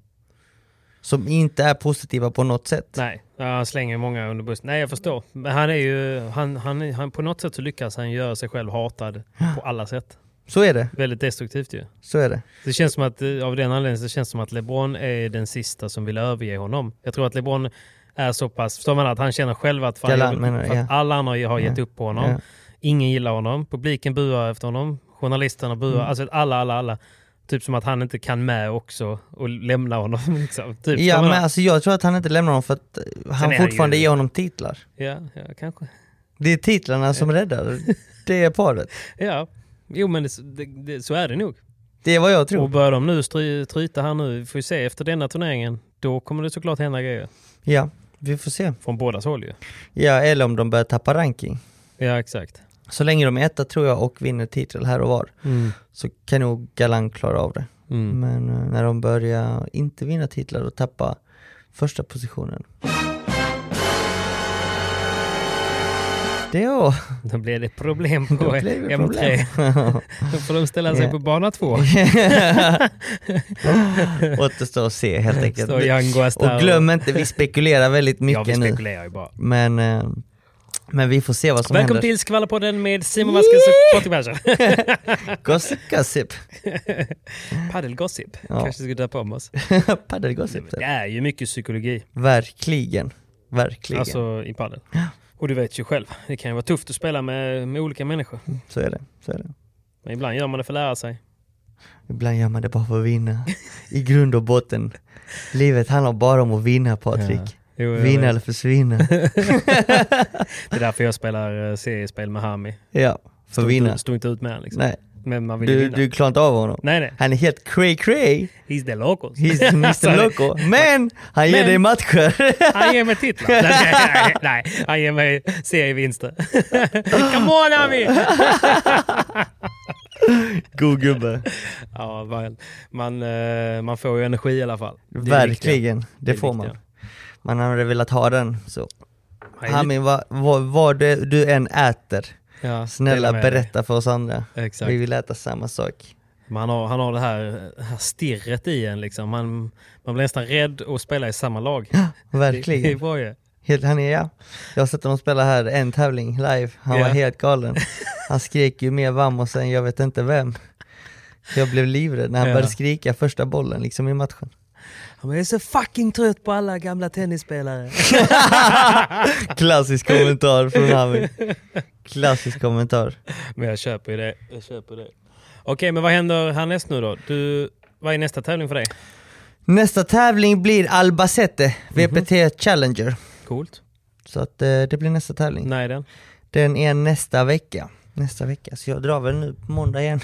Speaker 5: Som inte är positiva på något sätt.
Speaker 3: Nej, ja, han slänger ju många under bussen. Nej, jag förstår. Men han är ju, han, han, han, på något sätt så lyckas han göra sig själv hatad på alla sätt.
Speaker 5: Så är det,
Speaker 3: Väldigt destruktivt ju.
Speaker 5: så är det.
Speaker 3: Det känns som att, eh, av den anledningen, så känns det som att LeBron är den sista som vill överge honom. Jag tror att LeBron är så pass, förstår man att han känner själv att, fan,
Speaker 5: Galan
Speaker 3: jag vill-
Speaker 5: menar du,
Speaker 3: för att
Speaker 5: ja.
Speaker 3: alla andra har gett
Speaker 5: Ja.
Speaker 3: upp på honom.
Speaker 5: Ja.
Speaker 3: Ingen gillar honom. Publiken buar efter honom. Journalisterna buar.
Speaker 5: Mm.
Speaker 3: Alltså att alla, alla, alla. Typ som att han inte kan med också och lämna honom. Liksom. Typ,
Speaker 5: Ja
Speaker 3: förstår man?
Speaker 5: men alltså jag tror att han inte lämnar honom för att eh, han
Speaker 3: är han
Speaker 5: fortfarande
Speaker 3: ju-
Speaker 5: ger honom titlar.
Speaker 3: ja, ja, kanske.
Speaker 5: Det är titlarna som räddar det är paret.
Speaker 3: Ja, jo men det, det, det, så är det nog.
Speaker 5: Det är vad jag tror.
Speaker 3: Och börjar de nu stry, tryta här nu, vi får vi se efter denna turneringen, då kommer det såklart hända grejer.
Speaker 5: Ja, vi får se.
Speaker 3: Från bådas håll ju.
Speaker 5: Ja, eller om de börjar tappa ranking.
Speaker 3: Ja, exakt.
Speaker 5: Så länge de är etta tror jag och vinner titel här och var
Speaker 3: Mm.
Speaker 5: så kan nog Galan klara av det.
Speaker 3: Mm.
Speaker 5: Men eh, när de börjar inte vinna titlar och tappa första positionen. Det är jag.
Speaker 3: Då blir det problem på
Speaker 5: Då blir det
Speaker 3: M3.
Speaker 5: problem.
Speaker 3: Då får de ställa sig
Speaker 5: Ja.
Speaker 3: på bana två.
Speaker 5: Återstår att se helt enkelt.
Speaker 3: Står Yanguas där
Speaker 5: Och glöm inte, vi spekulerar väldigt
Speaker 3: Ja, vi
Speaker 5: mycket nu.
Speaker 3: spekulerar ju bara.
Speaker 5: Men, eh, men vi får se vad som
Speaker 3: Välkommen
Speaker 5: händer.
Speaker 3: till Skvallerpodden med Simon Vasquez och Patrik Persson.
Speaker 5: Gossip, gossip.
Speaker 3: Padelgossip.
Speaker 5: Ja. Typ.
Speaker 3: Kanske skulle döpa om oss.
Speaker 5: Paddelgossip. typ.
Speaker 3: Det är ju mycket psykologi.
Speaker 5: Verkligen. Verkligen.
Speaker 3: Alltså i padel. Och du vet ju själv, det kan ju vara tufft att spela med, med olika människor.
Speaker 5: Så är det. Så är det.
Speaker 3: Men ibland gör man det för att lära sig.
Speaker 5: Ibland gör man det bara för att vinna. I grund och botten. Livet handlar bara om att vinna Patrik.
Speaker 3: Jo, jag
Speaker 5: Vinna
Speaker 3: vet.
Speaker 5: eller försvinna.
Speaker 3: Det är därför jag spelar eh, seriespel med Hami.
Speaker 5: Ja, för att vinna.
Speaker 3: Stod inte ut med han, liksom.
Speaker 5: Nej,
Speaker 3: Men man vill ju
Speaker 5: du,
Speaker 3: vinna.
Speaker 5: du klarar inte av honom.
Speaker 3: Nej, nej.
Speaker 5: Han är helt cray cray.
Speaker 3: He's the locos.
Speaker 5: He's
Speaker 3: Alltså,
Speaker 5: Mr Loco. Men han ger
Speaker 3: Men-
Speaker 5: dig matcher.
Speaker 3: Han ger mig titlar. Nej, nej, nej, nej, han ger mig serievinster. Come on Hami!
Speaker 5: God gubbe.
Speaker 3: Ja, man, man, eh, man får ju energi i alla fall. Det är viktigt.
Speaker 5: Verkligen, det,
Speaker 3: är
Speaker 5: får
Speaker 3: viktigt,
Speaker 5: man. Man hade velat ha den. Så.
Speaker 3: Ja.
Speaker 5: Hami, vad vad- vad du, du än äter,
Speaker 3: Ja, dela
Speaker 5: snälla
Speaker 3: med dig.
Speaker 5: berätta för oss andra.
Speaker 3: Exakt.
Speaker 5: Vi vill äta samma sak.
Speaker 3: Men Han har, han har det här, det här stirret i en. Liksom. Man, man blir nästan rädd att spela i samma lag.
Speaker 5: Verkligen.
Speaker 3: Det, det är bra ju.
Speaker 5: Helt, han är ja. Jag har sett honom spela här en tävling live, han
Speaker 3: Ja.
Speaker 5: var helt galen. Han skrek ju mer VAM och sen jag vet inte vem. Jag blev livrädd när han
Speaker 3: Ja.
Speaker 5: började skrika första bollen liksom i matchen.
Speaker 3: Ja, men Jag är så fucking trött på alla gamla tennisspelare.
Speaker 5: Klassisk kommentar från Hami. Klassisk kommentar.
Speaker 3: men jag köper ju det. Jag köper det. Okej, men vad händer härnäst nu då? Du, vad är nästa tävling för dig?
Speaker 5: Nästa tävling blir Albacete
Speaker 3: Mhm.
Speaker 5: VPT Challenger.
Speaker 3: Coolt.
Speaker 5: Så att eh, det blir nästa tävling.
Speaker 3: Nej den.
Speaker 5: Den är nästa vecka. Nästa vecka, så jag drar väl nu på måndag igen.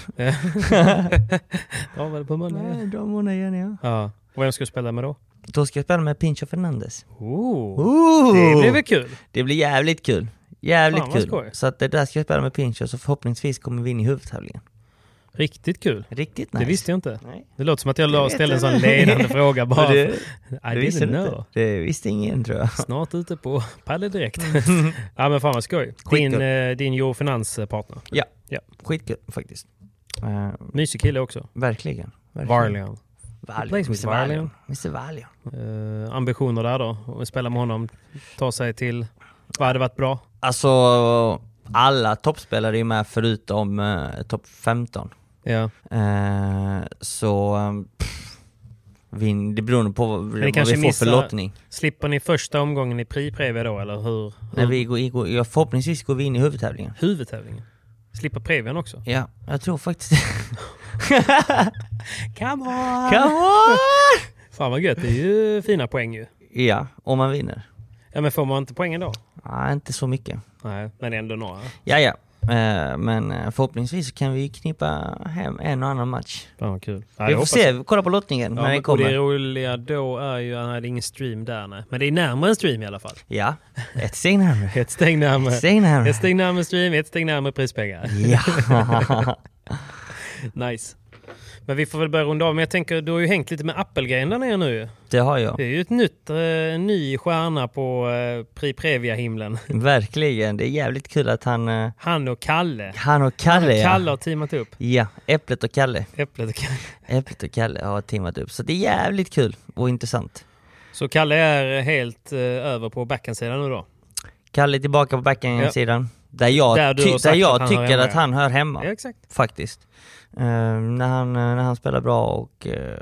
Speaker 3: Ja, var det på måndag?
Speaker 5: Jag drar måndag igen ja.
Speaker 3: Ja. Och vem ska du spela med då?
Speaker 5: Då ska jag spela med Pincho Fernandes.
Speaker 3: Oh.
Speaker 5: Ooh.
Speaker 3: Det blir väl kul?
Speaker 5: Det blir jävligt kul. Jävligt
Speaker 3: Fan, vad skoj.
Speaker 5: kul. Så att det där ska jag spela med Pincho så förhoppningsvis kommer vi in i huvudtävlingen.
Speaker 3: Riktigt kul.
Speaker 5: Riktigt nice.
Speaker 3: Det visste jag inte.
Speaker 5: Nej.
Speaker 3: Det låter som att jag la-
Speaker 5: vet
Speaker 3: ställde en
Speaker 5: jag
Speaker 3: sån
Speaker 5: inte.
Speaker 3: ledande fråga bara.
Speaker 5: Men
Speaker 3: Det,
Speaker 5: det-
Speaker 3: I
Speaker 5: Det visste
Speaker 3: didn't
Speaker 5: du
Speaker 3: know.
Speaker 5: inte. Det visste ingen tror jag.
Speaker 3: Snart ute på Palle direkt.
Speaker 5: Mm.
Speaker 3: ja men fan vad skoj. Din,
Speaker 5: Skitkul.
Speaker 3: eh, din Joe Finans-partner.
Speaker 5: Ja.
Speaker 3: Ja.
Speaker 5: Skitkul faktiskt. Eh,
Speaker 3: Mysig kille också.
Speaker 5: verkligen. verkligen.
Speaker 3: Varlian.
Speaker 5: Valium.
Speaker 3: Place with
Speaker 5: Mr. Valium. Mr. Valium.
Speaker 3: Eh, ambitioner där då? Att spela med honom? Ta sig till... Vad hade varit bra?
Speaker 5: Alltså, alla toppspelare är med förutom eh, topp 15.
Speaker 3: Ja.
Speaker 5: Eh, så... eh, Pff, vin, det beror nog på vad, vad vi
Speaker 3: kanske
Speaker 5: får
Speaker 3: missar-
Speaker 5: för lottning.
Speaker 3: Slipper ni första omgången i Prix Previa då eller hur?
Speaker 5: När vi går, går, ja, förhoppningsvis går vi in i huvudtävlingen.
Speaker 3: Huvudtävlingen? Slipper Previan också?
Speaker 5: Ja, jag tror faktiskt det.
Speaker 3: Come on!
Speaker 5: Come on!
Speaker 3: Fan vad gött, det är ju fina poäng ju.
Speaker 5: Ja, om man vinner.
Speaker 3: Ja men får man inte poängen då?
Speaker 5: Nej, inte så mycket.
Speaker 3: Nej, men ändå några.
Speaker 5: Ja, ja. Eh, Men eh, förhoppningsvis så kan vi knippa hem en och annan match.
Speaker 3: Fan vad kul. Ja,
Speaker 5: Vi
Speaker 3: det
Speaker 5: får
Speaker 3: hoppas
Speaker 5: se,
Speaker 3: jag.
Speaker 5: vi kollar på lottningen
Speaker 3: Ja,
Speaker 5: när
Speaker 3: men-
Speaker 5: den
Speaker 3: och det
Speaker 5: kommer.
Speaker 3: roliga då är ju att det är ingen stream där nej. Men det är närmare en stream i alla fall.
Speaker 5: Ja, ett steg närmare.
Speaker 3: Ett steg närmare.
Speaker 5: Ett steg närmare.
Speaker 3: Ett steg närmare stream, ett steg närmare prispengar.
Speaker 5: Ja.
Speaker 3: Nice. Men vi får väl börja runda av. Men jag tänker, du har ju hängt lite med Apple-grejen där nere nu.
Speaker 5: Det har jag.
Speaker 3: Det är ju ett nytt, eh, en ny stjärna på eh, Prix Previa-himlen.
Speaker 5: Verkligen, det är jävligt kul att han, eh,
Speaker 3: Han och Kalle.
Speaker 5: han och Kalle,
Speaker 3: Kalle
Speaker 5: ja.
Speaker 3: har teamat upp.
Speaker 5: ja, Äpplet och Kalle.
Speaker 3: Äpplet och Kalle.
Speaker 5: Äpplet och Kalle har teamat upp. Så det är jävligt kul och intressant.
Speaker 3: Så Kalle är helt eh, över på backhandsidan nu då?
Speaker 5: Kalle är tillbaka på backhandsidan. Där jag,
Speaker 3: Där du har
Speaker 5: ty-
Speaker 3: sagt att
Speaker 5: där
Speaker 3: han
Speaker 5: jag
Speaker 3: hör
Speaker 5: tycker
Speaker 3: hemma,
Speaker 5: att
Speaker 3: ja.
Speaker 5: han hör hemma.
Speaker 3: Ja, exakt.
Speaker 5: Faktiskt. Eh, när, han, eh, när han spelar bra och... eh,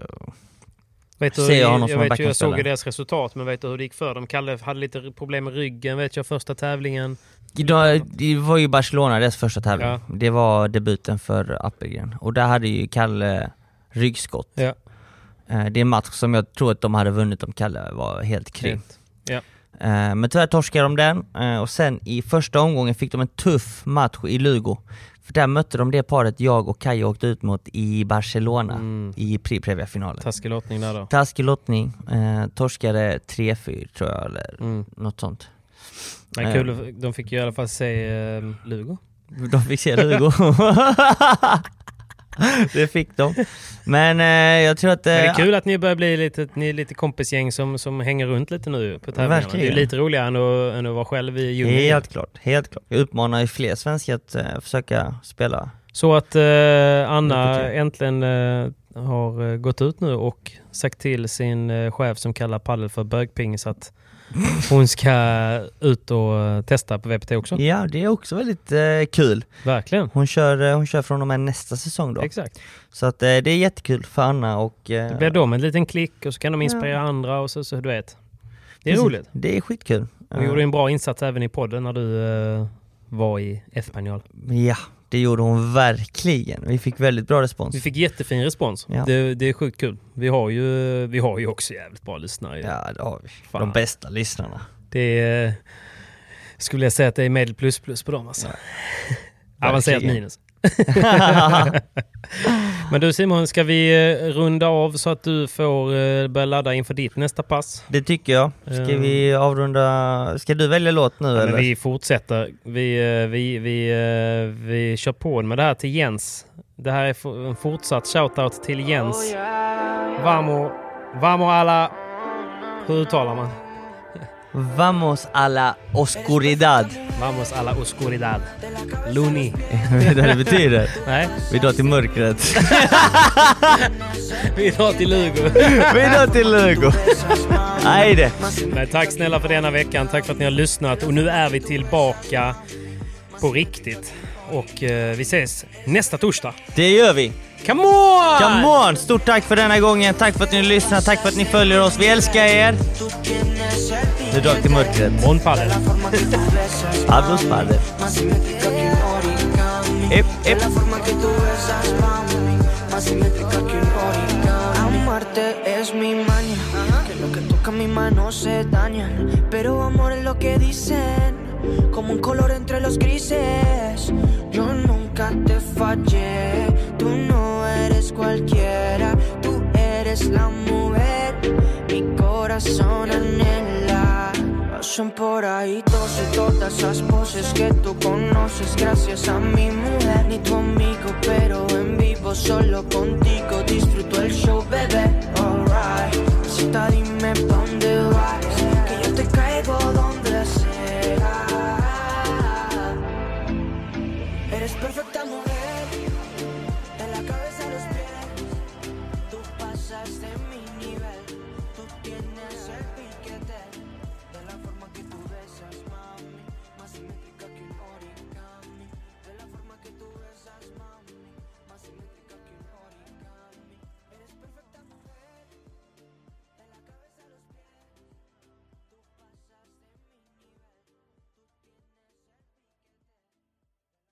Speaker 3: Vet du,
Speaker 5: Ser jag honom
Speaker 3: jag,
Speaker 5: som en
Speaker 3: vet ju, jag såg ju
Speaker 5: backhandspelare.
Speaker 3: deras resultat, men vet du hur det gick för dem? Kalle hade lite problem med ryggen, vet jag, första tävlingen.
Speaker 5: Idag- det var ju Barcelona, deras första tävling.
Speaker 3: Ja.
Speaker 5: Det var debuten för Appelgren. Och där hade ju Kalle ryggskott.
Speaker 3: Ja,
Speaker 5: Eh, Det är en match som jag tror att de hade vunnit om Kalle var helt kring.
Speaker 3: Helt. ja.
Speaker 5: Eh, Men tyvärr torskade de den eh, och sen i första omgången fick de en tuff match i Lugo. För där mötte de det paret jag och Kaj åkte ut mot i Barcelona
Speaker 3: Mm.
Speaker 5: i Prix Previa-finalen.
Speaker 3: Taskig lottning där då.
Speaker 5: Taskig lottning, eh, torskade 3-4 tror jag eller
Speaker 3: Mm.
Speaker 5: något sånt.
Speaker 3: Men kul, de fick ju i alla fall se eh, Lugo.
Speaker 5: De fick se Lugo. det fick de. Men eh, jag tror att... eh,
Speaker 3: Men det är kul att ni börjar bli lite, ni är lite kompisgäng som, som hänger runt lite nu på tävlingarna.
Speaker 5: Verkligen.
Speaker 3: Det är ju lite roligare än att, än att vara själv i djungeln.
Speaker 5: eh, Helt klart, helt klart. Jag uppmanar ju fler svenskar att eh, försöka spela.
Speaker 3: Så att eh, Anna
Speaker 5: Lycka till.
Speaker 3: äntligen eh, har eh, gått ut nu och sagt till sin eh, chef som kallar Paddel för bögpingis att hon ska ut och eh, testa på VPT också.
Speaker 5: Ja, det är också väldigt eh, kul.
Speaker 3: Verkligen.
Speaker 5: Hon kör, eh, hon kör från och med nästa säsong då.
Speaker 3: Exakt.
Speaker 5: Så att eh, det är jättekul för Anna och... eh,
Speaker 3: Det blir de en liten klick och så kan de inspirera andra och så, så du vet. Det är
Speaker 5: precis.
Speaker 3: roligt.
Speaker 5: Det är skitkul.
Speaker 3: Du gjorde en bra insats även i podden när du eh, var i Espanyol.
Speaker 5: Eh, Ja, det gjorde hon verkligen. Vi fick väldigt bra respons.
Speaker 3: Vi fick jättefin respons.
Speaker 5: Ja.
Speaker 3: Det, det är sjukt kul. Vi har ju, vi har ju också jävligt bra lyssnare. ju.
Speaker 5: Ja, det har vi.
Speaker 3: Fan.
Speaker 5: De bästa lyssnarna.
Speaker 3: Det är, eh, skulle jag säga att det är medel plus plus på dem alltså. Avancerat
Speaker 5: Verkligen.
Speaker 3: minus. Men du Simon, ska vi eh, runda av så att du får eh, börja ladda inför ditt nästa pass?
Speaker 5: Det tycker jag. Ska
Speaker 3: Ehm.
Speaker 5: vi avrunda... Ska du välja låt nu
Speaker 3: Ja,
Speaker 5: eller?
Speaker 3: men vi fortsätter. Vi, eh, vi, vi, eh, vi kör på med det här till Jens. Det här är f- en fortsatt shoutout till Jens. Vamo, vamo alla... Hur uttalar man?
Speaker 5: Vamos a la oscuridad.
Speaker 3: Vamos alla oscuridad. Luni.
Speaker 5: Vet du vad det betyder?
Speaker 3: Nej,
Speaker 5: Vi drar till mörkret.
Speaker 3: vi drar till Lugo.
Speaker 5: Vi drar till Lugo. Nej det.
Speaker 3: Nej, tack snälla för denna veckan. Tack för att ni har lyssnat. Och nu är vi tillbaka på riktigt. Och eh, vi ses nästa torsdag.
Speaker 5: Det gör vi.
Speaker 3: Come on!
Speaker 5: Come on! Stort tack för denna gången. Tack för att ni lyssnar. Tack för att ni följer oss. Vi älskar er. Nu drar vi till mörkret.
Speaker 3: Bon padel.
Speaker 5: Adios padre. Ep, ep.
Speaker 9: Amarte es mi mayor tocan mis manos se dañan, pero amor es lo que dicen, como un color entre los grises. Yo nunca te fallé, tú no eres cualquiera, tú eres la mujer, mi corazón anhela. Pasan por ahí todos y todas esas voces que tú conoces gracias a mi mujer Ni tu amigo pero en vivo solo contigo disfruto el show bebé Alright, cita dime pa' dónde vas Que yo te caigo donde sea Eres perfecta mujer De la cabeza a los pies Tú pasas de mi nivel Tú tienes el piquete De la forma que tú besas, mami Más simétrica que un origami De la forma que tú besas, mami Más simétrica que un origami Eres perfecta mujer De la cabeza a los pies Tú pasas de mi nivel Tú tienes el piquete